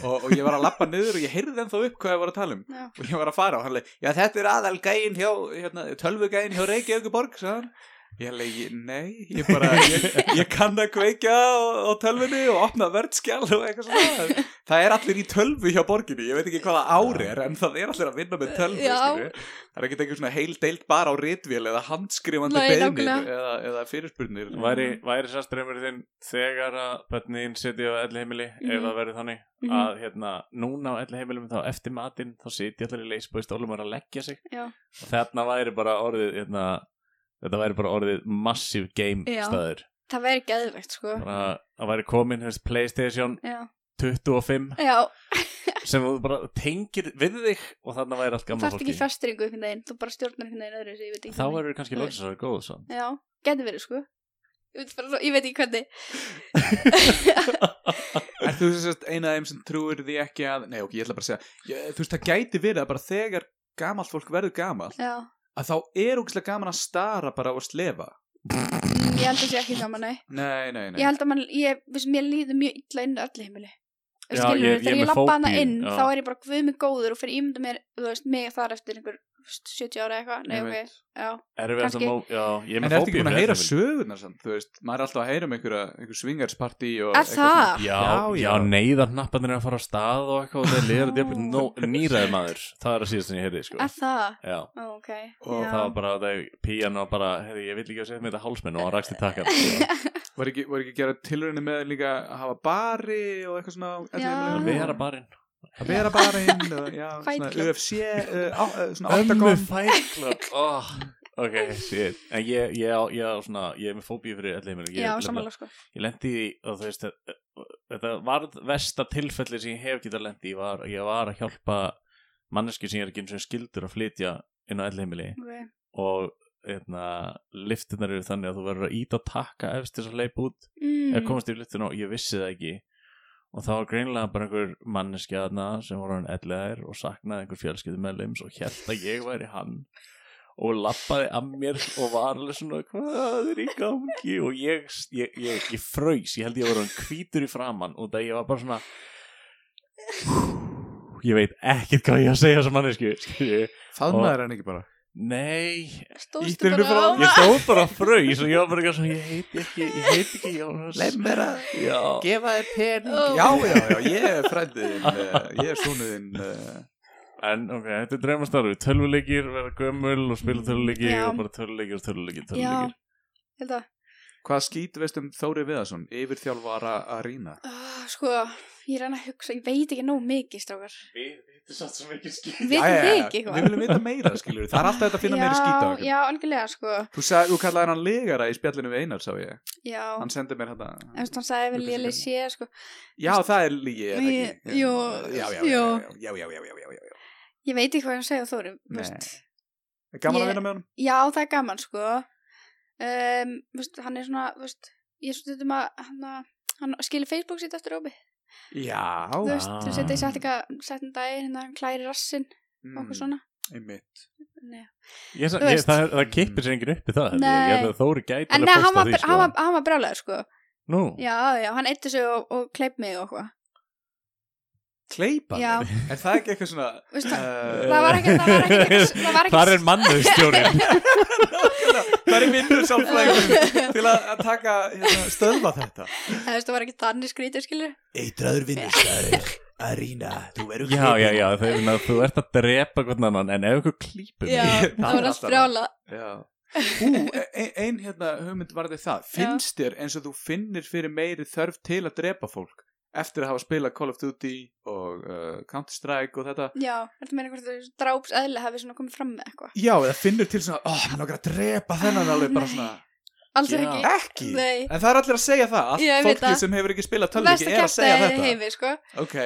[SPEAKER 2] og, og ég var að lappa niður og ég heyrði ennþá upp hvað ég var að tala um
[SPEAKER 5] Já.
[SPEAKER 2] og ég var að fara og hann leik, já þetta er aðal gæin hjá, hérna, tölvugæin hjá Reykjavíkuborg, sagði hann. Ég leik, nei, ég bara, ég, ég kann að kveikja á, á tölvunni og opna verðskjál og eitthvað svona. Það er allir í tölvu hjá borginni, ég veit ekki hvaða ári er, en það er allir að vinna með tölvu,
[SPEAKER 5] Já.
[SPEAKER 2] skilju. Það er ekkert einhver svona heil deilt bara á ritvél eða handskrifandi
[SPEAKER 5] Nei,
[SPEAKER 2] beðnir
[SPEAKER 5] nákvæmlega.
[SPEAKER 2] eða, eða fyrirspurnir.
[SPEAKER 5] Mm.
[SPEAKER 2] Mm.
[SPEAKER 3] Væri, væri sá streymur þinn þegar að bönnin setja á elli heimili ef
[SPEAKER 5] Mhm.
[SPEAKER 3] það verður þannig
[SPEAKER 5] Mhm.
[SPEAKER 3] að hérna núna á elli heimilum þá eftir matinn þá setja allir í leysbúi stólum og eru að leggja sig
[SPEAKER 5] Já.
[SPEAKER 3] og þarna væri bara orðið hérna, þetta væri bara orðið massive game
[SPEAKER 5] Já.
[SPEAKER 3] staður
[SPEAKER 5] það væri geðvegt, sko
[SPEAKER 3] bara að væri komin hefst, Playstation
[SPEAKER 5] Já,
[SPEAKER 3] 25
[SPEAKER 5] já
[SPEAKER 3] sem þú bara tengir við þig og þarna væri allt
[SPEAKER 5] þú
[SPEAKER 3] gamla
[SPEAKER 5] þarft ekki
[SPEAKER 3] fólki
[SPEAKER 5] festringu einhvern veginn Þú bara stjórnar einhvern veginn öðru, ég veit ekki
[SPEAKER 3] þá
[SPEAKER 5] hvernig.
[SPEAKER 3] verður við kannski
[SPEAKER 5] Þú
[SPEAKER 3] loksins að vera góð svo
[SPEAKER 5] Já, getur verið, sko Ég veit, bara, ég veit ekki hvernig
[SPEAKER 2] Er þú sem sagt eina af þeim sem trúir því ekki að, nei ok, ég ætla bara að segja, ég, þú veist það gæti verið að bara þegar gamalt fólk verður gamalt,
[SPEAKER 5] Já,
[SPEAKER 2] að þá er ógislega gaman að stara bara og slefa.
[SPEAKER 5] Mm, ég held að sé ekki gaman, nei
[SPEAKER 2] Nei, nei, nei.
[SPEAKER 5] Ég held að mann, ég, viðst, mér líður mjög illa inn á öllu heimili
[SPEAKER 3] Já,
[SPEAKER 5] Skilur,
[SPEAKER 3] ég- ég er
[SPEAKER 5] þegar ég
[SPEAKER 3] með
[SPEAKER 5] labba hana
[SPEAKER 3] fóbíu,
[SPEAKER 5] inn
[SPEAKER 3] já.
[SPEAKER 5] þá er ég bara guð mig góður og fyrir ímynda mér, þú veist, mig þar eftir einhver þú veist, 70 ára eða eitthvað, nei,
[SPEAKER 2] Ég veit.
[SPEAKER 5] ok, já
[SPEAKER 3] erum við
[SPEAKER 5] Kannski.
[SPEAKER 3] alltaf mó já, ég er
[SPEAKER 2] En
[SPEAKER 3] með
[SPEAKER 2] ertu ekki búin
[SPEAKER 3] fóbíu
[SPEAKER 2] að
[SPEAKER 3] fyrir
[SPEAKER 2] heyra
[SPEAKER 3] elli heimili.
[SPEAKER 2] sögurnar samt, þú veist, maður er alltaf að heyra um einhverja, einhver swingersparti og
[SPEAKER 5] Er það?
[SPEAKER 2] Já,
[SPEAKER 3] Já, já,
[SPEAKER 2] já.
[SPEAKER 3] já neyðarnapparnir er að fara á stað og eitthvað og þeir liður að djöfnir no, nýraði maður það er að síðast sem ég heyrði sko.
[SPEAKER 5] Er það?
[SPEAKER 3] Já,
[SPEAKER 5] Ó, ok,
[SPEAKER 2] Og
[SPEAKER 5] já
[SPEAKER 3] það var bara að þeir píjan og bara, heyrði, ég vil ekki að setja mér þetta hálsmenn og hann rakst í takkan sko.
[SPEAKER 2] Var ekki, var ekki að gera tilröðinu með líka að hafa bari og eitthvað svona á ellefu
[SPEAKER 5] Já.
[SPEAKER 2] heimilinu?
[SPEAKER 3] að vera barinn
[SPEAKER 2] að vera barinn og já,
[SPEAKER 5] Fight
[SPEAKER 2] svona
[SPEAKER 5] Club.
[SPEAKER 2] UFC uh, á, uh, svona oktagon
[SPEAKER 3] fæklöp oh, Ok, shit En ég, ég, á- ég, á svona, ég er með fóbíu fyrir allir heimil
[SPEAKER 5] Já, samanlega sko
[SPEAKER 3] Ég lendi í, og þú veist að- þetta varð versta tilfelli sem ég hef getað lendi í var, ég var að hjálpa manneski sem ég er ekki eins og skildur að flytja inn á allir heimili
[SPEAKER 5] Ok.
[SPEAKER 3] og eitna, liftunar eru þannig að þú verður að íta og taka efst til að leipa út
[SPEAKER 5] Mm.
[SPEAKER 3] eða komast yfir liftuna og ég vissi það ekki og það var greinlega bara einhver manneskja þarna sem voru hann ellegar og saknaði einhver fjölskyldum með lims og held að ég væri hann og lappaði að mér og var alveg svona hvað er í gangi og ég, ég, ég, ég fröys, ég held ég voru hann hvítur í framann og það ég var bara svona ég veit ekkert hvað ég á að segja sem mannesku skilju
[SPEAKER 2] faðmaður hann ekki bara
[SPEAKER 3] Nei,
[SPEAKER 5] Stóðstu
[SPEAKER 2] Ýtir henni
[SPEAKER 5] bara á
[SPEAKER 2] frá-
[SPEAKER 3] ég
[SPEAKER 5] það
[SPEAKER 3] stóð bara að fröys og ég var bara eitthvað svona, ég heiti ekki, ég heiti ekki Jónas
[SPEAKER 2] mér að
[SPEAKER 3] Já,
[SPEAKER 2] gefa þér pening
[SPEAKER 5] Ó.
[SPEAKER 2] já, já, já, ég er frændin uh, ég er svonuðin uh,
[SPEAKER 3] En ok, þetta er dreymastarfi, tölvuleikir, vera gömul og spila tölvuleikir
[SPEAKER 5] Já.
[SPEAKER 3] og bara tölvuleikir, tölvuleikir,
[SPEAKER 5] Já,
[SPEAKER 3] tölvuleikir.
[SPEAKER 5] held að
[SPEAKER 2] hvað skýt veist um Þóri Viðarsson yfir þjálfara að rýna
[SPEAKER 5] Ah, Sko, ég er hann að hugsa, ég veit ekki nóg mikið strákar
[SPEAKER 3] Við veitum satt sem ekki skil.
[SPEAKER 5] Vitum við ekki eitthvað?
[SPEAKER 2] við viljum vita meira, skiljur það er alltaf þetta að finna meiri skýta
[SPEAKER 5] Já, já, algjörlega sko
[SPEAKER 2] þú, sag, þú kallaði hann legara í spjallinu við Einar, sá ég
[SPEAKER 5] Já,
[SPEAKER 2] hann sendi mér þetta
[SPEAKER 5] en hann sagði vel ég leið sé sko
[SPEAKER 2] já, það er lígi, er það ekki
[SPEAKER 5] Ég- jú,
[SPEAKER 2] já, já, já,
[SPEAKER 5] jú.
[SPEAKER 2] já, já, já, já, já, já, já.
[SPEAKER 5] Ég veit ekki hvað hann segja Þóri þú veist.
[SPEAKER 2] Er gaman að
[SPEAKER 5] Ég-
[SPEAKER 2] vinna með honum
[SPEAKER 5] Já, það er gaman sko um, veist, Hann er svona, þú veist Ég er svona stundum að hann, að- hann skilir Facebook sitt eftir ópi Þú
[SPEAKER 2] já,
[SPEAKER 5] veist, þú veist, þetta ég sett ekki að setja daginn hérna, hann klæri rassinn
[SPEAKER 2] Mm.
[SPEAKER 5] og okkur svona
[SPEAKER 2] einmitt
[SPEAKER 5] Nei.
[SPEAKER 3] Ég, sa- ég,
[SPEAKER 5] Þú veist.
[SPEAKER 3] það, það kippir sér enginn upp í það. held Ég, ég
[SPEAKER 5] Nei.
[SPEAKER 3] held að Þóri gæti
[SPEAKER 5] En
[SPEAKER 3] alveg
[SPEAKER 5] neða, hann var,
[SPEAKER 3] postað því,
[SPEAKER 5] hann
[SPEAKER 2] sko.
[SPEAKER 5] var,
[SPEAKER 2] Oh.
[SPEAKER 5] hann var brjálæður sko
[SPEAKER 3] Nú,
[SPEAKER 5] Já, já, hann eittu sig og, og kleip mig og eitthvað
[SPEAKER 2] Kleipan?
[SPEAKER 5] Já.
[SPEAKER 2] Er það ekki eitthvað svona
[SPEAKER 5] Veist það-
[SPEAKER 2] uh,
[SPEAKER 5] það var ekki- það var ekki eitthvað- það var ekki-
[SPEAKER 3] Þar er mannustjórin
[SPEAKER 2] Það er vinnur sálfræðingum til að að taka, hérna, stöðva þetta
[SPEAKER 5] Það veist, það var ekki þannig skrítið, skilur
[SPEAKER 6] Eitraður vinnustæður Arína, þú verður
[SPEAKER 3] Já, já, já, það er svona Þú ert að drepa hvernig annan En ef ykkur klípur
[SPEAKER 5] Já,
[SPEAKER 2] Það
[SPEAKER 5] það var
[SPEAKER 2] er
[SPEAKER 5] allt
[SPEAKER 2] alltaf-
[SPEAKER 5] brjála
[SPEAKER 2] Já Ú, ein, ein hérna hugmynd varði það Finnst þér eins og þú finnir fyrir meiri þörf til að drepa fólk eftir að hafa spilað Call of Duty og uh, Counter-Strike og þetta
[SPEAKER 5] Já, þetta meina hvort þau dráps eðli hafi svona komið fram með eitthvað
[SPEAKER 2] Já, eða finnur til svona, ó, oh, hann okkar að drepa þennan
[SPEAKER 5] Ah,
[SPEAKER 2] alveg bara
[SPEAKER 5] nei.
[SPEAKER 2] svona
[SPEAKER 5] Alls er
[SPEAKER 3] Já.
[SPEAKER 5] ekki
[SPEAKER 2] Ekki?
[SPEAKER 5] Nei.
[SPEAKER 2] En það er allir að segja það, allt
[SPEAKER 5] Já, ég veit
[SPEAKER 2] fólkið
[SPEAKER 5] það.
[SPEAKER 2] sem hefur ekki spilað
[SPEAKER 5] Versta
[SPEAKER 2] tölviki er að segja
[SPEAKER 5] kjaftaði
[SPEAKER 2] þetta
[SPEAKER 5] heimi, sko
[SPEAKER 2] Ok,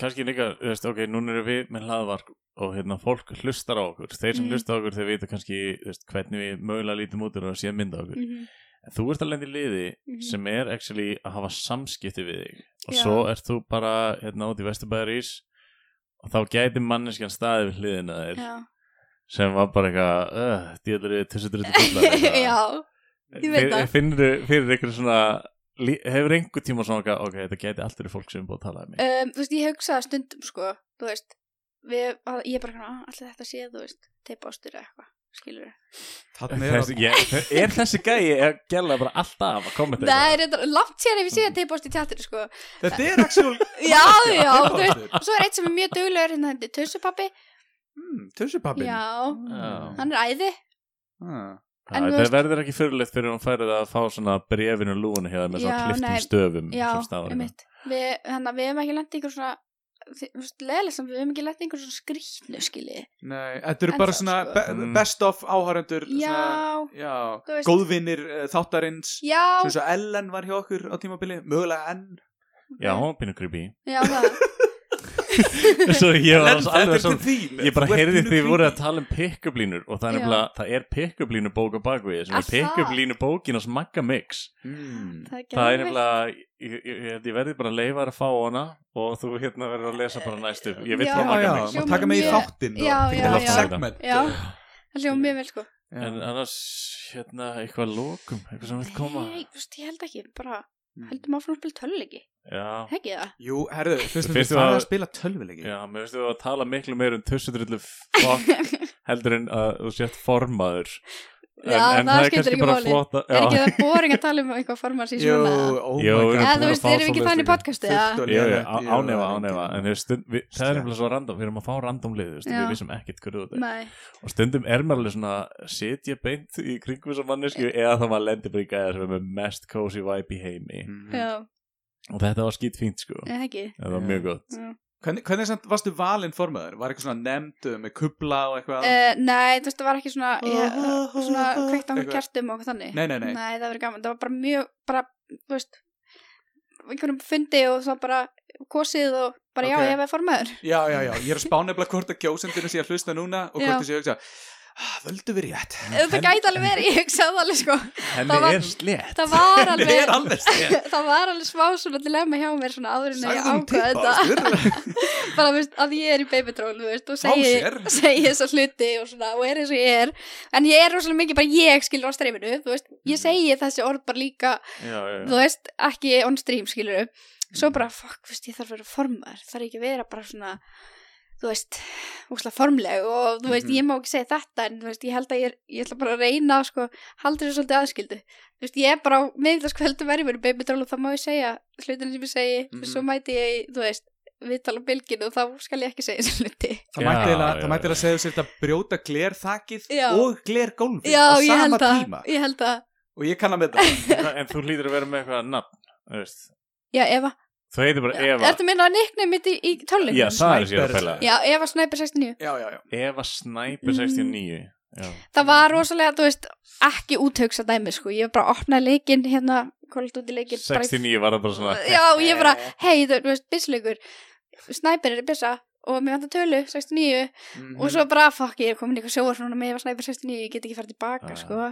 [SPEAKER 3] kannski líka, þú veist, ok, núna eru við með hlaðvarp og hérna fólk hlustar á okkur þeir sem
[SPEAKER 5] Mhm.
[SPEAKER 3] hlusta á okkur, þeir vita kannski þú veist, hvernig við mögulega lítum út og sé að mynda okkur
[SPEAKER 5] Mhm,
[SPEAKER 3] en þú ert að lenda í liði
[SPEAKER 5] Mhm.
[SPEAKER 3] sem er actually að hafa samskipti við þig og
[SPEAKER 5] Já.
[SPEAKER 3] svo ert þú bara hérna út í Vesturbæðarís og þá gæti manneskjan staði við hliðina þér
[SPEAKER 5] Já,
[SPEAKER 3] sem var bara eitthvað uh, dýðlar við þessu drötu
[SPEAKER 5] já ég veit það.
[SPEAKER 3] finnur fyrir einhver svona lí- hefur einhver tíma svona eitthvað, ok, þetta gæti allt fyrir fólk sem er búið að tala um mig
[SPEAKER 5] um, Þú veist, ég hugsaði stundum, sko Þú veist, við, að, ég er bara svona Allir þetta sé, þú veist, teipa ástur eða eitthvað Skilur
[SPEAKER 2] þannig er
[SPEAKER 3] Þessi,
[SPEAKER 2] að
[SPEAKER 3] ég, er þessi gæi að gæla bara alltaf að koma þetta
[SPEAKER 5] Nei, reyndar, langt sér ef ég sé að teipa ástur í tjáttir, sko
[SPEAKER 2] Þetta er actual
[SPEAKER 5] Já, já,
[SPEAKER 2] Teipa
[SPEAKER 5] þú veist
[SPEAKER 2] ástur.
[SPEAKER 5] Og svo er eitt sem er mjög duglegur hérna, þetta er Tussupappi
[SPEAKER 2] hmm, Tussupabin
[SPEAKER 5] Já,
[SPEAKER 3] Já.
[SPEAKER 5] hann er æði en
[SPEAKER 3] Það
[SPEAKER 5] þú
[SPEAKER 3] veist...
[SPEAKER 5] veist-
[SPEAKER 3] verður ekki fyrirlegt fyrir hún færið að fá svona brefinu lúinu hérna með svona
[SPEAKER 5] Já,
[SPEAKER 3] kliftum
[SPEAKER 5] nei.
[SPEAKER 3] stöfum
[SPEAKER 5] Já,
[SPEAKER 3] sem stafar hérna.
[SPEAKER 5] einmitt Við, þannig að við hefum ekki lent í einhver svona þi- þú veist, leðilega sem við hefum ekki lent í einhver svona skrýtnu skilji
[SPEAKER 2] Nei, þetta eru
[SPEAKER 5] En
[SPEAKER 2] bara
[SPEAKER 5] það,
[SPEAKER 2] svona
[SPEAKER 5] sko.
[SPEAKER 2] be
[SPEAKER 3] Mm.
[SPEAKER 2] best of áhærendur
[SPEAKER 5] Já,
[SPEAKER 2] já
[SPEAKER 5] þú veist.
[SPEAKER 2] Góðvinir uh, þáttarins
[SPEAKER 5] já,
[SPEAKER 2] Svo svo Ellen var hjá okkur á tímabili Mögulega enn
[SPEAKER 3] Já, hún var pínu creepy
[SPEAKER 5] já það
[SPEAKER 3] Svo ég var alveg
[SPEAKER 2] þetta
[SPEAKER 3] alveg
[SPEAKER 2] er til
[SPEAKER 3] svona
[SPEAKER 2] þín
[SPEAKER 3] Ég bara
[SPEAKER 2] Þú ert
[SPEAKER 3] heyrði
[SPEAKER 2] pínu
[SPEAKER 3] því voru að
[SPEAKER 2] creepy.
[SPEAKER 3] tala um pick-up línur og það er,
[SPEAKER 5] Já.
[SPEAKER 3] nefnilega- það er pick-up línu bók á bakvið sem
[SPEAKER 5] Er
[SPEAKER 3] er pick-up
[SPEAKER 5] það?
[SPEAKER 3] línu bókin á smagga mix
[SPEAKER 2] mm.
[SPEAKER 5] Það er,
[SPEAKER 3] Það er
[SPEAKER 5] geðveikt.
[SPEAKER 3] nefnilega, ég, ég, ég, held ég verði bara að leifa þér að fá hana og þú hérna verður að lesa bara næstu Ég vil
[SPEAKER 5] Já,
[SPEAKER 3] fá
[SPEAKER 2] Já, já,
[SPEAKER 3] magga mix
[SPEAKER 5] Hljómar
[SPEAKER 2] maður taka með í
[SPEAKER 5] mjög-
[SPEAKER 2] þáttinn
[SPEAKER 5] Já,
[SPEAKER 2] og
[SPEAKER 5] já,
[SPEAKER 2] Þetta er
[SPEAKER 5] já.
[SPEAKER 2] segment
[SPEAKER 5] Já, það hljóðum mjög vel sko
[SPEAKER 3] En uh, annars, hérna, eitthvað lókum, eitthvað sem vil koma
[SPEAKER 5] Nei, þú veist, ég held ekki, bara
[SPEAKER 2] Mm.
[SPEAKER 5] heldum áfram að spila töluleiki
[SPEAKER 3] Já,
[SPEAKER 5] Ekki það?
[SPEAKER 2] Jú, herðu, um fyrst
[SPEAKER 3] Fyrst
[SPEAKER 2] við
[SPEAKER 3] var-
[SPEAKER 2] fara að spila tölvileiki
[SPEAKER 3] Já, mér finnst þú að tala miklu meir um tussudrullu fokk heldur en að þú sért formaður en,
[SPEAKER 5] Já,
[SPEAKER 3] en
[SPEAKER 5] það
[SPEAKER 3] það er
[SPEAKER 5] skiptir
[SPEAKER 3] kannski
[SPEAKER 5] ekki
[SPEAKER 3] bara
[SPEAKER 5] máli.
[SPEAKER 3] flott að-
[SPEAKER 5] Er ekki
[SPEAKER 3] já,
[SPEAKER 5] það boring að tala um eitthvað formar sér
[SPEAKER 2] Jú,
[SPEAKER 5] svona
[SPEAKER 2] oh
[SPEAKER 3] Jú,
[SPEAKER 2] my god
[SPEAKER 3] við erum
[SPEAKER 5] Eða þú
[SPEAKER 3] búin að
[SPEAKER 5] veist,
[SPEAKER 3] fá
[SPEAKER 5] erum við ekki
[SPEAKER 3] svoleiðis
[SPEAKER 5] þannig
[SPEAKER 3] líka.
[SPEAKER 5] podcasti eða?
[SPEAKER 2] Fullt og
[SPEAKER 3] Jú, jú,
[SPEAKER 2] lélegt,
[SPEAKER 3] á-
[SPEAKER 2] jú,
[SPEAKER 3] ánefa,
[SPEAKER 2] það er
[SPEAKER 3] ánefa
[SPEAKER 2] ekki-
[SPEAKER 3] en þú veist, stund, við, það
[SPEAKER 2] Slæmt.
[SPEAKER 3] er nefnilega svo random við erum að fá random lið, þú veist,
[SPEAKER 5] Já.
[SPEAKER 3] við vissum ekkert hverju þetta er.
[SPEAKER 5] Nei,
[SPEAKER 3] og stundum er mér alveg svona setja beint í kringum þessar mannesku eða þá maður lendir bara í gæða sem er með mest cozy vibe í heimi
[SPEAKER 2] Mm.
[SPEAKER 5] já,
[SPEAKER 3] og þetta var skýt fínt sko,
[SPEAKER 5] eða ekki
[SPEAKER 3] það var
[SPEAKER 2] Já.
[SPEAKER 3] mjög gott
[SPEAKER 5] já.
[SPEAKER 2] Hvernig, hvernig samt varstu valinn formaður? Var eitthvað svona nefnd uh, með kubla og eitthvað?
[SPEAKER 5] Eh, Nei, þú veist, það var ekki svona ég- svona kveikt á einhver kertum og eitthvað þannig
[SPEAKER 2] nei, nei, nei,
[SPEAKER 5] Nei, það verið gaman, það var bara mjög bara, þú veist einhverjum fundi og þá bara kosið og bara
[SPEAKER 2] Ok.
[SPEAKER 5] já, ég verið formaður
[SPEAKER 2] Já, já, já, ég er að spá nefnilega hvort að kjósendinu sé að hlusta núna og
[SPEAKER 5] Já.
[SPEAKER 2] hvort þessi að hugsa "Ah, Völdu við rétt
[SPEAKER 5] Þetta gæti alveg verið, ég hugsaði það alveg sko
[SPEAKER 3] henni
[SPEAKER 5] Það var-
[SPEAKER 3] er slett
[SPEAKER 5] Það var
[SPEAKER 2] Það er
[SPEAKER 5] alveg
[SPEAKER 2] alveg stið
[SPEAKER 5] Það var alveg svá svona dilemma hjá mér svona áður en ég ákvaði þetta
[SPEAKER 2] þetta
[SPEAKER 5] bara þú veist, að ég er í baby troll þú veist, og
[SPEAKER 2] Fá
[SPEAKER 5] segi,
[SPEAKER 2] sér.
[SPEAKER 5] segi þessa hluti og, svona, og er eins og ég er en ég er rosalega mikið bara ég skilur á streyminu þú veist, ég segi þessi orð bara líka
[SPEAKER 3] já, já, já.
[SPEAKER 5] þú veist, ekki on stream skilur
[SPEAKER 2] Mm.
[SPEAKER 5] svo bara, fuck, þú veist, ég þarf að vera formar þarf ekki að vera bara svona þú veist, úsla formleg og þú veist,
[SPEAKER 2] Mhm.
[SPEAKER 5] ég má ekki segja þetta en þú veist, ég held að ég, er, ég ætla bara að reyna sko, haldur þessu svolítið aðskildu þú veist, ég er bara á miðvitaðskvöldum verið mér í baby troll og þá má ég segja hlutinu sem ég segi
[SPEAKER 2] Mhm.
[SPEAKER 5] svo mæti ég, í, þú veist, við tala um bylginu og þá skal ég ekki segja þessu hluti
[SPEAKER 2] Það
[SPEAKER 3] Já,
[SPEAKER 2] mætti eiginlega-
[SPEAKER 3] já,
[SPEAKER 2] það mætti
[SPEAKER 3] já.
[SPEAKER 2] eiginlega að segja sér þetta brjóta glerþakið
[SPEAKER 5] Já.
[SPEAKER 2] og glergólfið
[SPEAKER 5] Já,
[SPEAKER 2] á
[SPEAKER 5] ég
[SPEAKER 2] sama
[SPEAKER 5] held að,
[SPEAKER 2] tíma
[SPEAKER 5] ég held að
[SPEAKER 2] og ég kann að með það
[SPEAKER 3] En- en þú hlýtur að vera með eitthvað nafn þú veist.
[SPEAKER 5] Já, Eva,
[SPEAKER 3] þú heitir bara Eva
[SPEAKER 5] ertu minna að nikna mitt í, í tölum?
[SPEAKER 3] Já, það er sér að
[SPEAKER 2] Sniper.
[SPEAKER 3] pæla
[SPEAKER 5] Já, Eva Snæper 69
[SPEAKER 2] Já, já, já
[SPEAKER 3] Eva Snæper 69 Já,
[SPEAKER 5] Það var rosalega, þú veist, ekki úthugsa dæmi, sko Ég bara opnaði leikinn hérna, kólaði út í leikinn bara í-
[SPEAKER 3] 69 var það bara svona
[SPEAKER 5] Já, ég bara, hei, þú þú veist, byssleikur Snæper er byssa og mér vantar tölu, 69
[SPEAKER 2] Mhm.
[SPEAKER 5] Og svo bara, fuck, ég er komin í eitthvað sjóar núna með Eva Snæper 69 Ég get ekki farið tilbaka,
[SPEAKER 3] Ah.
[SPEAKER 5] sko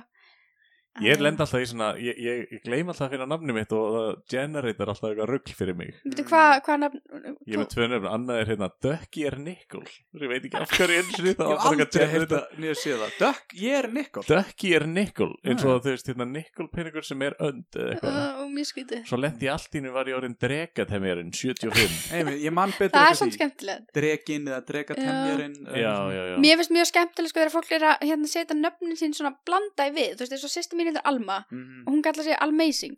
[SPEAKER 3] Ég lend alltaf í svona, ég, ég, ég gleym alltaf að finna nafni mitt og það generator alltaf eitthvað rugg fyrir mig.
[SPEAKER 5] Veitu hvað hva nafn
[SPEAKER 3] Ég er með tvö nöfn, annað er hérna Ducky er Nickel. Ég veit ekki af hverju eins og það
[SPEAKER 2] Ég hef
[SPEAKER 3] var bara eitthvað
[SPEAKER 2] aldrei heyrt
[SPEAKER 3] generator.
[SPEAKER 2] það Mér séð það Dökk, ég er Nikol
[SPEAKER 3] Ducky er Nickel, eins og þú veist hérna Nickel pinningur sem er önd eða eitthvað.
[SPEAKER 5] og mjög Ah, skrítið
[SPEAKER 3] Svo lendi ég allt íni var ég orðin dregatemjarinn 75.
[SPEAKER 2] Einmi, Ég man betur
[SPEAKER 5] það
[SPEAKER 2] eftir
[SPEAKER 5] er samt
[SPEAKER 2] því.
[SPEAKER 5] skemmtilegt
[SPEAKER 2] Drekinn eða drekatemjarinn
[SPEAKER 3] já, já, já.
[SPEAKER 5] mér finnst mjög skemmtilegt sko þegar fólk er að hérna, setja nöfnin sín svona blanda í við þú veist eins og sýsti mín heitir Alma og
[SPEAKER 2] Mhm.
[SPEAKER 5] hún kallar sig Almazing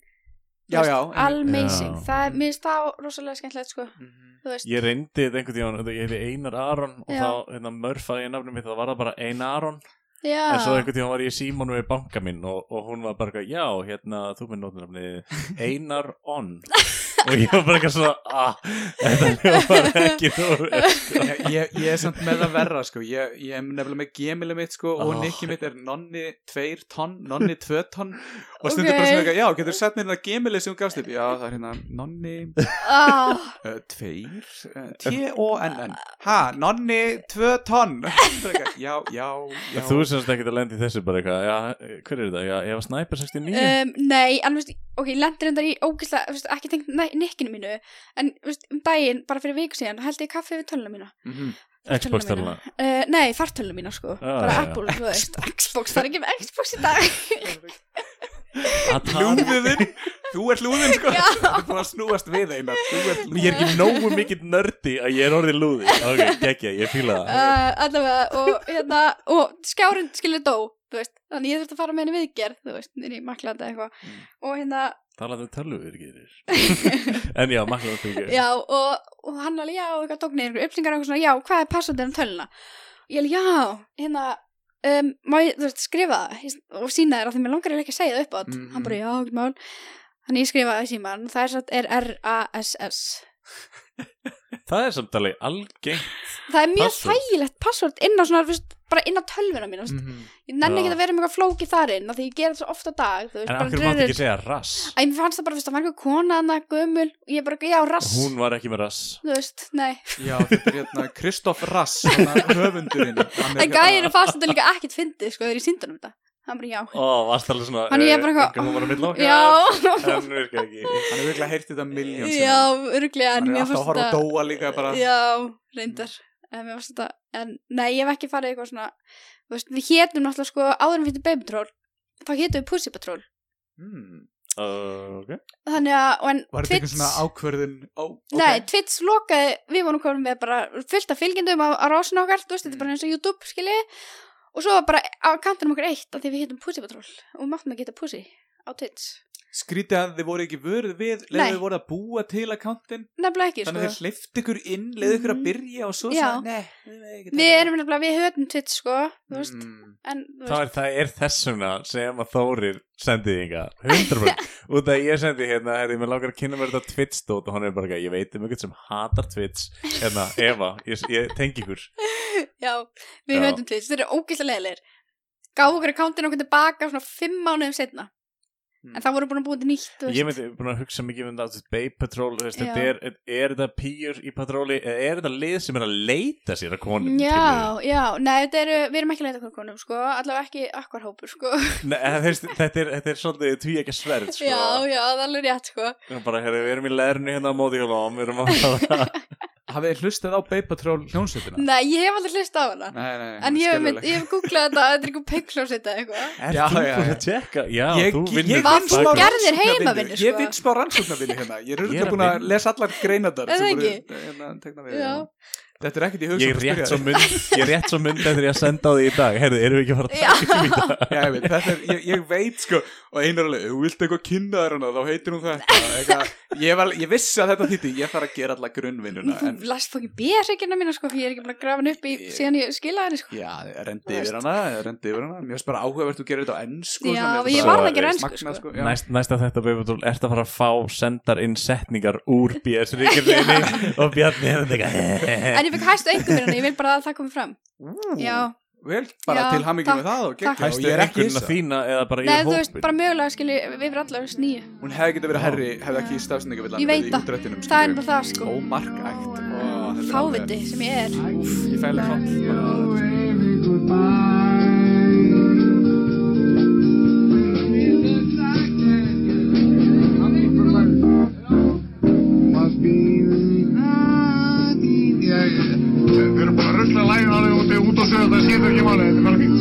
[SPEAKER 5] Þú
[SPEAKER 2] Já,
[SPEAKER 5] veist,
[SPEAKER 2] já, einmitt.
[SPEAKER 5] Almazing,
[SPEAKER 3] Já.
[SPEAKER 5] það er, mér finnst það rosalega skemmtilegt sko
[SPEAKER 2] Mhm.
[SPEAKER 5] þú veist
[SPEAKER 3] Ég reyndi þetta einhvern tíðan, þetta- ég heiti Einar Aron og
[SPEAKER 5] Já.
[SPEAKER 3] þá hérna, mörfaði ég nafnum mitt, það var það bara Einar Aron
[SPEAKER 5] já,
[SPEAKER 3] En svo einhvern tíma var ég í símónu við banka minn og, og hún var bara eitthvað, já, hérna, þú minn nótunafni Einar On og ég var bara eitthvað svona, ah, þetta var ekki þú
[SPEAKER 2] Ég- ég, ég er samt með það verra sko. ég, ég er nefnilega með gemili mitt sko, og
[SPEAKER 3] Ah.
[SPEAKER 2] nikki mitt er nonni 2 tonn nonni 2 tonn og stundur
[SPEAKER 5] Ok.
[SPEAKER 2] bara svona eitthvað, já, getur sett mér það gemili sem hún gafst upp, já, það er hérna nonni
[SPEAKER 5] Ah,
[SPEAKER 2] uh, 2 uh, T-O-N-N ha, nonni 2 tonn Bara eitthvað, já, já, já
[SPEAKER 3] Þú semst ekki að lendi þessu bara eitthvað, já, hver er þetta, já, ég var Sniper 69
[SPEAKER 5] um, nei, en þú veist ok, ég lendir undar í ógislega, þú veist, ekki tengt næ- nikkinu mínu, en þú veist, um daginn bara fyrir viku síðan, held ég kaffi við töluna mína
[SPEAKER 2] Mhm.
[SPEAKER 3] Xbox töluna
[SPEAKER 5] uh, nei, fartöluna mína sko,
[SPEAKER 3] Ah,
[SPEAKER 5] bara
[SPEAKER 3] já, já.
[SPEAKER 5] Apple, þú veist Xbox, það er ekki með Xbox í dag
[SPEAKER 3] Að tala-
[SPEAKER 2] Lúðin, þú ert lúðin sko
[SPEAKER 5] Já.
[SPEAKER 2] Þú ert búin að snúast við eina Þú ert lúðin
[SPEAKER 3] Ég er ekki nógu mikill nördi að ég er orðið lúði Ok, geggja, ég fíla það
[SPEAKER 5] uh, allavega, og hérna og skjárund skilur dó, þú veist þannig ég þurfti að fara með henni viðgerð, þú veist inn í maklanda eitthvað,
[SPEAKER 3] Mm.
[SPEAKER 5] og hérna
[SPEAKER 3] Talaðu um tölvur, gerir En já, makkum það fyrir
[SPEAKER 5] já, og, og hann alveg, já, og eitthvað tók niður einhverju upplýsingar, og eitthvað svona, já, hvað er passandinn um töluna ég alveg, já, hérna um, má ég, þú veist, skrifa það Ég- og sína þér að því mér langar eiginlega ekki að segja það upp átt
[SPEAKER 2] Mhm.
[SPEAKER 5] hann bara, já, ekki mál þannig ég skrifaði það í síman, það er satt er R-A-S-S
[SPEAKER 3] Það er samt alveg algeng
[SPEAKER 5] það er mjög
[SPEAKER 3] Password.
[SPEAKER 5] þægilegt password inn á svona, þú veist, bara inn á tölvuna mín, þú veist,
[SPEAKER 2] Mhm.
[SPEAKER 5] Ég nenni
[SPEAKER 3] Já.
[SPEAKER 5] ekki að vera með eitthvað flókið þar inn af því ég gera þetta svo ofta dag þú veist,
[SPEAKER 3] Mm. En
[SPEAKER 5] bara
[SPEAKER 3] af hverju máttu
[SPEAKER 5] drullur.
[SPEAKER 3] ekki segja rass?
[SPEAKER 5] Æ, mér fannst það bara, þú veist, það var einhver kona annað gömul og ég bara, já, rass
[SPEAKER 3] Hún var ekki með rass
[SPEAKER 5] þú veist, nei
[SPEAKER 2] Já, þetta er hérna Kristoff Rass hann er höfundurinn Hann er hérna-
[SPEAKER 5] en gæðin og fastan er líka ekkit fyndið, sko, þegar ég síndi honum þetta hann bara, já,
[SPEAKER 3] Ó, varst alveg svona
[SPEAKER 5] Hann er bara eitthvað-
[SPEAKER 3] Hún var að milla okkar
[SPEAKER 5] já
[SPEAKER 3] En virka ekki
[SPEAKER 2] Hann hefur virkilega heyrt þetta miljón
[SPEAKER 5] já, örglega, en
[SPEAKER 2] Hann er
[SPEAKER 5] mér
[SPEAKER 2] alltaf að
[SPEAKER 5] fannst
[SPEAKER 2] horfa að
[SPEAKER 5] þetta
[SPEAKER 2] dóa líka bara
[SPEAKER 5] já, reyndar en mér fannst þetta, en nei, ég hef ekki farið í eitthvað svona, þú veist, við hétum náttúrulega sko, áður en við hétum Baby Patrol þá hétum við Pussy Patrol
[SPEAKER 2] hmm.
[SPEAKER 3] uh, Ok
[SPEAKER 5] þannig að, og en
[SPEAKER 2] Var þetta eitthvað svona ákverðin Ó, ok.
[SPEAKER 5] Nei, Twitch lokaði, við vorum komin með bara fullt af fylgjendum á, á rásin okkar, þú veist, þetta er bara eins og YouTube, skiljiði, og svo var bara á kantinum okkar eitt, af því við hittum Pussy Patrol og við máttum að geta Pussy á Twitch.
[SPEAKER 2] Skrítið að þið voru ekki vörð við
[SPEAKER 5] Nei.
[SPEAKER 2] Leðið þið voru að búa til akkántin
[SPEAKER 5] Nefnilega ekki,
[SPEAKER 2] Þannig að
[SPEAKER 5] sko.
[SPEAKER 2] þið hlifti ykkur inn Leðið ykkur að
[SPEAKER 5] Mhm.
[SPEAKER 2] byrja og svo
[SPEAKER 5] Já.
[SPEAKER 2] svona, Nei, við megum ekki
[SPEAKER 5] Við
[SPEAKER 2] taka
[SPEAKER 5] erum nefnilega, við höfum Twitch, sko, þú veist,
[SPEAKER 2] Mm.
[SPEAKER 5] en, þú
[SPEAKER 3] Það er,
[SPEAKER 5] veist,
[SPEAKER 3] það er þessuna sem að Þórir sendið þinga 100% Út af að ég sendi hérna Hérna, ég með langar að kynna mér þetta Twitch dót Og hann er bara ekki Ég veit um ykkur sem hatar Twitch Hérna, Eva Ég, ég tengi ykkur
[SPEAKER 5] já,
[SPEAKER 3] Já.
[SPEAKER 5] við höfum Twitch, þeir eru ógæslega leðilegir. Gáðu okkar kantinum okkur tilbaka svona fimm mánuðum setna,
[SPEAKER 2] Mm.
[SPEAKER 5] en það voru búin að búin til nýtt, þú
[SPEAKER 3] Ég
[SPEAKER 5] veist.
[SPEAKER 3] myndi búin að hugsa mikið um þetta þú veist, Bay Patrol, þú veist,
[SPEAKER 5] Já.
[SPEAKER 3] þetta er, er þetta pýjur í patróli, eða er þetta lið sem er að leita sér að konum skilurðu?
[SPEAKER 5] Já, já, nei, þetta eru, við erum ekki leita okkur konum, sko, allavega ekki okkar hópur, sko.
[SPEAKER 3] Nei, en þú veist, þetta, er, þetta er svolítið tví ekki sverð sko.
[SPEAKER 5] Já, já, það er alveg rétt, sko.
[SPEAKER 3] Og bara, herri, við erum í lærinu hérna á móti og lóm, við erum að fara
[SPEAKER 2] Hafið þið hlustað á Bay Patrol hljónsveitina?
[SPEAKER 5] Nei, ég hef aldrei hlust á hana
[SPEAKER 2] Nei, nei,
[SPEAKER 5] En ég hef, mynd,
[SPEAKER 2] skelfilegt.
[SPEAKER 5] ég hef googlað þetta Þetta er eitthvað peiklósita eitthvað
[SPEAKER 3] Er
[SPEAKER 2] Já,
[SPEAKER 3] þú
[SPEAKER 2] já,
[SPEAKER 3] búin
[SPEAKER 2] já.
[SPEAKER 3] að tjekka? Já,
[SPEAKER 2] Ég,
[SPEAKER 3] þú
[SPEAKER 2] ég,
[SPEAKER 3] vinnur
[SPEAKER 2] ég
[SPEAKER 5] vinn
[SPEAKER 2] vinn
[SPEAKER 5] smá
[SPEAKER 2] smá
[SPEAKER 5] Gerðir
[SPEAKER 2] rannsóknarvinnu.
[SPEAKER 5] heimavinnu,
[SPEAKER 2] Ég
[SPEAKER 5] sko.
[SPEAKER 2] vinn smá rannsóknarvinni hérna Ég er
[SPEAKER 3] Ég er
[SPEAKER 2] auðvitað
[SPEAKER 3] að
[SPEAKER 2] búin að
[SPEAKER 3] vinna.
[SPEAKER 2] lesa allar greinadar
[SPEAKER 5] Er það
[SPEAKER 2] sem voru
[SPEAKER 5] ekki?
[SPEAKER 2] hérna, teknar við,
[SPEAKER 5] Já.
[SPEAKER 2] já. Þetta er ekkert í hugsa
[SPEAKER 3] Ég er rétt svo mynd, ég er rétt svo mynd eftir ég að senda á því í dag Herri, erum við ekki að fara að
[SPEAKER 5] Já,
[SPEAKER 2] Já, ég veit, þetta er, ég, ég veit sko og einar alveg, þú vilt eitthvað kynna þér hana þá heitir hún þetta eitthvað, ég, var, ég vissi að þetta þýtti, ég þarf að gera alla grunnvinnuna
[SPEAKER 5] þú
[SPEAKER 2] en
[SPEAKER 5] last fókin bérreikina mína sko Því ég er ekki búin að grafa hann upp í
[SPEAKER 2] Ég-
[SPEAKER 5] síðan ég skilaði henni sko
[SPEAKER 2] já, rendi yfir hana, rendi yfir hana mér finnst bara áhugavert þú gerir þetta á ennsku
[SPEAKER 5] Já,
[SPEAKER 2] svona, mér finnst
[SPEAKER 5] ég
[SPEAKER 2] bara
[SPEAKER 5] varð ekki
[SPEAKER 3] svo-
[SPEAKER 5] reynsku sko,
[SPEAKER 2] magnað, sko, já.
[SPEAKER 3] Næst, næsta þetta beifutúl, ert að fara að fá sendar inn setningar úr BS Ríkjörðinni og Bjarni
[SPEAKER 2] hérna
[SPEAKER 3] hefði þetta
[SPEAKER 5] En ég fikk hæstu einhver fyrir henni, ég vil bara að það komi fram Já,
[SPEAKER 2] vel, bara
[SPEAKER 5] Já,
[SPEAKER 2] til hamingjum með
[SPEAKER 5] takk,
[SPEAKER 2] það og,
[SPEAKER 5] takk.
[SPEAKER 2] geggjað, og
[SPEAKER 3] Hæstu
[SPEAKER 2] ég er ekki
[SPEAKER 3] einhverjuna
[SPEAKER 2] hissa
[SPEAKER 3] þína eða bara
[SPEAKER 5] nei
[SPEAKER 3] yfir
[SPEAKER 5] þú veist,
[SPEAKER 3] hópin
[SPEAKER 5] bara mögulega skilji Við erum allavega sníu
[SPEAKER 2] hún hefði getið verið herri, hefði ekki stafsendingavillan
[SPEAKER 5] Ég veit
[SPEAKER 2] verið í
[SPEAKER 5] það.
[SPEAKER 2] útrættinum
[SPEAKER 5] Það er bara það, sko.
[SPEAKER 2] ómarkægt Ó, þetta er
[SPEAKER 5] Fáviti sem ég er
[SPEAKER 2] alveg- Úff, ég fæli hlátt
[SPEAKER 1] Waving goodbye. Make me Við erum bara að rusla lægin alveg úti út á söðu, það skiptir ekki máli, þetta er alveg fínt.